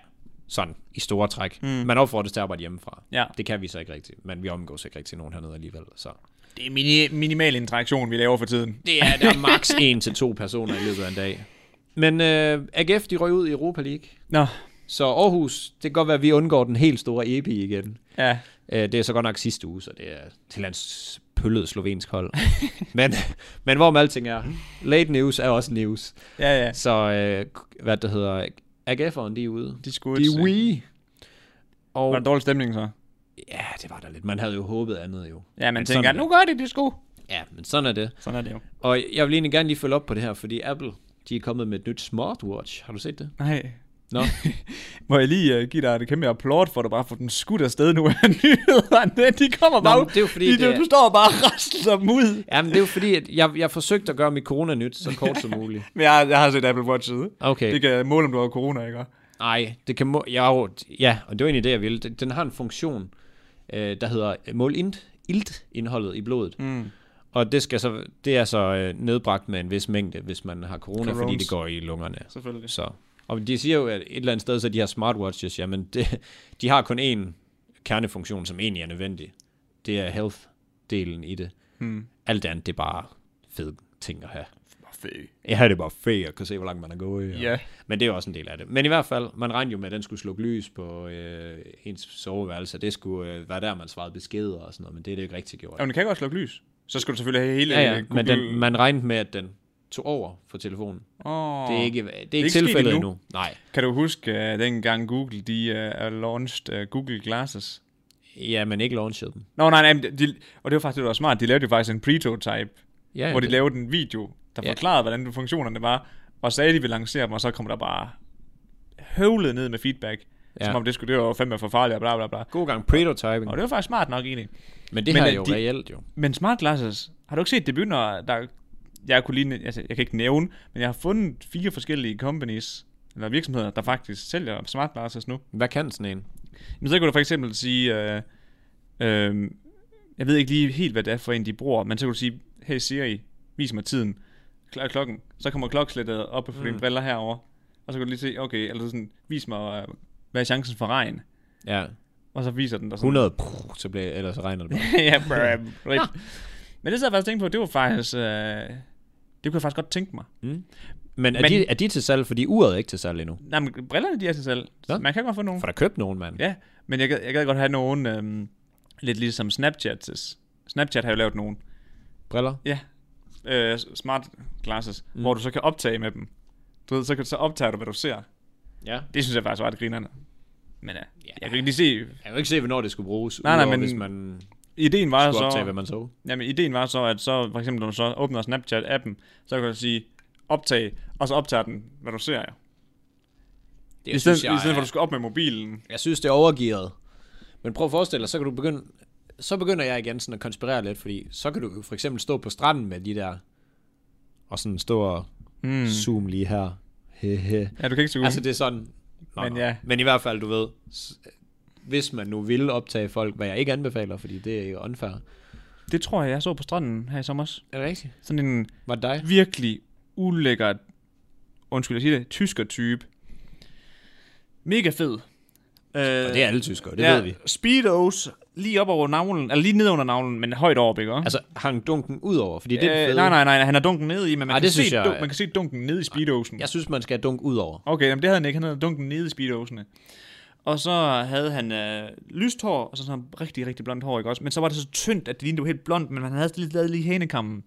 [SPEAKER 2] sådan i store træk. Mm. Man opfordres til at arbejde hjemmefra.
[SPEAKER 1] Ja.
[SPEAKER 2] Det kan vi så ikke rigtigt, men vi omgås ikke rigtig nogen hernede alligevel. Så.
[SPEAKER 1] Det er mini- minimal interaktion, vi laver for tiden.
[SPEAKER 2] Det er <laughs> der maks en til to personer i løbet af en dag. Men øh, AGF, de røg ud i Europa League.
[SPEAKER 1] Nå,
[SPEAKER 2] Så Aarhus, det kan godt være, at vi undgår den helt store epi igen.
[SPEAKER 1] ja.
[SPEAKER 2] Øh, det er så godt nok sidste uge, så det er til hans pøllede slovensk <laughs> hold. men, men hvorom alting er, late news er også news.
[SPEAKER 1] Ja, ja.
[SPEAKER 2] Så øh, hvad det hedder, AGF'eren, de er ude.
[SPEAKER 1] De skulle
[SPEAKER 2] De
[SPEAKER 1] ikke se.
[SPEAKER 2] er we. Og
[SPEAKER 1] Var der dårlig stemning så?
[SPEAKER 2] ja, det var der lidt. Man havde jo håbet andet jo.
[SPEAKER 1] Ja, man
[SPEAKER 2] Men
[SPEAKER 1] tænker,
[SPEAKER 2] sådan er
[SPEAKER 1] nu gør det det sgu.
[SPEAKER 2] det. Ja, men sådan er det.
[SPEAKER 1] Sådan er det jo.
[SPEAKER 2] Og jeg vil egentlig gerne lige følge op på det her, fordi Apple, de er kommet med et nyt smartwatch. Har du set det?
[SPEAKER 1] Nej.
[SPEAKER 2] Nå,
[SPEAKER 1] <laughs> Må jeg lige uh, give dig et kæmpe applaud for, at du bare får den skudt afsted nu af <laughs> nyhederne. De kommer bare
[SPEAKER 2] men
[SPEAKER 1] ud.
[SPEAKER 2] det er jo fordi,
[SPEAKER 1] de,
[SPEAKER 2] det er-
[SPEAKER 1] Du står bare og rasler dem ud.
[SPEAKER 2] Jamen, det er jo fordi, at jeg, jeg forsøgte at gøre mit corona nyt så kort som muligt.
[SPEAKER 1] Men jeg, jeg har set Apple Watch ude.
[SPEAKER 2] <laughs> Okay.
[SPEAKER 1] Det kan måle, om du har corona, ikke?
[SPEAKER 2] Nej, det kan må- jeg jo, ja, og det var egentlig det, jeg ville. Den, den har en funktion, øh, der hedder øh, mål int, ilt-indholdet i blodet. Mm. Og det, skal så, det er så øh, nedbragt med en vis mængde, hvis man har corona, Corones. fordi
[SPEAKER 1] Corones.
[SPEAKER 2] det går i lungerne.
[SPEAKER 1] Selvfølgelig.
[SPEAKER 2] Så. Og de siger jo, at et eller andet sted, så de her smartwatches, jamen, det, de har kun én kernefunktion, som egentlig er nødvendig. Det er health-delen i det. Mm. Alt andet, det er bare fede ting at have. Ja, det er bare fedt at kunne se, hvor langt man er gået. og-
[SPEAKER 1] Ja.
[SPEAKER 2] Men det er jo også en del af det. Men i hvert fald, man regnede jo med, at den skulle slukke lys på øh, ens soveværelse. Det skulle øh, være der, man svarede beskeder og sådan noget, men det er det jo ikke rigtig gjort.
[SPEAKER 1] Ja, men den kan godt slukke lys. Så skal du selvfølgelig have hele
[SPEAKER 2] Ja, ja,
[SPEAKER 1] Google.
[SPEAKER 2] men den, man regnede med, at den tog over for telefonen.
[SPEAKER 1] oh.
[SPEAKER 2] Det er ikke, det er ikke,
[SPEAKER 1] ikke sket
[SPEAKER 2] tilfældet
[SPEAKER 1] endnu.
[SPEAKER 2] endnu. Nej.
[SPEAKER 1] Kan du huske uh, dengang Google, de uh, launched uh, Google Glasses?
[SPEAKER 2] Ja, men ikke launchet dem.
[SPEAKER 1] Nå, nej, nej, men de, og det var faktisk det, der var smart. De lavede jo faktisk en prototype,
[SPEAKER 2] Ja,
[SPEAKER 1] ja,
[SPEAKER 2] ja,
[SPEAKER 1] hvor de
[SPEAKER 2] det-
[SPEAKER 1] lavede en video, der
[SPEAKER 2] Ja.
[SPEAKER 1] forklarede, hvordan funktionerne var, og sagde, at de ville lancere dem, og så kom der bare høvlet ned med feedback, ja.
[SPEAKER 2] Ja.
[SPEAKER 1] som om det skulle, det var fandme for farligt, og bla bla bla.
[SPEAKER 2] God gang prototyping.
[SPEAKER 1] Og det var faktisk smart nok egentlig.
[SPEAKER 2] Men det
[SPEAKER 1] Men
[SPEAKER 2] her
[SPEAKER 1] at
[SPEAKER 2] er jo
[SPEAKER 1] de-
[SPEAKER 2] reelt jo.
[SPEAKER 1] Men smart glasses, har du ikke set, det begynder, der, jeg kunne lige, altså, jeg kan ikke nævne, men jeg har fundet fire forskellige companies, eller virksomheder, der faktisk sælger smart glasses nu.
[SPEAKER 2] Hvad kan sådan en?
[SPEAKER 1] Men så kunne du for eksempel sige, øh, øh, jeg ved ikke lige helt, hvad det er for en, de bruger, men så kunne du sige, hey Siri, vis mig tiden, Kl- klokken. Så kommer klokkeslættet op på dine briller herover, og så kan du lige se, okay, eller sådan, vis mig, øh, hvad er chancen for regn?
[SPEAKER 2] Ja,
[SPEAKER 1] Og så viser den der sådan.
[SPEAKER 2] 100, pff, så bliver, ellers regner det bare.
[SPEAKER 1] <laughs> ja,
[SPEAKER 2] <laughs>
[SPEAKER 1] brr, brr. Men det, så jeg faktisk tænkte på, det var faktisk, øh, det kunne jeg faktisk godt tænke mig.
[SPEAKER 2] Men er,
[SPEAKER 1] Men-
[SPEAKER 2] men, de, er de til salg, fordi uret er ikke til salg endnu?
[SPEAKER 1] Nej, men brillerne, de er til salg.
[SPEAKER 2] Nå.
[SPEAKER 1] Man kan godt få nogle.
[SPEAKER 2] For der købt nogen, mand.
[SPEAKER 1] Ja, men jeg, gad- jeg gad godt have nogen, øh, lidt ligesom Snapchat. Snapchat har jo lavet nogen.
[SPEAKER 2] Briller?
[SPEAKER 1] Ja, øh, smart glasses, mm. hvor du så kan optage med dem. Du ved, så, kan, så optager du, hvad du ser.
[SPEAKER 2] Ja.
[SPEAKER 1] Det synes jeg faktisk var ret grinerende. Men ja, jeg kan ikke lige se...
[SPEAKER 2] Jeg kan jo ikke se, hvornår det skulle bruges,
[SPEAKER 1] Nej, nej,
[SPEAKER 2] udover
[SPEAKER 1] men-
[SPEAKER 2] hvis man
[SPEAKER 1] Ideen var
[SPEAKER 2] skulle optage,
[SPEAKER 1] så...
[SPEAKER 2] hvad man så.
[SPEAKER 1] Jamen, ideen var så, at så for eksempel, når du så åbner Snapchat-appen, så kan du sige optag, og så optager den, hvad du ser. Ja.
[SPEAKER 2] Det,
[SPEAKER 1] I stedet, jeg, i stedet for, at du skal op med mobilen.
[SPEAKER 2] jeg synes, det er overgearet. Men prøv at forestille dig, så kan du begynde... Så begynder jeg igen sådan at konspirere lidt, fordi så kan du jo for eksempel stå på stranden med de der, og sådan stå og
[SPEAKER 1] Hmm.
[SPEAKER 2] mm. zoom lige her. Hehe.
[SPEAKER 1] Ja, du kan ikke se ud. Altså,
[SPEAKER 2] Altså det er sådan... Nå,
[SPEAKER 1] Men
[SPEAKER 2] men,
[SPEAKER 1] ja.
[SPEAKER 2] ja. men i hvert fald, du ved, s- hvis man nu vil optage folk, hvad jeg ikke anbefaler, fordi det er jo unfair.
[SPEAKER 1] det tror jeg, jeg så på stranden her i sommer.
[SPEAKER 2] Er det rigtigt?
[SPEAKER 1] Sådan en
[SPEAKER 2] Var det dig?
[SPEAKER 1] virkelig ulækker, undskyld jeg siger det, tysker type. Mega fed.
[SPEAKER 2] Og
[SPEAKER 1] Øh,
[SPEAKER 2] det er alle tyskere, det ja. ved vi.
[SPEAKER 1] Speedos lige op over navlen, eller lige ned under navlen, men højt over, ikke?
[SPEAKER 2] Altså, hang dunken ud over, fordi det er
[SPEAKER 1] Øh,
[SPEAKER 2] øh,
[SPEAKER 1] nej, nej, nej, han har dunken ned i, men man,
[SPEAKER 2] Ej,
[SPEAKER 1] kan,
[SPEAKER 2] det
[SPEAKER 1] se,
[SPEAKER 2] synes jeg,
[SPEAKER 1] du,
[SPEAKER 2] ja.
[SPEAKER 1] man kan se dunken ned i speedosen.
[SPEAKER 2] Jeg synes, man skal dunke ud over.
[SPEAKER 1] Okay, jamen, det havde han ikke, han havde dunken ned i speedosene. Og så havde han øh, lyst hår, og så sådan rigtig, rigtig blondt hår, ikke også? Men så var det så tyndt, at det lignede det var helt blondt, men han havde lige lavet lige hanekammen.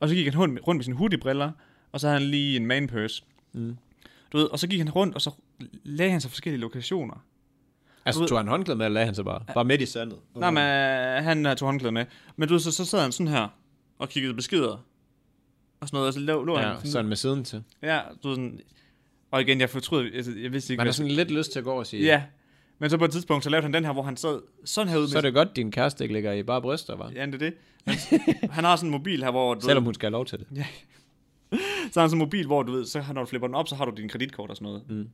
[SPEAKER 1] Og så gik han rundt, rundt med sine hoodiebriller, og så havde han lige en man purse. Mm. Du ved, og så gik han rundt, og så lagde han sig forskellige lokationer.
[SPEAKER 2] Altså, tog han håndklæde med, eller lagde han sig bare? Bare midt i sandet?
[SPEAKER 1] Nej, men øh, han øh, tog håndklæde med. Men du ved, så, så sad han sådan her, og kiggede beskeder. Og sådan noget, og så lå, lå ja, han
[SPEAKER 2] Ja,
[SPEAKER 1] sådan,
[SPEAKER 2] sådan med siden til.
[SPEAKER 1] Ja, du ved sådan... Og igen, jeg fortryder, altså, jeg vidste ikke,
[SPEAKER 2] Man har
[SPEAKER 1] hvad-
[SPEAKER 2] sådan lidt lyst til at gå over og sige,
[SPEAKER 1] Ja, Men så på et tidspunkt, så lavede han den her, hvor han sad sådan her ud.
[SPEAKER 2] Så er det godt, din kæreste ikke ligger i bare bryster, var.
[SPEAKER 1] Ja, det er det. Men <laughs> han har sådan en mobil her, hvor... Du
[SPEAKER 2] Selvom hun skal have lov til det.
[SPEAKER 1] Så har han sådan en mobil, hvor du ved, så har- når du flipper den op, så har du din kreditkort og sådan noget. Mm.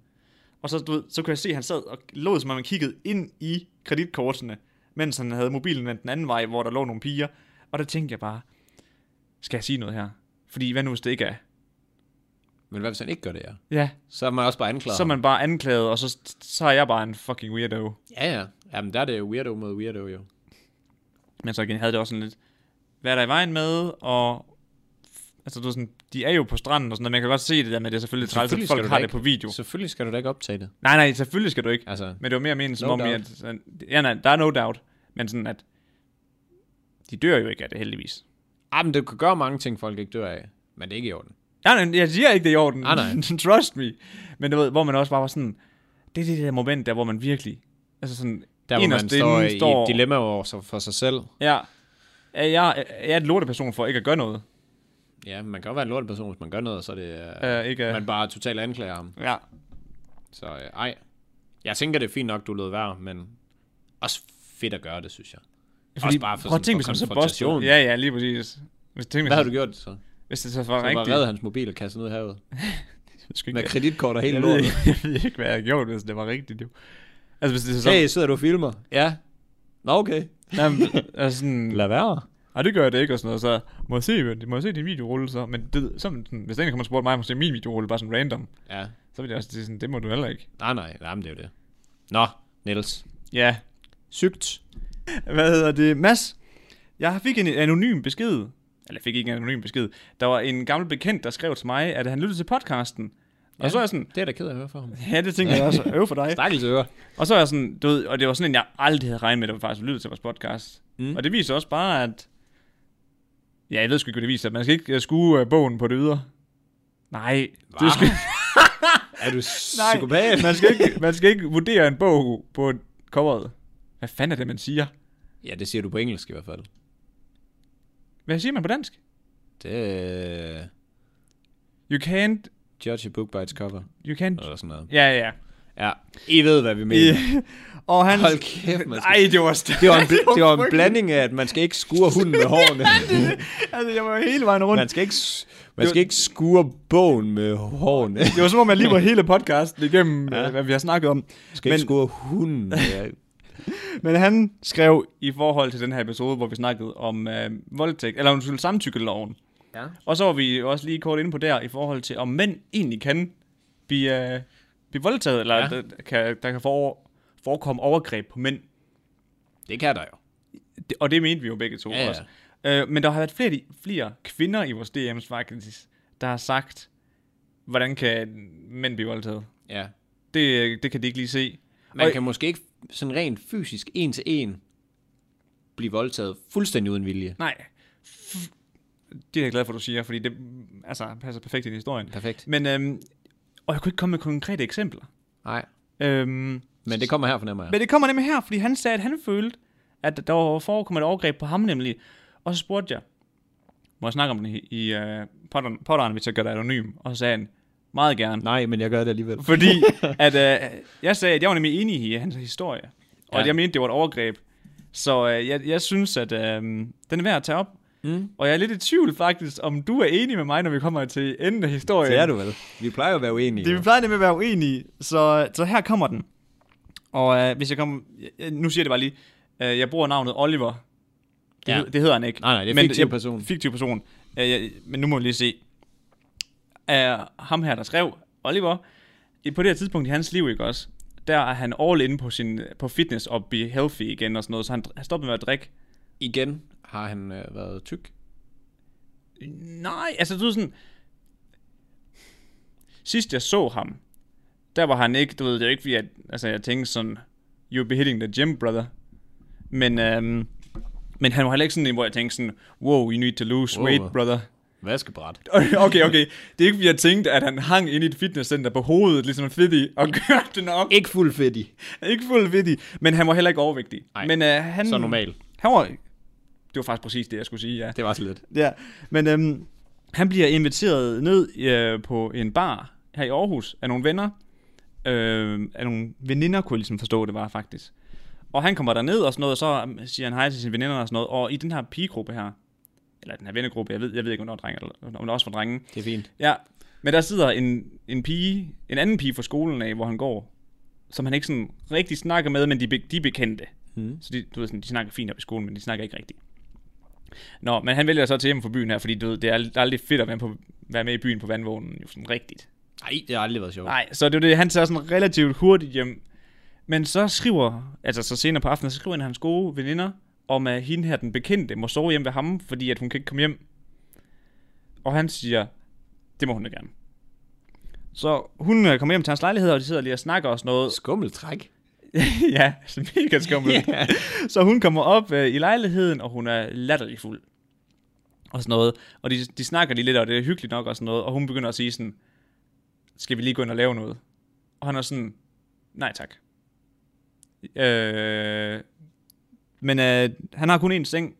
[SPEAKER 1] Og så, du ved, så kunne jeg se, at han sad og lå, som om han kiggede ind i kreditkortene, mens han havde mobilen vendt den anden vej, hvor der lå nogle piger. Og der tænkte jeg bare, skal jeg sige noget her? Fordi hvad nu, hvis det ikke er?
[SPEAKER 2] Men hvad hvis han ikke gør det, ja?
[SPEAKER 1] Ja,
[SPEAKER 2] Så er man også bare anklaget.
[SPEAKER 1] så er man bare anklaget, og så, så er jeg bare en fucking weirdo.
[SPEAKER 2] Ja, ja. Jamen, der er det jo weirdo mod weirdo, jo.
[SPEAKER 1] Men så igen havde det også sådan lidt, hvad er der i vejen med, og altså du ved sådan, de er jo på stranden og sådan noget, man kan godt se det der med, det er selvfølgelig træls, at
[SPEAKER 2] Selvfølgelig skal
[SPEAKER 1] folk
[SPEAKER 2] du
[SPEAKER 1] har
[SPEAKER 2] da
[SPEAKER 1] det
[SPEAKER 2] ikke-
[SPEAKER 1] på video.
[SPEAKER 2] Selvfølgelig skal du da ikke optage det.
[SPEAKER 1] Nej, nej, selvfølgelig skal du ikke.
[SPEAKER 2] Altså,
[SPEAKER 1] Men det var mere meningen som
[SPEAKER 2] No
[SPEAKER 1] om, i,
[SPEAKER 2] doubt.
[SPEAKER 1] at, sådan- ja nej, der er no doubt, men sådan at, de dør jo ikke af det heldigvis.
[SPEAKER 2] ah, men det kan gøre mange ting, folk ikke dør af. Men det er ikke i orden.
[SPEAKER 1] Nej, nej, jeg siger ikke, det er i orden.
[SPEAKER 2] Nej, Ah,
[SPEAKER 1] <laughs>
[SPEAKER 2] nej.
[SPEAKER 1] Trust me. Men du ved, hvor man også bare var sådan, det er det der moment der, hvor man virkelig, altså sådan,
[SPEAKER 2] Der, hvor
[SPEAKER 1] inderst
[SPEAKER 2] man
[SPEAKER 1] inde
[SPEAKER 2] står, i- i et dilemma over sig- for sig selv.
[SPEAKER 1] ja, er jeg, er jeg en lorteperson for ikke at gøre noget?
[SPEAKER 2] Ja, man kan godt være en lorteperson, hvis man gør noget, så er det...
[SPEAKER 1] Ja.
[SPEAKER 2] Øh,
[SPEAKER 1] Uh, ikke, uh,
[SPEAKER 2] man bare totalt anklager ham.
[SPEAKER 1] ja.
[SPEAKER 2] Så øh, ej. Jeg tænker, det er fint nok, du lød være, men også fedt at gøre det, synes jeg. Også bare for
[SPEAKER 1] prøv at
[SPEAKER 2] sådan-
[SPEAKER 1] tænke,
[SPEAKER 2] for
[SPEAKER 1] hvis man så
[SPEAKER 2] konfrontation.
[SPEAKER 1] bustet. Ja, ja, lige præcis. Hvis, tænk, hvis,
[SPEAKER 2] Hvad har du gjort så? Så
[SPEAKER 1] hvis det så var
[SPEAKER 2] du
[SPEAKER 1] rigtigt.
[SPEAKER 2] bare reddet hans mobil og kastet ned i havet.
[SPEAKER 1] Skal
[SPEAKER 2] Med kreditkort og hele
[SPEAKER 1] jeg, ved
[SPEAKER 2] lortet.
[SPEAKER 1] ikke, jeg ved ikke, hvad jeg gjorde, hvis det var rigtigt. Jo. Altså, hvis det så...
[SPEAKER 2] Hey, sidder du og filmer? Ja. Nå, okay.
[SPEAKER 1] Jamen, altså sådan,
[SPEAKER 2] Lad være.
[SPEAKER 1] Ej, det gør jeg det ikke, og sådan noget, så må jeg se, hvad- må jeg se din videorulle så? Men det, så, sådan, hvis der en kommer og spurgte mig, om jeg må se min videorulle, bare sådan random,
[SPEAKER 2] Ja.
[SPEAKER 1] så ville jeg også sige sådan, det må du heller ikke.
[SPEAKER 2] Nej, nej. Nej, men det er jo det. Nå, Niels.
[SPEAKER 1] Ja.
[SPEAKER 2] Sygt.
[SPEAKER 1] Hvad hedder det? Mads, jeg fik en anonym besked, eller jeg fik ikke en anonym besked, der var en gammel bekendt, der skrev til mig, at han lyttede til podcasten. Og
[SPEAKER 2] Ja.
[SPEAKER 1] så er jeg sådan,
[SPEAKER 2] Det er da ked af at høre fra <laughs> ham.
[SPEAKER 1] ja, det tænker jeg også, øv for
[SPEAKER 2] <laughs>
[SPEAKER 1] dig.
[SPEAKER 2] Stakkels øre.
[SPEAKER 1] Og så er jeg sådan, du ved, og det var sådan en, jeg aldrig havde regnet med, at der faktisk lyttede til vores podcast. Mm.
[SPEAKER 2] Mm.
[SPEAKER 1] Og det viser også bare, at... Ja, jeg ved sgu ikke, hvad det viser. Man skal ikke øh, skue øh, bogen på det ydre. Nej,
[SPEAKER 2] Hva?
[SPEAKER 1] det skal, <laughs>
[SPEAKER 2] Er du
[SPEAKER 1] Nej,
[SPEAKER 2] psykopat?
[SPEAKER 1] man, skal ikke, man skal ikke vurdere en bog på coveret. Hvad fanden er det, man siger?
[SPEAKER 2] <laughs> Ja, det siger du på engelsk i hvert fald.
[SPEAKER 1] Hvad siger man på dansk?
[SPEAKER 2] Det er...
[SPEAKER 1] You can't...
[SPEAKER 2] Judge a book by its cover.
[SPEAKER 1] You can't...
[SPEAKER 2] Eller sådan noget.
[SPEAKER 1] Ja, ja, ja.
[SPEAKER 2] Ja, I ved, hvad vi mener.
[SPEAKER 1] I- <laughs> og han...
[SPEAKER 2] Øh. Hold kæft, man skal...
[SPEAKER 1] <laughs> Ej, det var stærkt.
[SPEAKER 2] Det var, en, bl- det var en
[SPEAKER 1] frygteligt.
[SPEAKER 2] blanding af, at man skal ikke skure hunden med
[SPEAKER 1] <laughs>
[SPEAKER 2] hårene.
[SPEAKER 1] Altså, jeg var hele vejen rundt.
[SPEAKER 2] Man skal ikke, s- man skal ikke skure bogen med hårene.
[SPEAKER 1] Det var som om, jeg lige var hele podcasten igennem, ja. hvad vi har snakket om.
[SPEAKER 2] Man skal ikke skure
[SPEAKER 1] <laughs>
[SPEAKER 2] hunden med...
[SPEAKER 1] Men han skrev i forhold til den her episode, hvor vi snakkede om øh, voldtægt, eller undskyld, samtykkeloven.
[SPEAKER 2] Ja.
[SPEAKER 1] Og så var vi også lige kort inde på der, i forhold til, om mænd egentlig kan blive, øh, blive voldtaget, eller ja.
[SPEAKER 2] Ja.
[SPEAKER 1] der, kan, der kan for, forekomme overgreb på mænd.
[SPEAKER 2] Det kan der jo.
[SPEAKER 1] Det, og det mente vi jo begge to
[SPEAKER 2] Ja, ja.
[SPEAKER 1] også. Øh, men der har været flere, flere kvinder i vores DM's faktisk, der har sagt, hvordan kan mænd blive voldtaget?
[SPEAKER 2] Ja.
[SPEAKER 1] Det, det kan de ikke lige se.
[SPEAKER 2] Man
[SPEAKER 1] Og-
[SPEAKER 2] kan måske ikke sådan rent fysisk, en til en, blive voldtaget fuldstændig uden vilje.
[SPEAKER 1] Nej. F- Det er jeg glad for, du siger, fordi det altså, passer perfekt ind i historien.
[SPEAKER 2] Perfekt.
[SPEAKER 1] Men, øhm, og jeg kunne ikke komme med konkrete eksempler.
[SPEAKER 2] Nej,
[SPEAKER 1] Øhm,
[SPEAKER 2] men det kommer her fornemmer jeg.
[SPEAKER 1] men det kommer nemlig her, fordi han sagde, at han følte, at der var forekommet et overgreb på ham nemlig. Og så spurgte jeg, må jeg snakke om det i, i uh, podderen, hvis jeg gør dig anonym? Og så sagde han, meget gerne.
[SPEAKER 2] Nej, men jeg gør det <laughs> alligevel.
[SPEAKER 1] Fordi at, øh, jeg sagde, at jeg var nemlig enig i hans historie. Og ja.
[SPEAKER 2] Ja.
[SPEAKER 1] at jeg mente, det var et overgreb. Så øh, jeg, jeg synes, at øh, den er værd at tage op.
[SPEAKER 2] Mm.
[SPEAKER 1] Og jeg er lidt i tvivl faktisk, om du er enig med mig, når vi kommer til enden af historien.
[SPEAKER 2] Det er du vel. Vi plejer jo at være uenige.
[SPEAKER 1] Det, vi plejer nemlig at være uenige. Så, så her kommer den. Og øh, hvis jeg kommer... Jeg, nu siger jeg det bare lige. Øh, jeg bruger navnet Oliver. Det,
[SPEAKER 2] Ja.
[SPEAKER 1] ja. det hedder han ikke.
[SPEAKER 2] Nej, nej, det er
[SPEAKER 1] Men
[SPEAKER 2] fiktiv
[SPEAKER 1] jeg-
[SPEAKER 2] person.
[SPEAKER 1] Fiktiv person. Øh, jeg, men nu må vi lige se. Er ham her, der skrev, Oliver, i- på det her tidspunkt i hans liv, ikke også? Der er han all in på, sin, på fitness og be healthy igen og sådan noget, så han, han stoppede med at drikke.
[SPEAKER 2] Igen har han øh, været tyk.
[SPEAKER 1] Nej, altså du ved sådan... Sidst jeg så ham, der var han ikke, du ved, det er jo ikke fordi, at, altså jeg tænkte sådan, you'll be hitting the gym, brother. Men, øhm, men han var heller ikke sådan en, hvor jeg tænkte sådan, wow, you need to lose
[SPEAKER 2] Wow.
[SPEAKER 1] weight, brother. <laughs>
[SPEAKER 2] Vaskebræt.
[SPEAKER 1] Okay, okay. Det er ikke, fordi jeg tænkte, at han hang ind i et fitnesscenter på hovedet, ligesom en fedtig, og <laughs> kørte den op.
[SPEAKER 2] Ikke fuld fedtig.
[SPEAKER 1] Ikke fuld vittig, men han var heller ikke overvægtig.
[SPEAKER 2] Nej,
[SPEAKER 1] men, øh, han,
[SPEAKER 2] Så normal.
[SPEAKER 1] Han var, det var faktisk præcis det, jeg skulle sige, ja.
[SPEAKER 2] Det var så lidt.
[SPEAKER 1] <laughs> Ja, men øhm, han bliver inviteret ned øh, på en bar her i Aarhus af nogle venner, øh, af nogle veninder, kunne jeg ligesom forstå, det var faktisk. Og han kommer derned og sådan noget, og så øhm, siger han hej til sine veninder og sådan noget. Og i den her pigegruppe her, eller den her vennegruppe, jeg ved, jeg ved ikke, om der var drenge, eller om der også var drenge.
[SPEAKER 2] Det er fint.
[SPEAKER 1] Ja, men der sidder en, en pige, en anden pige fra skolen af, hvor han går, som han ikke sådan rigtig snakker med, men de, be- de er bekendte.
[SPEAKER 2] Mm.
[SPEAKER 1] Så de, du ved, sådan, de snakker fint op i skolen, men de snakker ikke rigtigt. Nå, men han vælger så til hjemme fra byen her, fordi du ved, det er ald- aldrig fedt at være, på, være med i byen på vandvognen, jo sådan rigtigt.
[SPEAKER 2] Nej, det har aldrig været sjovt.
[SPEAKER 1] Nej, så det er jo det, han tager sådan relativt hurtigt hjem. Men så skriver, altså så senere på aftenen, så skriver en af hans gode veninder, om at hende her, den bekendte, må sove hjemme ved ham, fordi at hun kan ikke komme hjem. Og han siger, det må hun da gerne. Så hun øh, kommer hjem til hans lejlighed, og de sidder lige og snakker og sådan noget.
[SPEAKER 2] Skummel træk.
[SPEAKER 1] <laughs> ja, så mega skummelt. Yeah. <laughs> Så hun kommer op øh, i lejligheden, og hun er latterlig fuld. Og sådan noget. Og de, de snakker lige lidt, og det er hyggeligt nok og sådan noget. Og hun begynder at sige sådan, skal vi lige gå ind og lave noget? Og han er sådan, nej tak. Øh, men øh, han har kun én seng,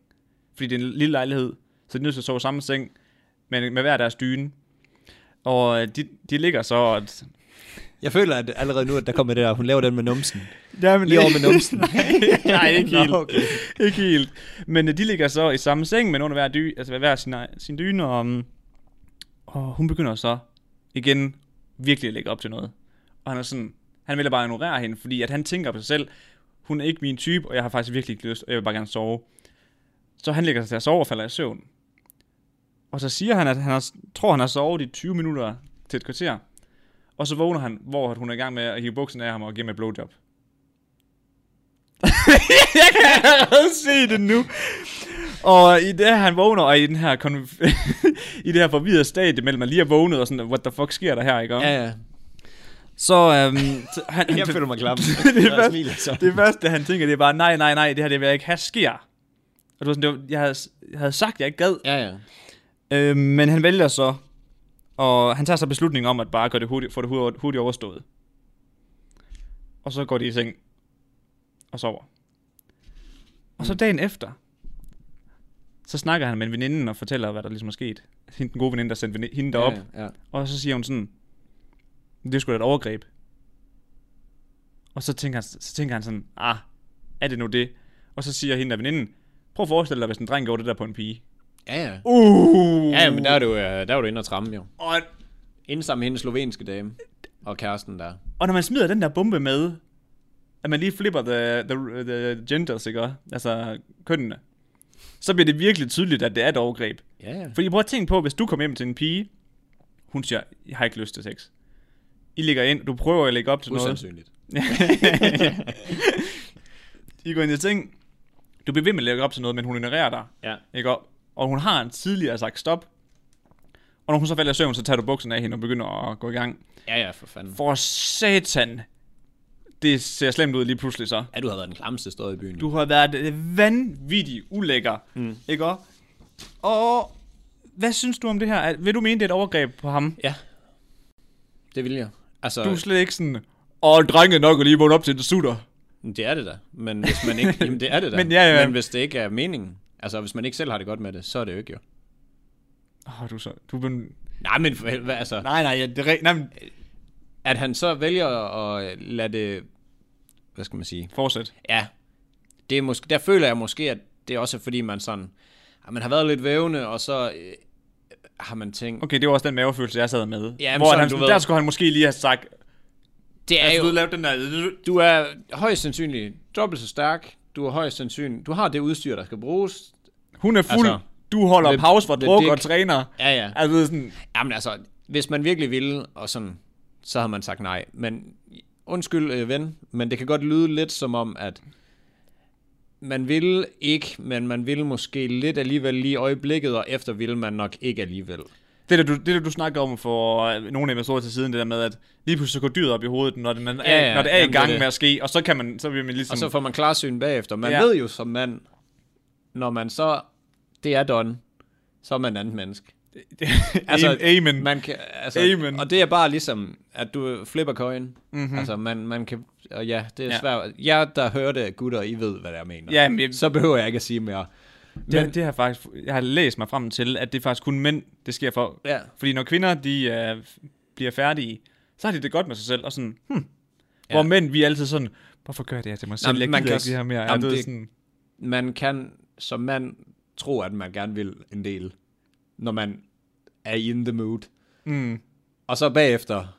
[SPEAKER 1] fordi det er en lille lejlighed, så de er nødt til at sove i samme seng, men med hver deres dyne. Og øh, de, de ligger så, og...
[SPEAKER 2] Jeg føler at allerede nu, at der kommer det der, hun laver den med <laughs> numsen.
[SPEAKER 1] Jamen,
[SPEAKER 2] Lige over med numsen.
[SPEAKER 1] nej, ikke
[SPEAKER 2] Nå,
[SPEAKER 1] helt.
[SPEAKER 2] okay.
[SPEAKER 1] <laughs> ikke helt. Men øh, de ligger så i samme seng, men under hver, dy, altså ved hver sin, sin dyne, og, mm, og hun begynder så igen virkelig at lægge op til noget. Og han er sådan, han vil bare ignorere hende, fordi at han tænker på sig selv, hun er ikke min type, og jeg har faktisk virkelig ikke lyst, og jeg vil bare gerne sove. Så han ligger sig til at sove og falder i søvn. Og så siger han, at han har, tror, han har sovet i 20 minutter til et kvarter. Og så vågner han, hvor at hun er i gang med at hive buksen af ham og give ham et blowjob. <laughs> jeg kan allerede se det nu. Og i det han vågner, og i den her, konf- <laughs> i det her forvirrede stadie mellem, at lige er vågnet og sådan, what the fuck sker der her, ikke?
[SPEAKER 2] Ja, ja.
[SPEAKER 1] Så, øhm, så han, han,
[SPEAKER 2] Jeg føler mig <laughs> klam.
[SPEAKER 1] det,
[SPEAKER 2] Jeg
[SPEAKER 1] første,
[SPEAKER 2] smiler så.
[SPEAKER 1] det første, han tænker, det er bare, nej, nej, nej, det her det vil jeg ikke have sker. Og det var sådan, det var, jeg, havde, jeg havde sagt, jeg ikke gad.
[SPEAKER 2] Ja, ja.
[SPEAKER 1] Øh, men han vælger så, og han tager så beslutningen om, at bare gøre det hurtigt, få det hurtigt, hurtigt overstået. Og så går de i seng og sover. Og så dagen efter, så snakker han med en veninde og fortæller, hvad der ligesom er sket. Hende, den gode veninde, der sendte veni- hende derop.
[SPEAKER 2] Ja, ja.
[SPEAKER 1] Og så siger hun sådan, det er sgu da et overgreb. Og så tænker, han, så tænker han sådan, ah, er det nu det? Og så siger hende af veninden, prøv at forestille dig, hvis en dreng gjorde det der på en pige.
[SPEAKER 2] Ja, ja.
[SPEAKER 1] Uh!
[SPEAKER 2] Ja, men der er du, øh, der er du inde og tramme jo.
[SPEAKER 1] Og,
[SPEAKER 2] Inde sammen med hendes slovenske dame. Og kæresten der.
[SPEAKER 1] og når man smider den der bombe med, at man lige flipper the, the, the genders, ikke? Altså kønnene. Så bliver det virkelig tydeligt, at det er et overgreb.
[SPEAKER 2] Ja, ja.
[SPEAKER 1] Fordi prøv at tænke på, hvis du kommer hjem til en pige, hun siger, jeg har ikke lyst til sex. I ligger ind, du prøver at lægge op til noget.
[SPEAKER 2] Usandsynligt.
[SPEAKER 1] <laughs> I går ind i ting, du bliver ved med at lægge op til noget, men hun ignorerer dig.
[SPEAKER 2] Ja.
[SPEAKER 1] Ikke? Og, og hun har en tidligere sagt stop. Og når hun så falder i søvn, så tager du buksen af hende og begynder at gå i gang.
[SPEAKER 2] Ja, ja, for fanden.
[SPEAKER 1] For satan. Det ser slemt ud lige pludselig så.
[SPEAKER 2] Ja, du har været den klamste stået i byen.
[SPEAKER 1] Du har været øh, vanvittig ulækker. Mm. Ikke også? Og hvad synes du om det her? Er- Vil du mene, det er et overgreb på ham?
[SPEAKER 2] Ja. Det vil jeg. Altså,
[SPEAKER 1] Du er slet ikke sådan, åh, drenge nok at lige vågne op til en sutter.
[SPEAKER 2] det er det da. Men hvis man ikke... Jamen, det er det da.
[SPEAKER 1] <laughs> Men ja, ja.
[SPEAKER 2] men hvis det ikke er meningen. Altså, hvis man ikke selv har det godt med det, så er det jo ikke jo.
[SPEAKER 1] Åh, oh, du er så, du er blevet...
[SPEAKER 2] Nej, men for helvede, altså...
[SPEAKER 1] Nej, nej, ja, det er re- nej, men...
[SPEAKER 2] At han så vælger at lade det... Hvad skal man sige?
[SPEAKER 1] Fortsæt.
[SPEAKER 2] Ja. Det er måske, der føler jeg måske, at det også er fordi, man sådan... at Man har været lidt vævende, og så øh, har man tænkt...
[SPEAKER 1] Okay, det var også den mavefølelse, jeg sad med.
[SPEAKER 2] Ja, men
[SPEAKER 1] Hvor
[SPEAKER 2] sådan,
[SPEAKER 1] han,
[SPEAKER 2] du
[SPEAKER 1] sådan,
[SPEAKER 2] ved.
[SPEAKER 1] der skulle han måske lige have sagt,
[SPEAKER 2] Det er
[SPEAKER 1] jeg
[SPEAKER 2] jo...
[SPEAKER 1] skulle lave den der...
[SPEAKER 2] Du er højst sandsynligt dobbelt så stærk. Du er højst sandsynligt... Du har det udstyr, der skal bruges.
[SPEAKER 1] Hun er fuld,
[SPEAKER 2] Altså,
[SPEAKER 1] altså, du holder
[SPEAKER 2] med-
[SPEAKER 1] pause for
[SPEAKER 2] med
[SPEAKER 1] druk
[SPEAKER 2] dick.
[SPEAKER 1] og træner.
[SPEAKER 2] Ja, ja.
[SPEAKER 1] Altså sådan,
[SPEAKER 2] Jamen altså, hvis man virkelig ville, og sådan, så har man sagt nej. Men undskyld, øh, ven, men det kan godt lyde lidt som om, at man ville ikke, men man ville måske lidt alligevel lige i øjeblikket, og efter ville man nok ikke alligevel.
[SPEAKER 1] Det der, du, det der du snakker om for øh, nogle episoder til siden, det der med, at lige pludselig så går dyret op i hovedet, når, den er,
[SPEAKER 2] Ja,
[SPEAKER 1] ja,
[SPEAKER 2] ja,
[SPEAKER 1] ja, når det er
[SPEAKER 2] jamen,
[SPEAKER 1] i gang
[SPEAKER 2] det er
[SPEAKER 1] med at ske, og så kan man, så vil man ligesom...
[SPEAKER 2] Og så får man klarsyn bagefter. Man ja.
[SPEAKER 1] Ja.
[SPEAKER 2] ved jo som mand, når man så, det er done, så er man andet menneske.
[SPEAKER 1] altså, <laughs> amen. Man,
[SPEAKER 2] Man kan, altså,
[SPEAKER 1] Amen. Mhm.
[SPEAKER 2] Og det er bare ligesom, at du flipper coin. Mm-hmm. Altså, man, man kan... Og ja, det er ja.
[SPEAKER 1] Ja.
[SPEAKER 2] svært. Jeg, der hører det, gutter, I ved, hvad jeg mener.
[SPEAKER 1] Ja, men jeg-
[SPEAKER 2] Så behøver jeg ikke at sige mere.
[SPEAKER 1] det, det har jeg faktisk, jeg har læst mig frem til, at det er faktisk kun mænd, det sker for.
[SPEAKER 2] Ja.
[SPEAKER 1] Fordi når kvinder, de øh, bliver færdige, så har de det godt med sig selv, og sådan, hmm, Ja. Hvor mænd, vi er altid sådan, hvorfor gør jeg det her til mig selv?
[SPEAKER 2] men
[SPEAKER 1] jeg
[SPEAKER 2] man
[SPEAKER 1] gider
[SPEAKER 2] kan
[SPEAKER 1] ikke det her mere.
[SPEAKER 2] jamen,
[SPEAKER 1] Jamen, det,
[SPEAKER 2] det-
[SPEAKER 1] sådan,
[SPEAKER 2] Man kan som mand tro, at man gerne vil en del, når man er in the mood.
[SPEAKER 1] mm,
[SPEAKER 2] Og så bagefter,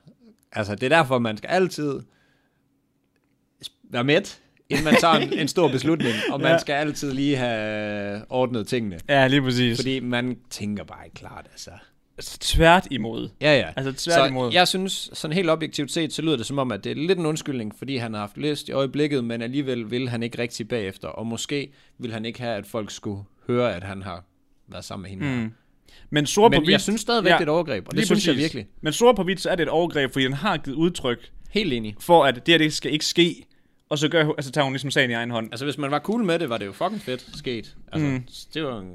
[SPEAKER 2] altså det er derfor, man skal altid være med, inden man tager en, en stor beslutning, og man
[SPEAKER 1] Ja.
[SPEAKER 2] ja. skal altid lige have ordnet tingene.
[SPEAKER 1] ja, lige præcis. Fordi...
[SPEAKER 2] Fordi man tænker bare ikke klart, altså.
[SPEAKER 1] Tvært imod.
[SPEAKER 2] Ja, ja.
[SPEAKER 1] Altså
[SPEAKER 2] Så
[SPEAKER 1] tværtimod.
[SPEAKER 2] jeg synes, sådan helt objektivt set, så lyder det som om, at det er lidt en undskyldning, fordi han har haft lyst i øjeblikket, men alligevel vil han ikke rigtig bagefter. Og måske vil han ikke have, at folk skulle høre, at han har været sammen med hende. Mm.
[SPEAKER 1] Mm. Men sort på
[SPEAKER 2] Men
[SPEAKER 1] hvidt...
[SPEAKER 2] jeg synes stadigvæk, ja. det er et overgreb, og det
[SPEAKER 1] lige
[SPEAKER 2] synes jeg
[SPEAKER 1] præcis.
[SPEAKER 2] virkelig.
[SPEAKER 1] Men sort på hvidt, så er det et overgreb, fordi den har givet udtryk
[SPEAKER 2] Helt enig.
[SPEAKER 1] for, at det her det skal ikke ske. Og så gør, hun- altså, tager hun ligesom sagen i egen hånd.
[SPEAKER 2] Altså, hvis man var cool med det, var det jo fucking fedt sket. Altså, mm. det var en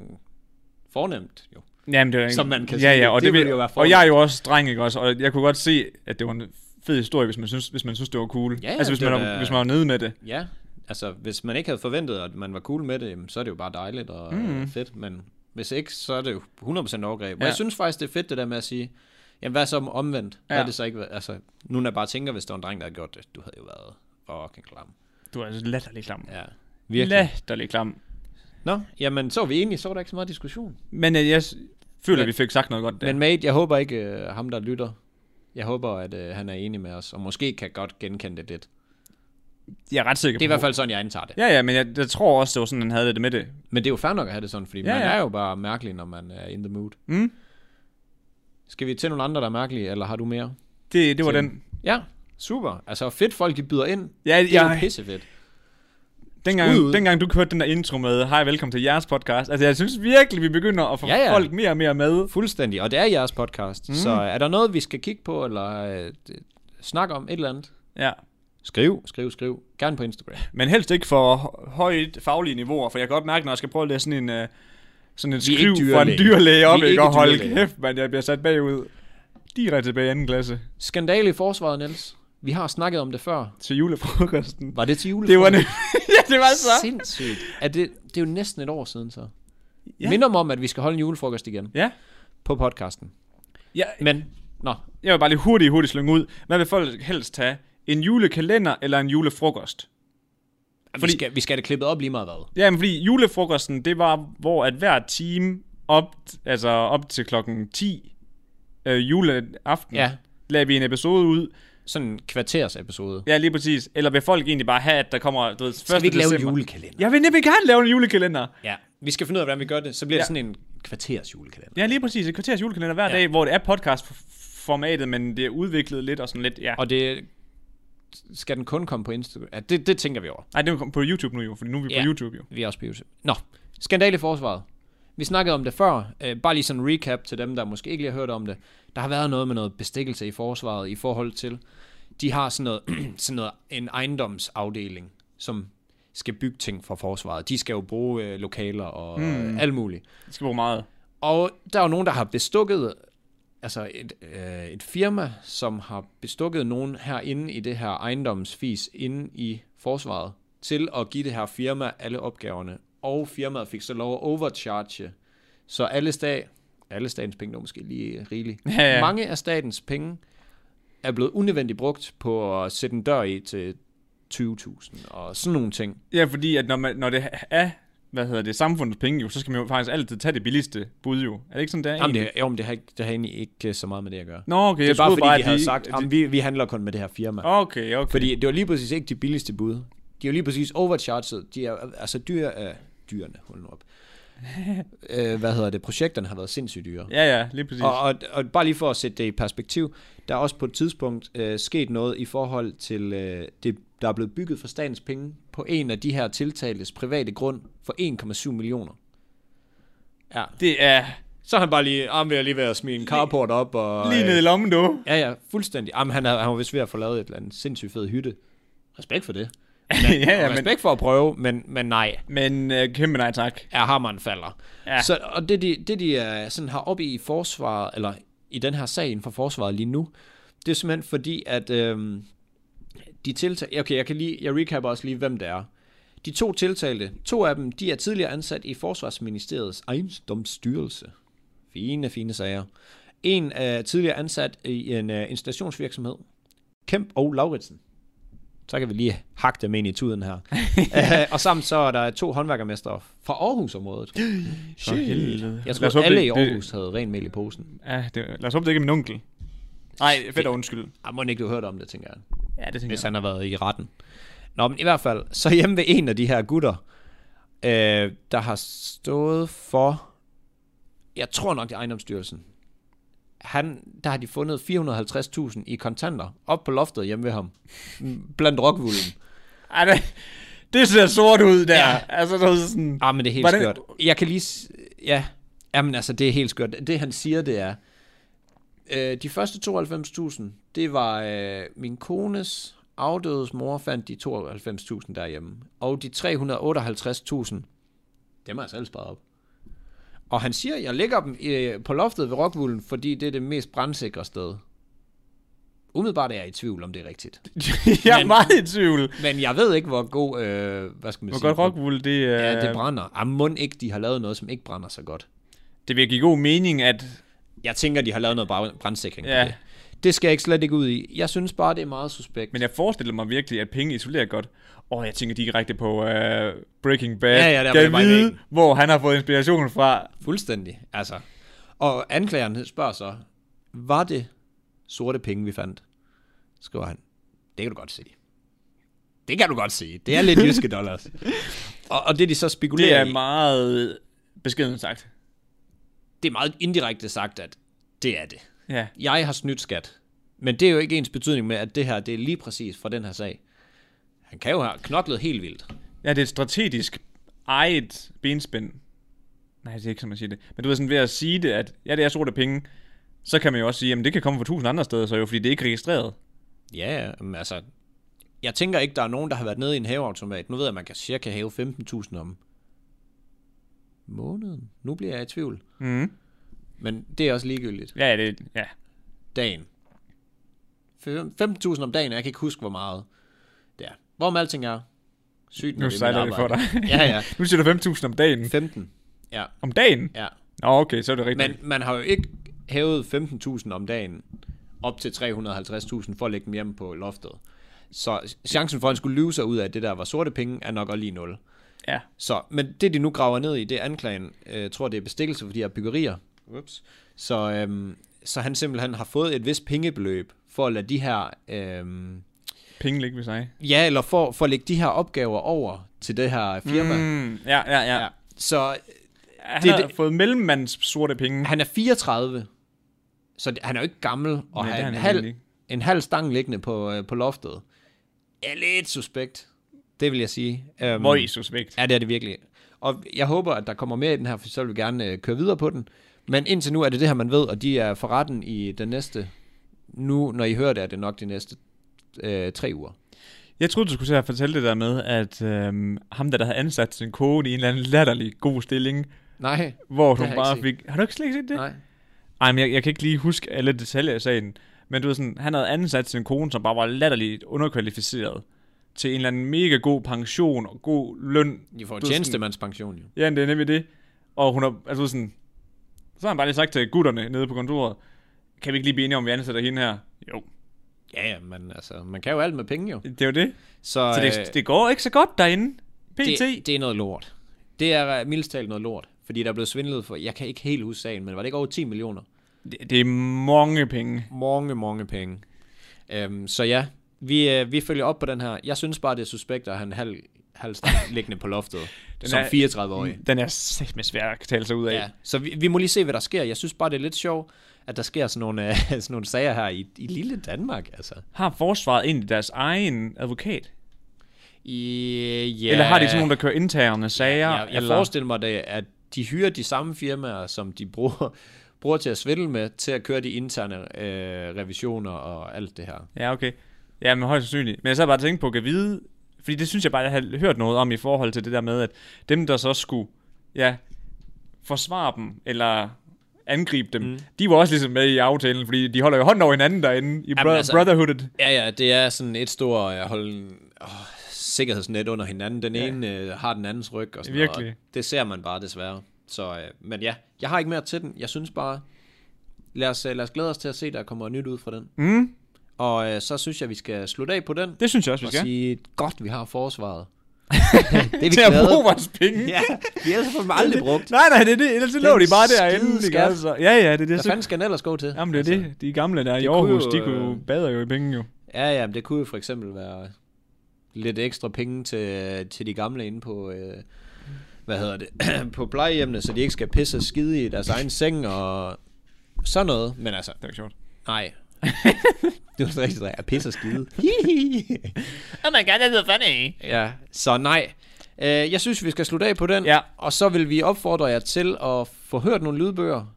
[SPEAKER 2] fornemt, jo.
[SPEAKER 1] Jamen, det er ikke...
[SPEAKER 2] Som man kan
[SPEAKER 1] ja,
[SPEAKER 2] sige,
[SPEAKER 1] ja, og
[SPEAKER 2] det
[SPEAKER 1] det,
[SPEAKER 2] ville
[SPEAKER 1] vil-
[SPEAKER 2] jo være
[SPEAKER 1] Og
[SPEAKER 2] fordel.
[SPEAKER 1] jeg er jo også dreng, ikke også? Og jeg kunne godt se, at det var en fed historie, hvis man synes, hvis man synes det var cool.
[SPEAKER 2] Ja,
[SPEAKER 1] altså, hvis
[SPEAKER 2] det
[SPEAKER 1] man,
[SPEAKER 2] var-
[SPEAKER 1] var, hvis man var nede med det.
[SPEAKER 2] Ja, altså, hvis man ikke havde forventet, at man var cool med det, jamen, så er det jo bare dejligt og mm. fedt, men hvis ikke, så er det jo 100% overgreb. Ja.
[SPEAKER 1] Ja.
[SPEAKER 2] Og jeg synes faktisk, det er fedt det der med at sige, jamen, hvad så om omvendt? Ja. Hvad
[SPEAKER 1] Ja.
[SPEAKER 2] er det så ikke? været? Altså, nu når jeg bare tænker, hvis der var en dreng, der havde gjort det, du havde jo været fucking klam.
[SPEAKER 1] Du er altså latterlig klam.
[SPEAKER 2] Ja, virkelig. La-
[SPEAKER 1] Latterlig klam.
[SPEAKER 2] Nå, jamen, så var vi enige, så var der ikke så meget diskussion.
[SPEAKER 1] Men øh, jeg s- føler,
[SPEAKER 2] Men-
[SPEAKER 1] at vi fik sagt noget godt
[SPEAKER 2] Ja.
[SPEAKER 1] der.
[SPEAKER 2] Men mate, jeg håber ikke, uh, ham der lytter, jeg håber, at uh, han er enig med os, og måske kan godt genkende det lidt.
[SPEAKER 1] jeg er ret sikker
[SPEAKER 2] Det er i
[SPEAKER 1] på.
[SPEAKER 2] hvert fald sådan, jeg antager det.
[SPEAKER 1] Ja, ja, men jeg, jeg tror også, det var sådan, han havde det med det.
[SPEAKER 2] Men det er jo fair nok at have det sådan, fordi ja,
[SPEAKER 1] Ja,
[SPEAKER 2] man
[SPEAKER 1] ja.
[SPEAKER 2] er jo bare mærkelig, når man er in the mood.
[SPEAKER 1] Mm.
[SPEAKER 2] Skal vi til nogle andre, der er mærkelige, eller har du mere?
[SPEAKER 1] Det, det var
[SPEAKER 2] Til-
[SPEAKER 1] den.
[SPEAKER 2] Ja, super. Altså fedt folk, de byder ind.
[SPEAKER 1] Ja,
[SPEAKER 2] Det er jo
[SPEAKER 1] jeg,
[SPEAKER 2] pissefedt.
[SPEAKER 1] dengang,
[SPEAKER 2] Skud ud.
[SPEAKER 1] dengang du kørte den der intro med, hej, velkommen til jeres podcast. Altså, jeg synes virkelig, vi begynder at få
[SPEAKER 2] Ja, ja.
[SPEAKER 1] folk mere og mere med.
[SPEAKER 2] Fuldstændig. Og det er jeres podcast. Mm. Så er der noget, vi skal kigge på, eller øh, d- snakke om et eller andet?
[SPEAKER 1] Ja.
[SPEAKER 2] Skriv, skriv, skriv. Gerne på Instagram.
[SPEAKER 1] Men helst ikke for hø- højt faglige niveauer, for jeg kan godt mærke, når jeg skal prøve at læse sådan en... Øh, sådan et
[SPEAKER 2] Vi er ikke
[SPEAKER 1] skriv fra en
[SPEAKER 2] dyrlæge.
[SPEAKER 1] dyrlæge op,
[SPEAKER 2] Vi er
[SPEAKER 1] ikke?
[SPEAKER 2] ikke
[SPEAKER 1] Og hold
[SPEAKER 2] dyrlæge.
[SPEAKER 1] kæft, man, jeg bliver sat bagud. Direkte tilbage i anden klasse
[SPEAKER 2] Skandale i forsvaret, Niels. Vi har snakket om det før.
[SPEAKER 1] til julefrokosten.
[SPEAKER 2] Var det til julefrokost?
[SPEAKER 1] Det
[SPEAKER 2] <laughs>
[SPEAKER 1] var nem- <laughs> ja, det var så.
[SPEAKER 2] Sindssygt. Er det, det er jo næsten et år siden så. Ja.
[SPEAKER 1] Ja.
[SPEAKER 2] Minder mig om, at vi skal holde en julefrokost igen
[SPEAKER 1] Ja.
[SPEAKER 2] på podcasten.
[SPEAKER 1] ja.
[SPEAKER 2] Men, nå,
[SPEAKER 1] Jeg vil bare lige hurtigt, hurtigt slynge ud. Hvad vil folk helst tage? En julekalender eller en julefrokost?
[SPEAKER 2] Fordi... vi,
[SPEAKER 1] Fordi-
[SPEAKER 2] skal, vi skal have det klippet op lige meget hvad.
[SPEAKER 1] Ja, men fordi julefrokosten, det var, hvor at hver time op, altså op til klokken 10 øh, juleaften,
[SPEAKER 2] Ja.
[SPEAKER 1] lagde vi en episode ud.
[SPEAKER 2] Sådan en kvarters episode.
[SPEAKER 1] Ja, lige præcis. Eller vil folk egentlig bare have, at der kommer, du ved, 1.
[SPEAKER 2] Skal vi ikke lave en
[SPEAKER 1] december?
[SPEAKER 2] julekalender?
[SPEAKER 1] Jeg vil nemlig gerne lave en julekalender.
[SPEAKER 2] Ja. Vi skal finde ud af, hvordan vi gør det. Så bliver ja. det
[SPEAKER 1] Ja.
[SPEAKER 2] sådan en kvarters julekalender.
[SPEAKER 1] Ja, lige præcis. Et kvarters julekalender hver
[SPEAKER 2] Ja.
[SPEAKER 1] ja. dag, hvor det er podcastformatet, men det er udviklet lidt og sådan lidt, ja.
[SPEAKER 2] Og det skal den kun komme på Instagram. Ja, det, det tænker vi over.
[SPEAKER 1] Nej, det er jo på YouTube nu jo, for nu er vi på
[SPEAKER 2] Ja.
[SPEAKER 1] YouTube jo.
[SPEAKER 2] Vi er også på YouTube. Nå, skandale i forsvaret. Vi snakkede om det før. Øh, bare lige sådan en recap til dem, der måske ikke lige har hørt om det. Der har været noget med noget bestikkelse i forsvaret i forhold til, de har sådan noget, <clears throat> sådan noget en ejendomsafdeling, som skal bygge ting for forsvaret. De skal jo bruge øh, lokaler og mm. alt muligt.
[SPEAKER 1] Det skal bruge meget.
[SPEAKER 2] Og der er jo nogen, der har bestukket, altså et, øh, et firma, som har bestukket nogen herinde i det her ejendomsfis inde i forsvaret, til at give det her firma alle opgaverne. Og firmaet fik så lov at overcharge. Så alle, stat, alle statens penge, det var måske lige rigeligt.
[SPEAKER 1] Ja, ja.
[SPEAKER 2] Mange af statens penge er blevet unødvendigt brugt på at sætte en dør i til 20.000 og sådan nogle ting.
[SPEAKER 1] Ja, fordi at når, man, når det er, hvad hedder det, samfundets penge jo, så skal man jo faktisk altid tage det billigste bud jo. Er det ikke sådan, der?
[SPEAKER 2] Jamen, det, jo, men det har, ikke, det har egentlig ikke så meget med det at gøre.
[SPEAKER 1] Nå, okay,
[SPEAKER 2] Det er
[SPEAKER 1] jeg
[SPEAKER 2] bare
[SPEAKER 1] troede
[SPEAKER 2] fordi,
[SPEAKER 1] bare,
[SPEAKER 2] de
[SPEAKER 1] at
[SPEAKER 2] havde
[SPEAKER 1] de...
[SPEAKER 2] sagt, at vi, vi handler kun med det her firma.
[SPEAKER 1] Okay, okay.
[SPEAKER 2] Fordi det var lige præcis ikke de billigste bud. De er jo lige præcis overcharged. De er, altså dyr, øh, dyrene, hold nu op. <laughs> øh, hvad hedder det? Projekterne har været sindssygt dyre.
[SPEAKER 1] Ja, ja, lige præcis.
[SPEAKER 2] Og, og, og bare lige for at sætte det i perspektiv, der er også på et tidspunkt øh, sket noget i forhold til øh, det, der er blevet bygget for statens penge på en af de her tiltaltes private grund for 1,7 millioner. Ja.
[SPEAKER 1] Det er
[SPEAKER 2] Så er han bare lige, ah, vil jeg lige ved at smide en carport op. Og,
[SPEAKER 1] lige nede i lommen, du. <laughs>
[SPEAKER 2] Ja, ja, fuldstændig. Jamen, han, havde, han var vist ved at få lavet et eller andet sindssygt fed hytte. Respekt for det.
[SPEAKER 1] ja,
[SPEAKER 2] Ja,
[SPEAKER 1] ja, men,
[SPEAKER 2] respekt for at prøve, men, men nej,
[SPEAKER 1] men øh, kæmpe nej tak.
[SPEAKER 2] er hammeren falder. Ja.
[SPEAKER 1] Ja.
[SPEAKER 2] Så, og det, de, det, de øh, sådan har oppe i forsvaret, eller i den her sag inden for forsvaret lige nu, det er simpelthen fordi, at øhm, de tiltalte... Okay, jeg kan lige... Jeg recapper også lige, hvem det er. De to tiltalte, to af dem, de er tidligere ansat i Forsvarsministeriets ejendomsstyrelse. Fine, fine sager. En er tidligere ansat i en øh, installationsvirksomhed. Kemp og Lauritsen. Så kan vi lige hakke dem ind i tuden her. Øh, og sammen så er der to håndværkermestre fra Aarhusområdet.
[SPEAKER 1] helvede.
[SPEAKER 2] Jeg
[SPEAKER 1] Lad os
[SPEAKER 2] tror,
[SPEAKER 1] håbe,
[SPEAKER 2] alle
[SPEAKER 1] det-
[SPEAKER 2] i
[SPEAKER 1] det-
[SPEAKER 2] Aarhus havde ren mel i posen.
[SPEAKER 1] Ja, det, lad os håbe, det ikke er min onkel. Nej, fedt og undskyld.
[SPEAKER 2] Ah, må ikke du har hørt om det, tænker jeg.
[SPEAKER 1] Ja, det tænker
[SPEAKER 2] hvis han har været i retten. Nå, men i hvert fald, så hjemme ved en af de her gutter, øh, der har stået for, jeg tror nok det er ejendomsstyrelsen, han, der har de fundet 450.000 i kontanter op på loftet hjemme ved ham, m- blandt rockvulden.
[SPEAKER 1] Ej, det, det ser sort ud der. Ja. Altså, så er det sådan...
[SPEAKER 2] Ah, men det er helt
[SPEAKER 1] Hvordan-
[SPEAKER 2] Hvordan? skørt. Jeg kan lige... s- Ja, jamen altså, det er helt skørt. Det han siger, det er, øh, de første 92.000, det var øh, min kones afdødes mor fandt de 92.000 derhjemme. Og de 358.000, dem har jeg selv sparet op. Og han siger, jeg lægger dem øh, på loftet ved Rockvulden, fordi det er det mest brandsikre sted. Umiddelbart er jeg i tvivl, om det er rigtigt.
[SPEAKER 1] <laughs> jeg er
[SPEAKER 2] Men-
[SPEAKER 1] meget i tvivl.
[SPEAKER 2] Men jeg ved ikke, hvor god, øh, hvad skal man
[SPEAKER 1] Hvor
[SPEAKER 2] sige,
[SPEAKER 1] godt Rockwool, det,
[SPEAKER 2] Ja, det
[SPEAKER 1] øh,
[SPEAKER 2] brænder. Ah, mund ikke, de har lavet noget, som ikke brænder så godt.
[SPEAKER 1] det vil give god mening, at...
[SPEAKER 2] Jeg tænker, de har lavet noget bra- brandsikring
[SPEAKER 1] Ja.
[SPEAKER 2] på det. Det skal jeg ikke slet ikke ud i. Jeg synes bare, det er meget suspekt.
[SPEAKER 1] Men jeg forestiller mig virkelig, at penge isolerer godt. Og jeg tænker direkte på uh, Breaking Bad.
[SPEAKER 2] Ja, ja, der var
[SPEAKER 1] Kan
[SPEAKER 2] det bare i
[SPEAKER 1] vide,
[SPEAKER 2] væggen.
[SPEAKER 1] hvor han har fået inspiration fra.
[SPEAKER 2] Fuldstændig, altså. Og anklageren spørger så, var det sorte penge, vi fandt? Skriver han. Det kan du godt se. Det kan du godt se. Det er lidt jyske
[SPEAKER 1] <laughs>
[SPEAKER 2] dollars. og, og det, de så spekulerer
[SPEAKER 1] Det er
[SPEAKER 2] i,
[SPEAKER 1] meget beskeden sagt.
[SPEAKER 2] det er meget indirekte sagt, at det er det.
[SPEAKER 1] Ja.
[SPEAKER 2] jeg har snydt skat. Men det er jo ikke ens betydning med, at det her, det er lige præcis fra den her sag. Han kan jo have knoklet helt vildt.
[SPEAKER 1] ja, det er et strategisk eget benspænd. Nej, det er ikke, som man siger det. Men du ved sådan, ved at sige det, at ja, det er sorte penge, så kan man jo også sige, at det kan komme fra tusind andre steder, så jo, fordi det er ikke registreret.
[SPEAKER 2] Ja, men altså, jeg tænker ikke, der er nogen, der har været nede i en hæveautomat. Nu ved jeg, at man kan cirka hæve 15.000 om måneden. Nu bliver jeg i tvivl.
[SPEAKER 1] Mm.
[SPEAKER 2] Men det er også ligegyldigt.
[SPEAKER 1] Ja, ja, det, ja.
[SPEAKER 2] Dagen. Fem- 15.000 om dagen, og jeg kan ikke huske, hvor meget det er. Hvorom alting er. Sygt, når
[SPEAKER 1] Nu
[SPEAKER 2] det er mit
[SPEAKER 1] sejler det for
[SPEAKER 2] arbejde.
[SPEAKER 1] dig. <laughs>
[SPEAKER 2] Ja, ja.
[SPEAKER 1] nu siger du 5.000 om dagen.
[SPEAKER 2] 15. Ja,
[SPEAKER 1] Om dagen?
[SPEAKER 2] ja.
[SPEAKER 1] Nå, okay, så er det rigtigt.
[SPEAKER 2] Men man har jo ikke hævet 15.000 om dagen op til 350.000 for at lægge dem hjem på loftet. Så chancen for, at han skulle lyve sig ud af, at det der var sorte penge, er nok også lige nul.
[SPEAKER 1] Ja.
[SPEAKER 2] Så, men det, de nu graver ned i, det er anklagen. Jeg tror, det er bestikkelse for de her byggerier. Ups. Så, øhm, så han simpelthen har fået et vist pengebeløb for at lade de her... Øhm,
[SPEAKER 1] Penge ligger ved sig.
[SPEAKER 2] ja, eller for, for at lægge de her opgaver over til det her firma.
[SPEAKER 1] Mm, ja, ja, ja. ja.
[SPEAKER 2] Så
[SPEAKER 1] Han
[SPEAKER 2] Det-
[SPEAKER 1] det, har
[SPEAKER 2] det-
[SPEAKER 1] fået mellemmands sorte penge.
[SPEAKER 2] han er 34, så det- han er jo ikke gammel, og
[SPEAKER 1] Nej,
[SPEAKER 2] Nej,
[SPEAKER 1] det er
[SPEAKER 2] han
[SPEAKER 1] han
[SPEAKER 2] en,
[SPEAKER 1] egentlig
[SPEAKER 2] halv,
[SPEAKER 1] ikke.
[SPEAKER 2] en halv stang liggende på, øh, på loftet. Er lidt suspekt, det vil jeg sige. Um,
[SPEAKER 1] Hvor I suspekt.
[SPEAKER 2] Ja, det er det virkelig. Og jeg håber, at der kommer mere i den her, for så vil vi gerne øh, køre videre på den. Men indtil nu er det det her, man ved, og de er for retten i den næste... Nu, når I hører det, er det nok de næste øh, tre uger.
[SPEAKER 1] Jeg troede, du skulle til at fortælle det der med, at øhm, ham der, der havde ansat sin kone i en eller anden latterlig god stilling,
[SPEAKER 2] Nej,
[SPEAKER 1] hvor
[SPEAKER 2] Det har
[SPEAKER 1] hun
[SPEAKER 2] jeg
[SPEAKER 1] bare
[SPEAKER 2] ikke
[SPEAKER 1] fik... Har du ikke slet ikke set det?
[SPEAKER 2] nej.
[SPEAKER 1] Ej, men jeg, jeg kan ikke lige huske alle detaljer i sagen. Men du ved sådan, han havde ansat sin kone, som bare var latterligt underkvalificeret til en eller anden mega god pension og god løn.
[SPEAKER 2] De får
[SPEAKER 1] Du er sådan-
[SPEAKER 2] tjenestemandspension jo.
[SPEAKER 1] Ja, det er nemlig det. Og hun har, altså sådan, så har han bare lige sagt til gutterne nede på kontoret, kan vi ikke lige blive enige om, vi ansætter hende her? Jo,
[SPEAKER 2] Ja, ja, men altså, man kan jo alt med penge jo.
[SPEAKER 1] det er jo det.
[SPEAKER 2] Så,
[SPEAKER 1] Så
[SPEAKER 2] øh,
[SPEAKER 1] det, det går ikke så godt derinde. PT.
[SPEAKER 2] Det, det er noget lort. Det er øh, mildest talt noget lort. Fordi der er blevet svindlet for, jeg kan ikke helt huske sagen, men var det ikke over 10 millioner?
[SPEAKER 1] Det, det er mange penge.
[SPEAKER 2] Mange, mange penge. Øhm, så ja, vi, øh, vi følger op på den her. Jeg synes bare, det er suspekt, at han halv, halv liggende på loftet
[SPEAKER 1] Den
[SPEAKER 2] som
[SPEAKER 1] er- Mm.
[SPEAKER 2] 34-årig.
[SPEAKER 1] Den er sæt med svær at tale sig ud af.
[SPEAKER 2] Ja, så vi, vi må lige se, hvad der sker. Jeg synes bare, det er lidt sjovt, at der sker sådan nogle, <laughs> øh, sådan nogle sager her i, i lille Danmark. Altså.
[SPEAKER 1] Har forsvaret egentlig deres egen advokat?
[SPEAKER 2] I, ja,
[SPEAKER 1] Ja. Eller har de sådan nogen, der kører interne sager?
[SPEAKER 2] Jeg, jeg
[SPEAKER 1] eller?
[SPEAKER 2] forestiller mig, det, at de hyrer de samme firmaer, som de bruger, <laughs> bruger til at svindle med, til at køre de interne øh, revisioner og alt det her.
[SPEAKER 1] Ja, okay. Ja, men højst sandsynligt. Men jeg sad bare og tænkte på, kan vide... Fordi det synes jeg bare, jeg har hørt noget om i forhold til det der med, at dem, der så skulle ja, forsvare dem, eller angribe dem, mm. de var også ligesom med i aftalen, fordi de holder jo hånden over hinanden derinde i bro-
[SPEAKER 2] altså-
[SPEAKER 1] altså, Brotherhoodet.
[SPEAKER 2] Ja, ja, det er sådan et stort øh, hold, åh, sikkerhedsnet under hinanden. Den ja. ene øh, har den andens ryg og sådan
[SPEAKER 1] Virkelig.
[SPEAKER 2] noget. Det ser man bare desværre. Så, øh, men ja, jeg har ikke mere til den. Jeg synes bare, lad os, øh, lad os glæde os til at se, der kommer nyt ud fra den.
[SPEAKER 1] Mm.
[SPEAKER 2] Og øh, så synes jeg, vi skal slutte af på den.
[SPEAKER 1] Det synes jeg også, vi
[SPEAKER 2] og
[SPEAKER 1] skal.
[SPEAKER 2] sige, godt vi har
[SPEAKER 1] <laughs>
[SPEAKER 2] forsvaret. det er vi
[SPEAKER 1] Til at
[SPEAKER 2] glade.
[SPEAKER 1] bruge vores penge.
[SPEAKER 2] Ja, vi ellers får dem aldrig
[SPEAKER 1] <laughs>
[SPEAKER 2] brugt.
[SPEAKER 1] Nej, nej, det er det. Ellers så lå
[SPEAKER 2] Den
[SPEAKER 1] de bare derinde.
[SPEAKER 2] skide
[SPEAKER 1] Ikke?
[SPEAKER 2] skat.
[SPEAKER 1] Altså. Ja, ja, det er det.
[SPEAKER 2] Hvad
[SPEAKER 1] Så,
[SPEAKER 2] fanden skal den ellers gå til?
[SPEAKER 1] jamen, det er det. De gamle der i
[SPEAKER 2] de kunne
[SPEAKER 1] Aarhus,
[SPEAKER 2] jo,
[SPEAKER 1] de kunne jo,
[SPEAKER 2] øh,
[SPEAKER 1] bader jo i penge jo.
[SPEAKER 2] Ja, ja, men det kunne jo for eksempel være lidt ekstra penge til, til de gamle inde på, øh, hvad hedder det, <clears throat> på plejehjemmene, så de ikke skal pisse og skide i deres egen seng og sådan noget. Men altså,
[SPEAKER 1] Det er jo ikke sjovt.
[SPEAKER 2] nej. det var så rigtigt, at pisse og skide. Hihi.
[SPEAKER 3] Oh my god, that's so funny.
[SPEAKER 2] ja, så nej. Øh, jeg synes, vi skal slutte af på den.
[SPEAKER 1] Ja.
[SPEAKER 2] Og så vil vi opfordre jer til at få hørt nogle lydbøger.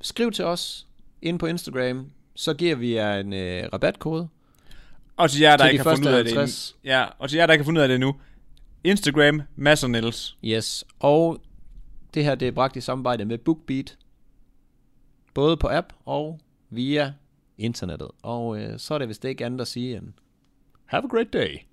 [SPEAKER 2] Skriv til os inde på Instagram, så giver vi jer en øh, rabatkode.
[SPEAKER 1] Og til jer, der
[SPEAKER 2] Til de
[SPEAKER 1] ikke har fundet ud
[SPEAKER 2] første
[SPEAKER 1] af det
[SPEAKER 2] 50.
[SPEAKER 1] endnu. Ja, og til jer, der ikke har fundet ud af det endnu. Instagram, Mads og Niels.
[SPEAKER 2] Yes, og det her det er bragt i samarbejde med BookBeat, både på app og via internettet. Og øh, så er det vist ikke andet at sige end, have a great day.